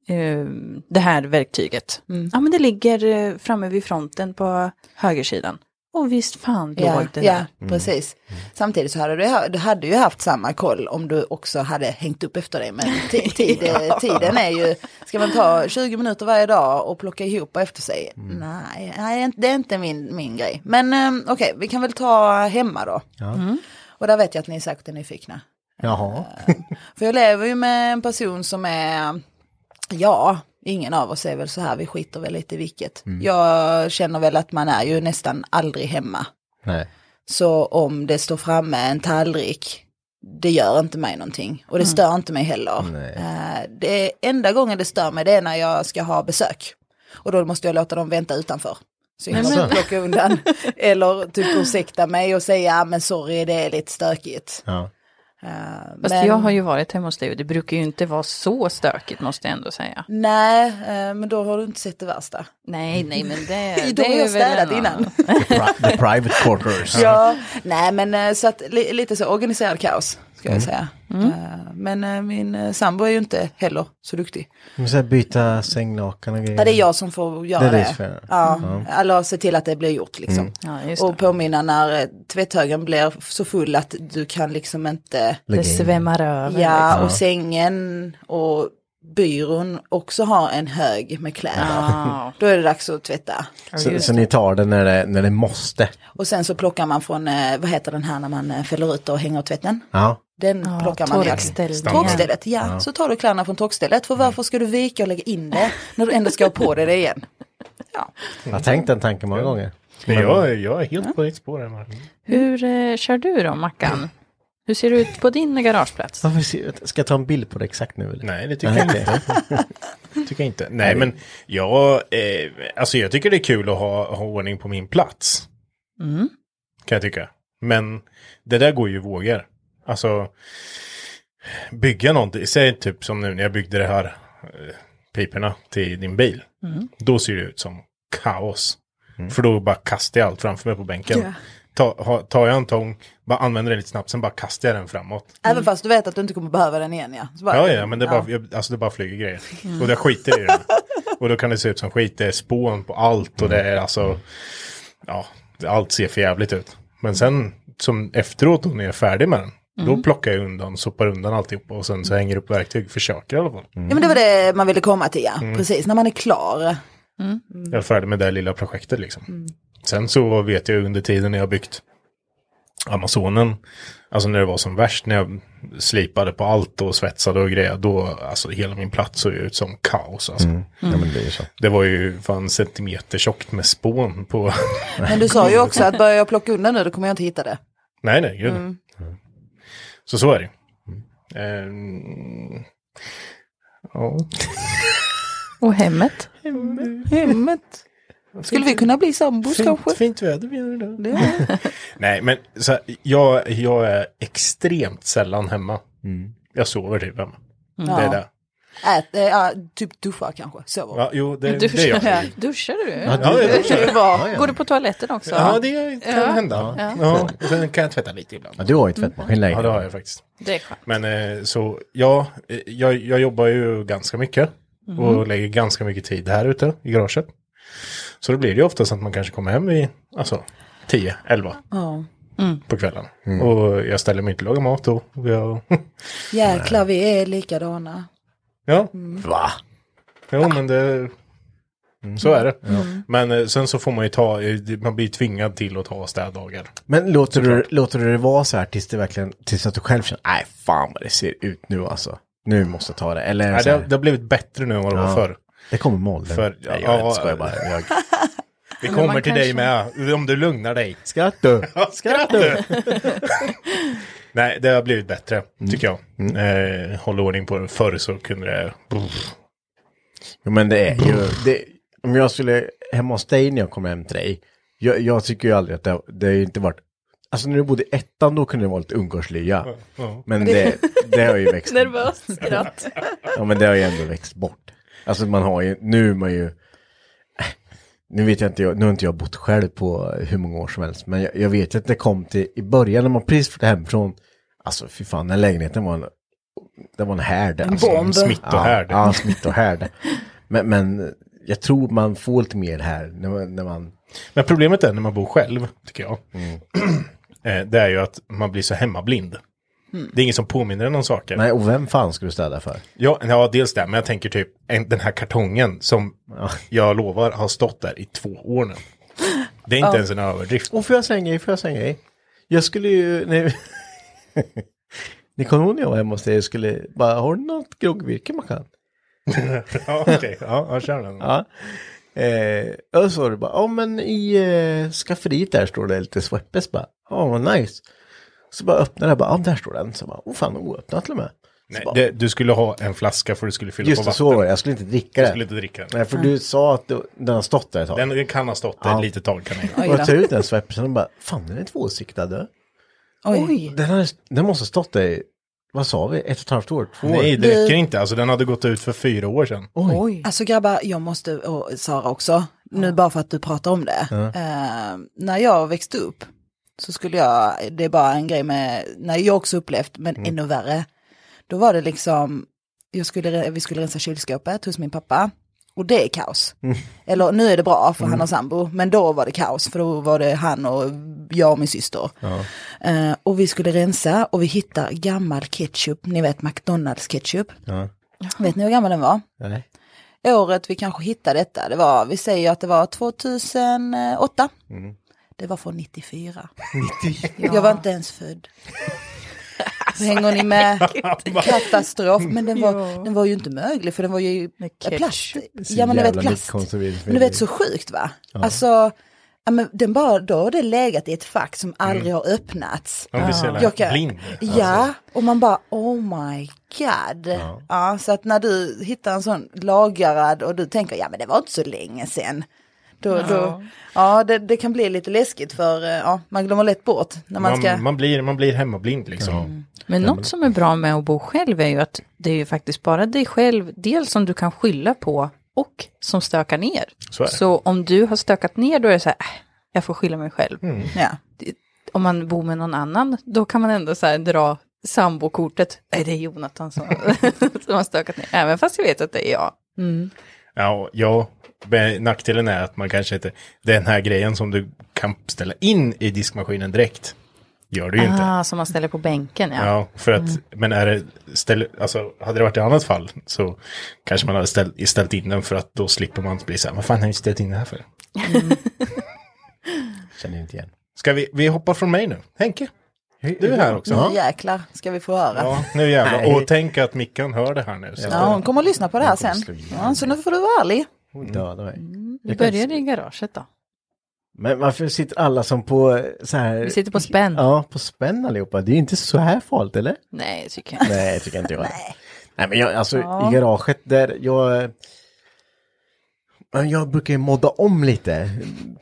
Speaker 3: eh, det här verktyget? Ja men det ligger eh, framme vid fronten på högersidan. Och visst fan låg
Speaker 6: Ja,
Speaker 3: det
Speaker 6: ja
Speaker 3: där.
Speaker 6: precis. Samtidigt så hade du, du hade ju haft samma koll om du också hade hängt upp efter dig. Men ti- tid, tiden är ju, ska man ta 20 minuter varje dag och plocka ihop efter sig? Nej, nej, det är inte min, min grej. Men um, okej, vi kan väl ta hemma då. Mm.
Speaker 4: Ja.
Speaker 6: Och där vet jag att ni säkert är nyfikna.
Speaker 4: Jaha.
Speaker 6: För jag lever ju med en person som är, ja, ingen av oss är väl så här, vi skiter väl lite i vilket. Jag känner väl att man är ju nästan aldrig hemma.
Speaker 4: *laughs* Nej.
Speaker 6: Så om det står framme en tallrik, det gör inte mig någonting. Och det
Speaker 3: Mm.
Speaker 6: stör inte mig heller.
Speaker 4: Nej.
Speaker 6: Eh, Det enda gången det stör mig det är när jag ska ha besök. Och då måste jag låta dem vänta utanför. Så jag kan
Speaker 4: Jaså?
Speaker 6: inte
Speaker 3: *laughs*
Speaker 6: plocka undan. Eller typ ursäkta mig och säga, "Ah, men sorry det är lite stökigt.
Speaker 4: Ja.
Speaker 6: Eh,
Speaker 3: Fast
Speaker 6: men-
Speaker 3: jag har ju varit hemma hos dig och det brukar ju inte vara så stökigt måste jag ändå säga.
Speaker 6: Nej, eh, men då har du inte sett det värsta. Eh,
Speaker 3: Nej, nej men *laughs* det,
Speaker 6: Då
Speaker 3: det
Speaker 6: har
Speaker 3: är
Speaker 6: jag
Speaker 3: väl en
Speaker 6: städat
Speaker 3: annan-
Speaker 6: innan.
Speaker 4: Pri- The private quarters.
Speaker 6: Ja, nej men eh, så att li, lite så organiserad kaos ska jag säga. Eh, Men eh, min eh, sambo är ju inte heller så duktig.
Speaker 4: Men så här byta sänglakan och grejer.
Speaker 6: Ja, det är jag som får göra
Speaker 4: Mm. Det är
Speaker 6: det.
Speaker 4: du som får göra det.
Speaker 6: Ja, eller se till att det blir gjort liksom.
Speaker 3: Ja, just det.
Speaker 6: Och påminna när eh, tvätthögen blir så full att du kan liksom inte,
Speaker 4: Lägga
Speaker 3: Det
Speaker 4: in.
Speaker 3: svämmar över.
Speaker 6: ja
Speaker 3: liksom.
Speaker 6: och sängen och byrån också har en hög med kläder.
Speaker 3: Ah.
Speaker 6: Då är det dags att tvätta.
Speaker 4: Så, så ni tar det när det, när det måste.
Speaker 6: Och sen så plockar man från, eh, vad heter den här när man eh, fäller ut och hänger tvätten?
Speaker 4: Ja.
Speaker 6: Den
Speaker 3: Ja,
Speaker 6: Mm, plockar man ner.
Speaker 3: torkställningen.
Speaker 6: Torkstället, ja. Så tar du kläderna från torkstället. För varför ska du vika och lägga in det när du ändå ska ha på dig det igen?
Speaker 5: Mm.
Speaker 4: Jag har tänkt den tanken många gånger.
Speaker 5: Men jag, är- jag är helt på ditt spår här Martin.
Speaker 3: Hur eh, kör du då, Mackan? Hur ser det ut på din garageplats?
Speaker 4: Varför ser- Ska jag ta en bild på det exakt nu? Eller?
Speaker 5: Nej, det tycker jag
Speaker 4: okej.
Speaker 5: inte. tycker jag inte. Nej, men jag, eh, alltså jag tycker det är kul att ha, ha ordning på min plats. Kan jag tycka. Men det där går ju i vågor. Alltså, bygga någonting. Säg typ som nu när jag byggde det här eh, piporna till din bil. Då ser det ut som kaos. För då bara kastar jag allt framför mig på bänken. Ta, ha, tar jag en tång, bara använder den lite snabbt, sen bara kastar jag den framåt.
Speaker 6: Även fast du vet att du inte kommer behöva den igen ja. Så bara-
Speaker 5: Ja, ja, men det bara, jag, alltså det bara flyger grejer. Och det skiter i den. Och då kan det se ut som skit. Det är spån på allt och det är alltså... Ja, allt ser för jävligt ut. Men sen, som efteråt då när jag är färdig med den, då plockar jag undan, sopar undan alltihop och sen så hänger jag upp verktyg. Försöker i alla fall.
Speaker 6: Ja men det var det man ville komma till ja,
Speaker 5: Mm.
Speaker 6: precis när man är klar.
Speaker 5: Jag är färdig med det här lilla projektet liksom. Sen så vet jag under tiden när jag byggt Amazonen, alltså när det var som värst, när jag slipade på allt och svetsade och grejer, då, alltså hela min plats såg ut som kaos. Alltså.
Speaker 4: Ja, men det är ju så.
Speaker 5: Det var ju fan centimeter tjockt med spån på... *laughs*
Speaker 6: Men du sa ju också att börjar jag plocka undan nu då kommer jag inte hitta det.
Speaker 5: nej, nej, gud.
Speaker 6: Mm.
Speaker 5: Så så är det. Ehm, Ja.
Speaker 3: Och hemmet.
Speaker 6: Hemmet. Skulle vi kunna bli sambos kanske?
Speaker 5: Fint, fint väder vi har idag.
Speaker 6: Det är-
Speaker 5: *laughs* Nej, men så här, jag, jag är extremt sällan hemma. Jag sover typ hemma. Det är
Speaker 6: Ja.
Speaker 5: det.
Speaker 6: Ät, eh, ja, typ duscha kanske, sover.
Speaker 5: Ja, jo, det, det gör jag.
Speaker 3: Duschar, *laughs* duschar du?
Speaker 5: Ja, jag duschar.
Speaker 6: Det var-
Speaker 3: Går du på toaletten också?
Speaker 5: Ja, det kan
Speaker 3: Ja.
Speaker 5: hända. Ja. Ja. och Sen kan jag tvätta lite ibland.
Speaker 4: Ja, du har ju tvättmaskin längre.
Speaker 5: Ja, det har jag faktiskt.
Speaker 3: Det är skönt.
Speaker 5: Men eh, så, ja, eh, jag, jag jobbar ju ganska mycket. Och lägger ganska mycket tid här ute i garaget. Så då blir det ju oftast att man kanske kommer hem vid alltså, 10, 11
Speaker 6: Ja.
Speaker 5: på kvällen. Och jag ställer mig inte och lagar mat då. Och jag,
Speaker 6: Jäklar vi är likadana.
Speaker 5: *laughs* ja,
Speaker 4: Va?
Speaker 5: Jo, men det... mm, Så är det. Men eh, sen så får man ju ta, eh, man blir tvingad till att ta städdagar.
Speaker 4: Men låter du, låter du det vara så här tills det verkligen, tills att du själv känner, nej fan vad det ser ut nu alltså. Nu måste jag ta det. Eller
Speaker 5: Nej,
Speaker 4: så
Speaker 5: det, har-
Speaker 4: här,
Speaker 5: det har blivit bättre nu än vad det var
Speaker 4: Ja.
Speaker 5: förr.
Speaker 4: det kommer molden.
Speaker 5: För-
Speaker 4: nej,
Speaker 5: ja,
Speaker 4: jag vet, skojar
Speaker 5: ja.
Speaker 4: bara. Jag...
Speaker 5: Vi kommer till dig med, eh, om du lugnar dig. *laughs*
Speaker 4: Skratt du.
Speaker 5: Skratt du! *laughs* Nej, det har blivit bättre,
Speaker 4: Mm.
Speaker 5: tycker jag. Eh, håll ordning på det. Förr så kunde det...
Speaker 4: Jo, men det är ju, det, om jag skulle hemma hos dig när jag kom hem till dig, jag, jag tycker ju aldrig att det, det har ju inte varit, alltså när du bodde i ettan då kunde det vara lite ungkarlslya.
Speaker 5: ja.
Speaker 4: Men det, det har ju växt,
Speaker 3: Nervöst skratt.
Speaker 4: ja men det har ju ändå växt bort. Alltså man har ju, nu är man ju, nu vet jag inte, jag, nu har inte jag bott själv på hur många år som helst, men jag, jag vet ju att det kom till, i början när man precis flyttade hemifrån, alltså fy fan den lägenheten var en, det var en härd. En alltså,
Speaker 6: bomb.
Speaker 5: Smittohärd.
Speaker 4: Ja, ja smittohärd. men, men jag tror man får lite mer här när man, när man
Speaker 5: Men problemet är när man bor själv, tycker jag.
Speaker 4: Mm.
Speaker 5: *clears throat* eh, det är ju att man blir så hemmablind. Det är ingen som påminner en om saker.
Speaker 4: Mm. nej och vem fan ska du städa för?
Speaker 5: Ja, ja, dels det, men jag tänker typ en, den här kartongen som jag lovar har stått där i två år nu. Det är inte ens
Speaker 4: *laughs*
Speaker 5: en överdrift.
Speaker 4: Och får jag säga en grej, får jag säga en grej? Jag skulle ju, nej, *laughs* ni kommer ihåg när jag var hemma hos dig och skulle bara, har du något groggvirke man kan?
Speaker 5: Ja, okej. Ja, jag kör den.
Speaker 4: Ja. Eh, och så var det bara, ja men i eh, skafferiet där står det lite Sweppes bara, ja vad nice. Så bara öppnade jag bara, ja där står den. Så bara, åh fan oöppnad till och med.
Speaker 5: Nej, det, du skulle ha en flaska för du skulle fylla
Speaker 4: Just
Speaker 5: på
Speaker 4: det,
Speaker 5: vatten.
Speaker 4: så var det, jag skulle inte dricka
Speaker 5: Du
Speaker 4: det.
Speaker 5: skulle inte dricka den.
Speaker 4: Nej, för du sa att du, den har stått där ett tag.
Speaker 5: Den, den kan ha stått där
Speaker 4: Ja.
Speaker 5: ett litet tag. Kan jag.
Speaker 6: Oj
Speaker 4: Och jag
Speaker 6: då.
Speaker 4: tar ut den Sweppesen och bara, fan den är tvåsiktad. du.
Speaker 6: Oj.
Speaker 4: Den, har, den måste ha stått där, i, vad sa vi, ett och ett halvt år? Två år?
Speaker 5: *laughs* Nej, det räcker inte. Alltså, den hade gått ut för fyra år sedan.
Speaker 3: Oj.
Speaker 6: Alltså grabbar, jag måste, och Sara också, nu bara för att du pratar om det. Eh, när jag växte upp så skulle jag, det är bara en grej med, när jag också upplevt, men ännu värre. Då var det liksom, jag skulle, vi skulle rensa kylskåpet hos min pappa. Och det är kaos. Eller nu är det bra för han har sambo, men då var det kaos för då var det han och jag och min syster. Eh, och vi skulle rensa och vi hittar gammal ketchup, ni vet McDonalds ketchup. Vet ni hur gammal den var?
Speaker 4: Nej.
Speaker 6: året vi kanske hittade detta, det var, vi säger att det var 2008.
Speaker 4: Mm.
Speaker 6: Det var från 94. Jag var inte ens
Speaker 4: *laughs*
Speaker 6: född. Så hänger ni med?
Speaker 4: Alltså,
Speaker 6: Katastrof. Men den var, den var ju inte möglig för den var ju
Speaker 3: ketchup.
Speaker 6: plast.
Speaker 4: Så
Speaker 6: Ja men du vet
Speaker 4: jävla
Speaker 6: plast.
Speaker 4: konserveringsmedel.
Speaker 6: Men du vet så sjukt va? Alltså, ja, men den bara, då har det legat i ett fack som aldrig
Speaker 4: Mm.
Speaker 6: har öppnats.
Speaker 5: Man blir så jävla
Speaker 6: Jag kan-
Speaker 5: blind. Alltså.
Speaker 6: Ja, och man bara oh my god. Ja. så att när du hittar en sån lagrad och du tänker ja men det var inte så länge sedan. Då, ja. Då, ja, det, det kan bli lite läskigt för eh, ja, man glömmer lätt bort när man
Speaker 5: Man,
Speaker 6: ska.
Speaker 5: Alltså,
Speaker 6: Mm.
Speaker 5: man, blir, man blir hemmablind liksom.
Speaker 3: Men något som är bra med att bo själv är ju att det är ju faktiskt bara dig själv, dels som du kan skylla på och som stökar ner.
Speaker 5: Så är det.
Speaker 3: Så om du har stökat ner då är det så här, äh, jag får skylla mig själv.
Speaker 6: Ja.
Speaker 3: Om man bor med någon annan, då kan man ändå så här dra sambokortet. Nej, det är Jonathan som, *laughs* som har stökat ner. Även fast jag vet att det är jag.
Speaker 5: Ja, ja, men nackdelen är att man kanske inte, den här grejen som du kan ställa in i diskmaskinen direkt, gör du ju inte.
Speaker 3: Ah, som man ställer på bänken, ja.
Speaker 5: Ja, för att,
Speaker 6: Mm.
Speaker 5: men är det, ställ, alltså, hade det varit i annat fall så kanske man hade ställt, ställt in den för att då slipper man bli så här, vad fan har jag ställt in det här för?
Speaker 6: Mm.
Speaker 5: *laughs*
Speaker 4: Känner inte igen.
Speaker 5: Ska vi, vi hoppar från mig nu? Henke, du är här också.
Speaker 6: Nu jäklar ska vi få höra.
Speaker 5: Ja, nu jävlar. Och tänk att Mickan hör det här nu. Så.
Speaker 6: Ja, hon kommer att lyssna på det här sen. Ja, så nu får du vara ärlig.
Speaker 5: Mm.
Speaker 4: Hon dödar mig.
Speaker 3: Vi Mm. började i garaget då.
Speaker 4: Men varför sitter alla som på eh, så här...
Speaker 3: Vi sitter på spänn.
Speaker 4: Ja, på spänn allihopa. Det är ju inte så här farligt, eller?
Speaker 3: Nej, det tycker jag inte.
Speaker 4: *laughs* Nej, tycker inte jag. Nej, men jag, alltså i garaget där jag... Men Jag brukar ju modda om lite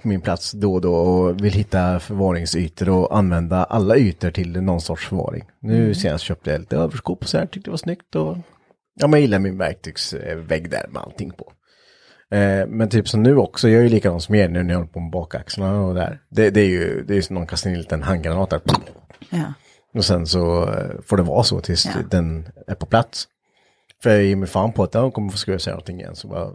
Speaker 4: på min plats då och då och vill hitta förvaringsytor och använda alla ytor till någon sorts förvaring. Nu senast köpte jag lite överskåp och så här, tyckte det var snyggt och ja, men jag gillar min verktygsvägg där med allting på. Eh, men typ som nu också, jag är ju likadan som er nu när jag håller på med bakaxlarna och där. Det, det är ju, det är ju som någon kastar in en liten handgranat där.
Speaker 6: Ja.
Speaker 4: Och sen så eh, får det vara så tills
Speaker 6: Ja.
Speaker 4: den är på plats. För jag ger mig fan på att den kommer få skruva sig allting igen. Så bara,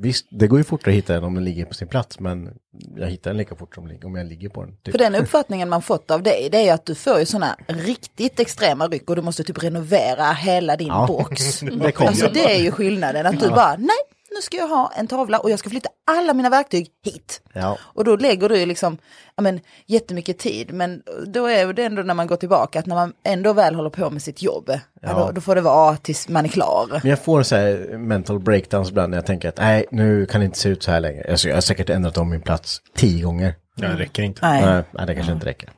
Speaker 4: visst, det går ju fortare att hitta den om den ligger på sin plats. Men jag hittar den lika fort som lig- om jag ligger på den. Typ.
Speaker 6: För den uppfattningen man fått av dig, det är ju att du får ju sådana riktigt extrema ryck och du måste typ renovera hela din
Speaker 4: Ja.
Speaker 6: box.
Speaker 4: det kom
Speaker 6: Alltså
Speaker 4: jag.
Speaker 6: det är ju skillnaden, att du bara, nej, nu ska jag ha en tavla och jag ska flytta alla mina verktyg hit.
Speaker 4: Ja.
Speaker 6: Och då lägger du ju liksom, ja men jättemycket tid, men då är ju det ändå när man går tillbaka, att när man ändå väl håller på med sitt jobb, ja. då, då får det vara tills man är klar.
Speaker 4: Men jag får så här mental breakdowns ibland när jag tänker att nej, nu kan det inte se ut så här längre. Alltså, jag har säkert ändrat om min plats tio gånger.
Speaker 5: Ja, det räcker inte.
Speaker 6: Nej.
Speaker 4: Nej, nej det kanske inte räcker.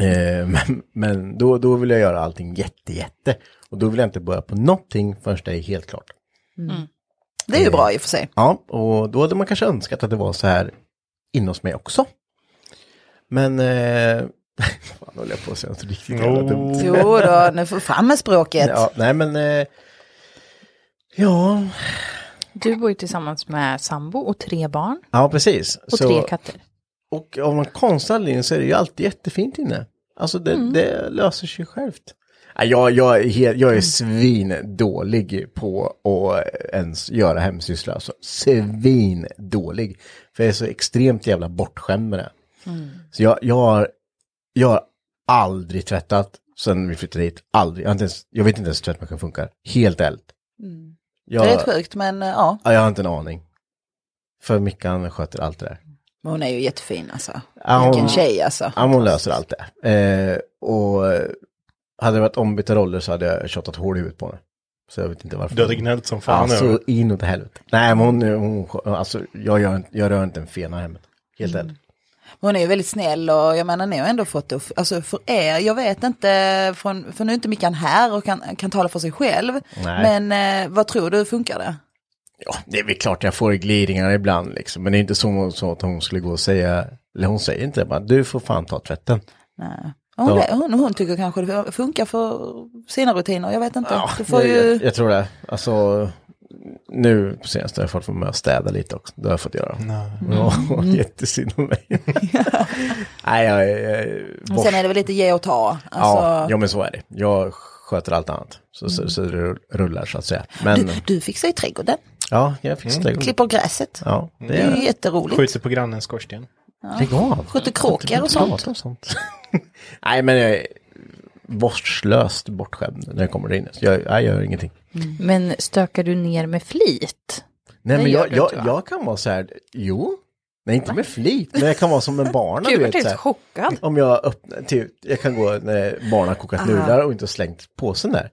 Speaker 4: Eh, men men då, då vill jag göra allting jätte, jätte. Och då vill jag inte börja på någonting förrän det är helt klart.
Speaker 6: Det är ju bra i och för sig.
Speaker 4: Ja, och då hade man kanske önskat att det var så här inne hos mig också. Men... Eh, *laughs* fan håller jag på att säga något riktigt jävla dumt.
Speaker 6: Jo då, nu får fram med språket.
Speaker 4: Ja, nej men... Eh, ja,
Speaker 3: Du bor ju tillsammans med sambo och tre barn
Speaker 4: ja, precis.
Speaker 3: och tre katter.
Speaker 4: och av en konstig anledning så är det ju alltid jättefint inne. Alltså det,
Speaker 6: Mm.
Speaker 4: det löser sig självt. Nej, Jag, jag, är helt-
Speaker 6: Mm.
Speaker 4: jag är svindålig på att ens göra hemsyssla. Alltså, svindålig. För jag är så extremt jävla bortskämd med det.
Speaker 6: Mm.
Speaker 4: Så jag, jag, har, jag har aldrig tvättat sen vi flyttade hit. Aldrig. Jag, har inte ens, jag vet inte ens hur tvättmaskin funkar. Helt ärligt.
Speaker 6: Mm. Det är
Speaker 4: Jag,
Speaker 6: rätt sjukt, men eh, ja,
Speaker 4: ja, jag har inte en aning. För Mickan sköter allt det där.
Speaker 6: men hon är ju jättefin alltså.
Speaker 4: Ja, hon-
Speaker 6: Vilken tjej alltså.
Speaker 4: Ja, men hon löser allt det. Eh, och eh, hade det varit ombytta roller så hade jag tjatat hål i huvudet på henne. Så jag vet inte varför.
Speaker 5: Du hade gnällt som fan
Speaker 4: Alltså
Speaker 5: över-
Speaker 4: inåt helvete. Nej, men hon, hon alltså jag, gör, inte- jag rör inte en fena hemmet. Helt ärligt.
Speaker 6: Hon är ju väldigt snäll och jag menar ni har ändå fått det, alltså för er, jag vet inte, från, för nu är inte Mickan här och kan, kan tala för sig själv,
Speaker 4: Nej.
Speaker 6: men eh, vad tror du, funkar det?
Speaker 4: Ja, det är väl klart jag får glidningar ibland liksom. Men det är inte så, så att hon skulle gå och säga, eller hon säger inte det bara, du får fan ta tvätten.
Speaker 6: Nej. Hon,
Speaker 4: Ja.
Speaker 6: hon, hon tycker kanske det funkar för sina rutiner, jag vet inte. du får
Speaker 4: det-
Speaker 6: ju...
Speaker 4: jag, jag tror det. Alltså, nu på senaste har jag fått vara med och städa lite också. Det har jag fått göra. Ja,
Speaker 6: Mm.
Speaker 4: *laughs* jättesynd om
Speaker 6: *laughs*
Speaker 4: mig. Nej, jag, jag,
Speaker 6: Men Sen är det väl lite ge och ta. Alltså, Mm.
Speaker 4: ja, ja, men så är det. Jag sköter allt annat. Så, så, så det rullar så att säga. Men
Speaker 6: du, du fixar ju trädgården,
Speaker 4: ja, jag fixar det.
Speaker 6: klipper gräset.
Speaker 4: Ja, det
Speaker 6: Det
Speaker 4: är
Speaker 6: är ju
Speaker 4: det.
Speaker 6: jätteroligt.
Speaker 5: Skjuter på grannens skorsten.
Speaker 4: Lägg av.
Speaker 6: Sköter kråkor och sånt.
Speaker 4: Prata om sånt. *laughs* Nej, men jag är vårdslöst bortskämd när jag kommer in. Så jag, jag gör ingenting.
Speaker 3: Men stökar du ner med flit?
Speaker 4: Nej
Speaker 3: Det
Speaker 4: men
Speaker 3: gör
Speaker 4: jag,
Speaker 3: du
Speaker 4: jag,
Speaker 3: inte, va?
Speaker 4: jag kan vara så här, jo, nej inte med flit, men jag kan vara som en barna
Speaker 3: Gud,
Speaker 4: du
Speaker 3: jag blev
Speaker 4: vet. Så
Speaker 3: helt
Speaker 4: här, *laughs*
Speaker 3: chockad.
Speaker 4: om jag öppnar, typ, jag kan gå när barnen har kokat nudlar och inte har slängt påsen där.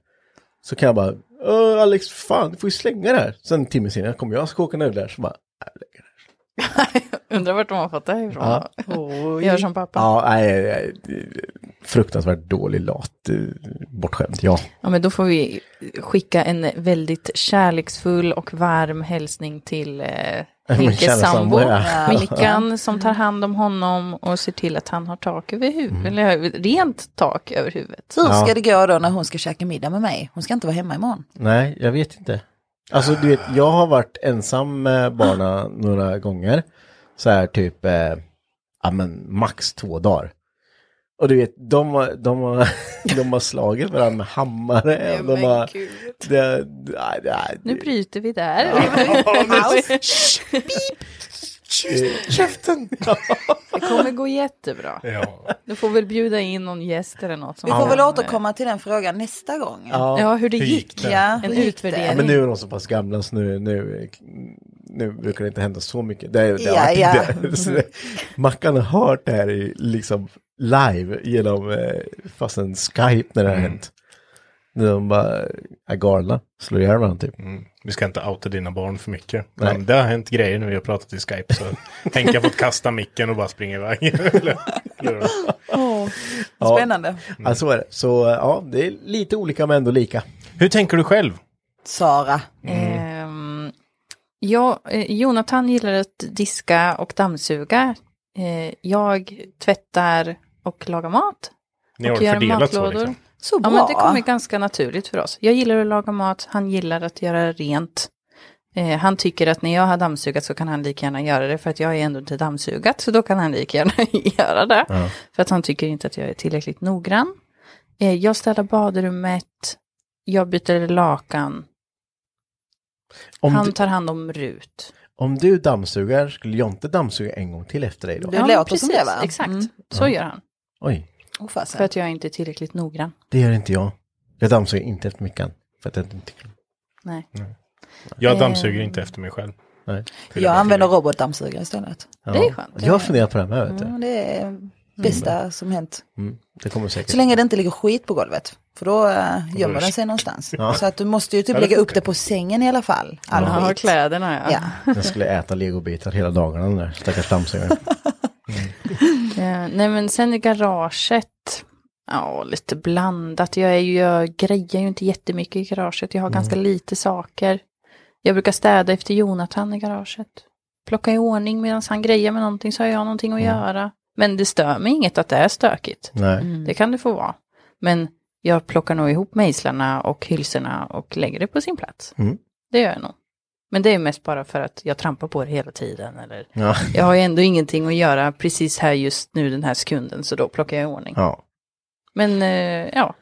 Speaker 4: Så kan jag bara, "Åh, Alex, fan du får ju slänga det här. Sen en timme senare kommer jag och ska koka nudlar, så bara,
Speaker 3: Undrar vart de har fått det ifrån.
Speaker 4: Ja.
Speaker 3: Jag gör som pappa.
Speaker 4: ja, nej, nej, nej, fruktansvärt dålig lat, eh, bortskämd, ja.
Speaker 3: Ja, men då får vi skicka en väldigt kärleksfull och varm hälsning till eh,
Speaker 4: kära
Speaker 3: Henkes
Speaker 4: sambo,
Speaker 3: sambo,
Speaker 4: ja.
Speaker 3: Mickan, Äh, som tar hand om honom och ser till att han har tak över
Speaker 5: Mm.
Speaker 3: huvudet, eller rent tak över huvudet.
Speaker 6: Hur ska det gå då när hon ska käka middag med mig? Hon ska inte vara hemma imorgon.
Speaker 4: Nej, jag vet inte. Alltså du vet, jag har varit ensam med barna några gånger. Så här typ, eh, ja men max två dagar. Och du vet, de, har- de, har, *laughs* de har slagit varandra med hammare. och de har, det, nej, nej,
Speaker 3: Nu
Speaker 4: det-
Speaker 3: bryter vi där.
Speaker 4: Eh, Käften!
Speaker 3: *laughs* Det kommer gå jättebra.
Speaker 5: Ja.
Speaker 3: Du får väl bjuda in någon gäst eller något. Som
Speaker 6: Vi får
Speaker 3: har-
Speaker 6: väl återkomma till den frågan nästa gång.
Speaker 4: Ja.
Speaker 3: Ja, hur det
Speaker 5: Hur gick
Speaker 3: gick.
Speaker 5: det?
Speaker 6: Ja,
Speaker 3: En
Speaker 6: hur gick det?
Speaker 3: utvärdering.
Speaker 4: men nu är de så pass gamla så nu, nu, nu brukar det inte hända så mycket. Det, det
Speaker 6: Ja,
Speaker 4: har alltid *laughs*
Speaker 6: ja.
Speaker 4: det. Så det- Mackan har hört det här i, liksom live genom eh, fast en Skype när det har hänt. När de bara är galna, slår ihjäl varandra typ.
Speaker 5: Mm. Vi ska inte outa dina barn för mycket.
Speaker 4: Nej.
Speaker 5: Men det har hänt grejer när vi har pratat i Skype. Så tänk jag fått kasta micken och bara springa iväg. *laughs*
Speaker 6: Spännande.
Speaker 4: Ja, så är det. Så eh, ja, det är lite olika men ändå lika.
Speaker 5: Hur tänker du själv?
Speaker 6: Sara.
Speaker 3: Ehm, ja, eh, Jonathan gillar att diska och dammsuga. Eh, jag tvättar och lagar mat.
Speaker 5: Ni
Speaker 3: Och
Speaker 5: har
Speaker 3: gör
Speaker 5: fördelat så
Speaker 3: matlådor.
Speaker 5: liksom.
Speaker 6: Så
Speaker 3: Ja,
Speaker 6: bra.
Speaker 3: men det kommer ganska naturligt för oss. Jag gillar att laga mat, han gillar att göra rent. Eh, han tycker att när jag har dammsugat så kan han lika gärna göra det för att jag är ändå inte dammsugat så då kan han lika gärna *laughs* göra det. För att han tycker inte att jag är tillräckligt noggrann. Eh, jag städar badrummet, jag byter lakan,
Speaker 4: Om,
Speaker 3: han
Speaker 4: du,
Speaker 3: tar hand om Rut.
Speaker 4: om du dammsugar, skulle Jonte dammsuga en gång till efter dig då?
Speaker 6: Det låter som det, va?
Speaker 3: Exakt,
Speaker 6: Mm.
Speaker 3: så gör han.
Speaker 4: Oj,
Speaker 6: Åh,
Speaker 3: För
Speaker 6: fasen.
Speaker 3: att jag är inte är tillräckligt noggrann.
Speaker 4: det gör inte jag. Jag dammsuger inte efter Mickan. För att jag inte tycker om
Speaker 3: Nej.
Speaker 5: Jag dammsuger inte efter mig själv.
Speaker 4: Nej.
Speaker 5: Vill
Speaker 6: Jag
Speaker 5: bara
Speaker 6: använder
Speaker 5: tillägga.
Speaker 6: robotdammsugare istället.
Speaker 4: ja.
Speaker 3: Det är skönt.
Speaker 4: Jag har funderat på det Mm. här med, vet du.
Speaker 6: Ja, det är bästa som hänt.
Speaker 4: Mm, det kommer säkert.
Speaker 6: Så länge det inte ligger skit på golvet. För då eh, gömmer den sig någonstans. Så att du måste ju typ lägga upp det på sängen i alla fall. All
Speaker 3: Han har
Speaker 6: skit.
Speaker 3: kläderna ja.
Speaker 6: Ja.
Speaker 4: Jag skulle äta legobitar hela dagarna den där stackars dammsugaren.
Speaker 3: Eh, nej men sen i garaget, ja lite blandat. Jag, är ju, jag grejar ju inte jättemycket i garaget. Jag har ganska lite saker. Jag brukar städa efter Jonathan i garaget. Plocka i ordning medan han grejar med någonting så har jag någonting att göra. Men det stör mig inget att det är stökigt.
Speaker 4: Nej.
Speaker 3: Det kan det få vara. Men jag plockar nog ihop mejslarna och hylsorna och lägger det på sin plats.
Speaker 4: Mm.
Speaker 3: Det gör jag nog. Men det är mest bara för att jag trampar på det hela tiden. Eller
Speaker 4: Ja.
Speaker 3: jag har ju ändå ingenting att göra precis här just nu den här sekunden, så då plockar jag i ordning.
Speaker 4: ja.
Speaker 3: Men eh, ja,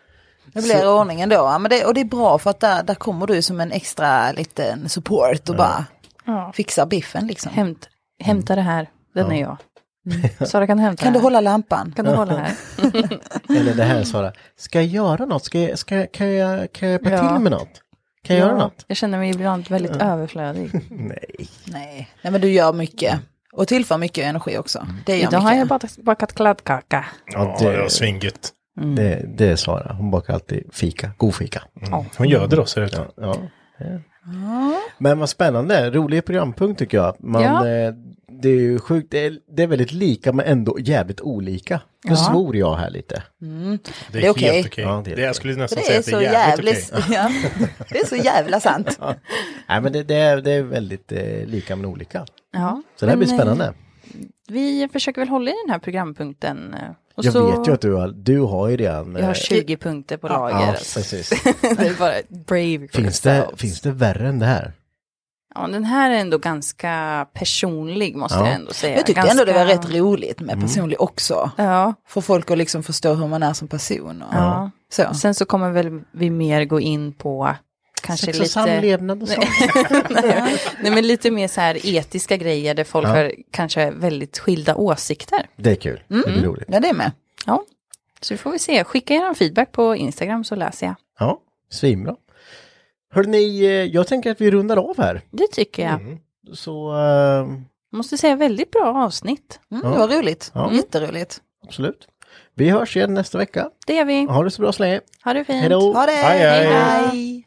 Speaker 6: Det blir ordningen då. Ja, Men det, och det är bra för att där, där kommer du som en extra liten support och bara
Speaker 3: Ja.
Speaker 6: fixar biffen liksom.
Speaker 3: hämt, hämta det här, den är jag. Mm. *laughs* Sara Mm. kan du hämta
Speaker 6: Kan
Speaker 3: det
Speaker 6: du
Speaker 3: här?
Speaker 6: hålla lampan?
Speaker 3: Kan du hålla *laughs* här?
Speaker 4: Eller det här Sara, ska jag göra något? Ska jag, ska, jag- kan, jag, kan jag hjälpa
Speaker 3: Ja.
Speaker 4: till med något? Kan jag göra något?
Speaker 3: Jag känner mig ibland väldigt *laughs* överflödig.
Speaker 4: Nej.
Speaker 6: Nej. Nej, men du gör mycket. Och tillför mycket energi också. Det gör
Speaker 3: Mm. Idag har jag
Speaker 6: mycket.
Speaker 3: bakat, bakat kladdkaka.
Speaker 5: Ja,
Speaker 4: det-
Speaker 5: det var svingigt.
Speaker 4: Det, det är Sara, hon bakar alltid fika, god fika.
Speaker 5: Mm. Hon göder oss här ute.
Speaker 4: Ja. Men vad spännande, rolig programpunkt tycker jag. Man,
Speaker 3: Ja.
Speaker 4: eh, det är ju sjukt, det är, det är väldigt lika men ändå jävligt olika. Nu svor jag här lite.
Speaker 3: Mm.
Speaker 5: Det är,
Speaker 6: Mm. Det är okej.
Speaker 5: helt okej.
Speaker 4: Ja, det är
Speaker 5: det
Speaker 4: okej.
Speaker 5: jag skulle
Speaker 6: För
Speaker 5: nästan
Speaker 6: det
Speaker 5: säga
Speaker 6: är
Speaker 5: att det
Speaker 6: så
Speaker 5: är jävligt
Speaker 6: jävligt.
Speaker 5: okej.
Speaker 6: *laughs* Ja. Det är så
Speaker 3: *laughs*
Speaker 6: jävla sant.
Speaker 4: Nej men det, det, är, det är väldigt eh, lika men olika.
Speaker 3: Ja.
Speaker 4: Så det här blir
Speaker 3: Men, eh,
Speaker 4: spännande.
Speaker 3: Vi försöker väl hålla i den här programpunkten. eh, Och
Speaker 4: Jag
Speaker 3: så,
Speaker 4: vet ju att du har, du har ju redan...
Speaker 3: Jag har
Speaker 4: eh,
Speaker 3: 20 punkter på lager.
Speaker 4: Ja,
Speaker 3: alltså.
Speaker 4: precis.
Speaker 3: *laughs* det är bara brave
Speaker 4: Finns det,
Speaker 3: yourselves.
Speaker 4: finns det värre än det här?
Speaker 3: Ja, den här är ändå ganska personlig måste
Speaker 4: Ja.
Speaker 3: jag ändå säga.
Speaker 6: Jag tyckte
Speaker 3: ganska...
Speaker 6: ändå det var rätt roligt med
Speaker 5: Mm.
Speaker 6: personlig också.
Speaker 3: Ja,
Speaker 6: För folk att liksom förstå hur man är som person. Och
Speaker 3: ja.
Speaker 6: så.
Speaker 3: Sen så kommer väl vi mer gå in på kanske
Speaker 4: Sex och
Speaker 3: lite...
Speaker 4: samlevnad och sånt.
Speaker 3: *laughs* Nej, men lite mer så här etiska grejer där folk har kanske väldigt skilda åsikter.
Speaker 4: Det är kul. Det
Speaker 3: Mm.
Speaker 4: blir roligt.
Speaker 6: Ja, det är med.
Speaker 3: Ja, så vi får vi se. Skicka er en feedback på Instagram så läser jag.
Speaker 4: Ja, svinbra. Hörrni, eh, jag tänker att vi rundar av här.
Speaker 3: Det tycker jag.
Speaker 4: Mm. Så eh,
Speaker 3: Måste säga väldigt bra avsnitt.
Speaker 6: Mm, Det var roligt.
Speaker 4: Ja.
Speaker 6: Jätteroligt.
Speaker 4: absolut. Vi hörs igen nästa vecka.
Speaker 3: Det gör vi.
Speaker 4: Ha det så bra så länge.
Speaker 3: Ha det fint.
Speaker 4: Hej då!
Speaker 6: Ha det!
Speaker 5: Hej, hej.
Speaker 6: hej.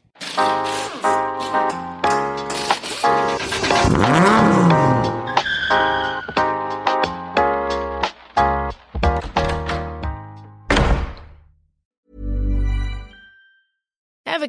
Speaker 9: Ever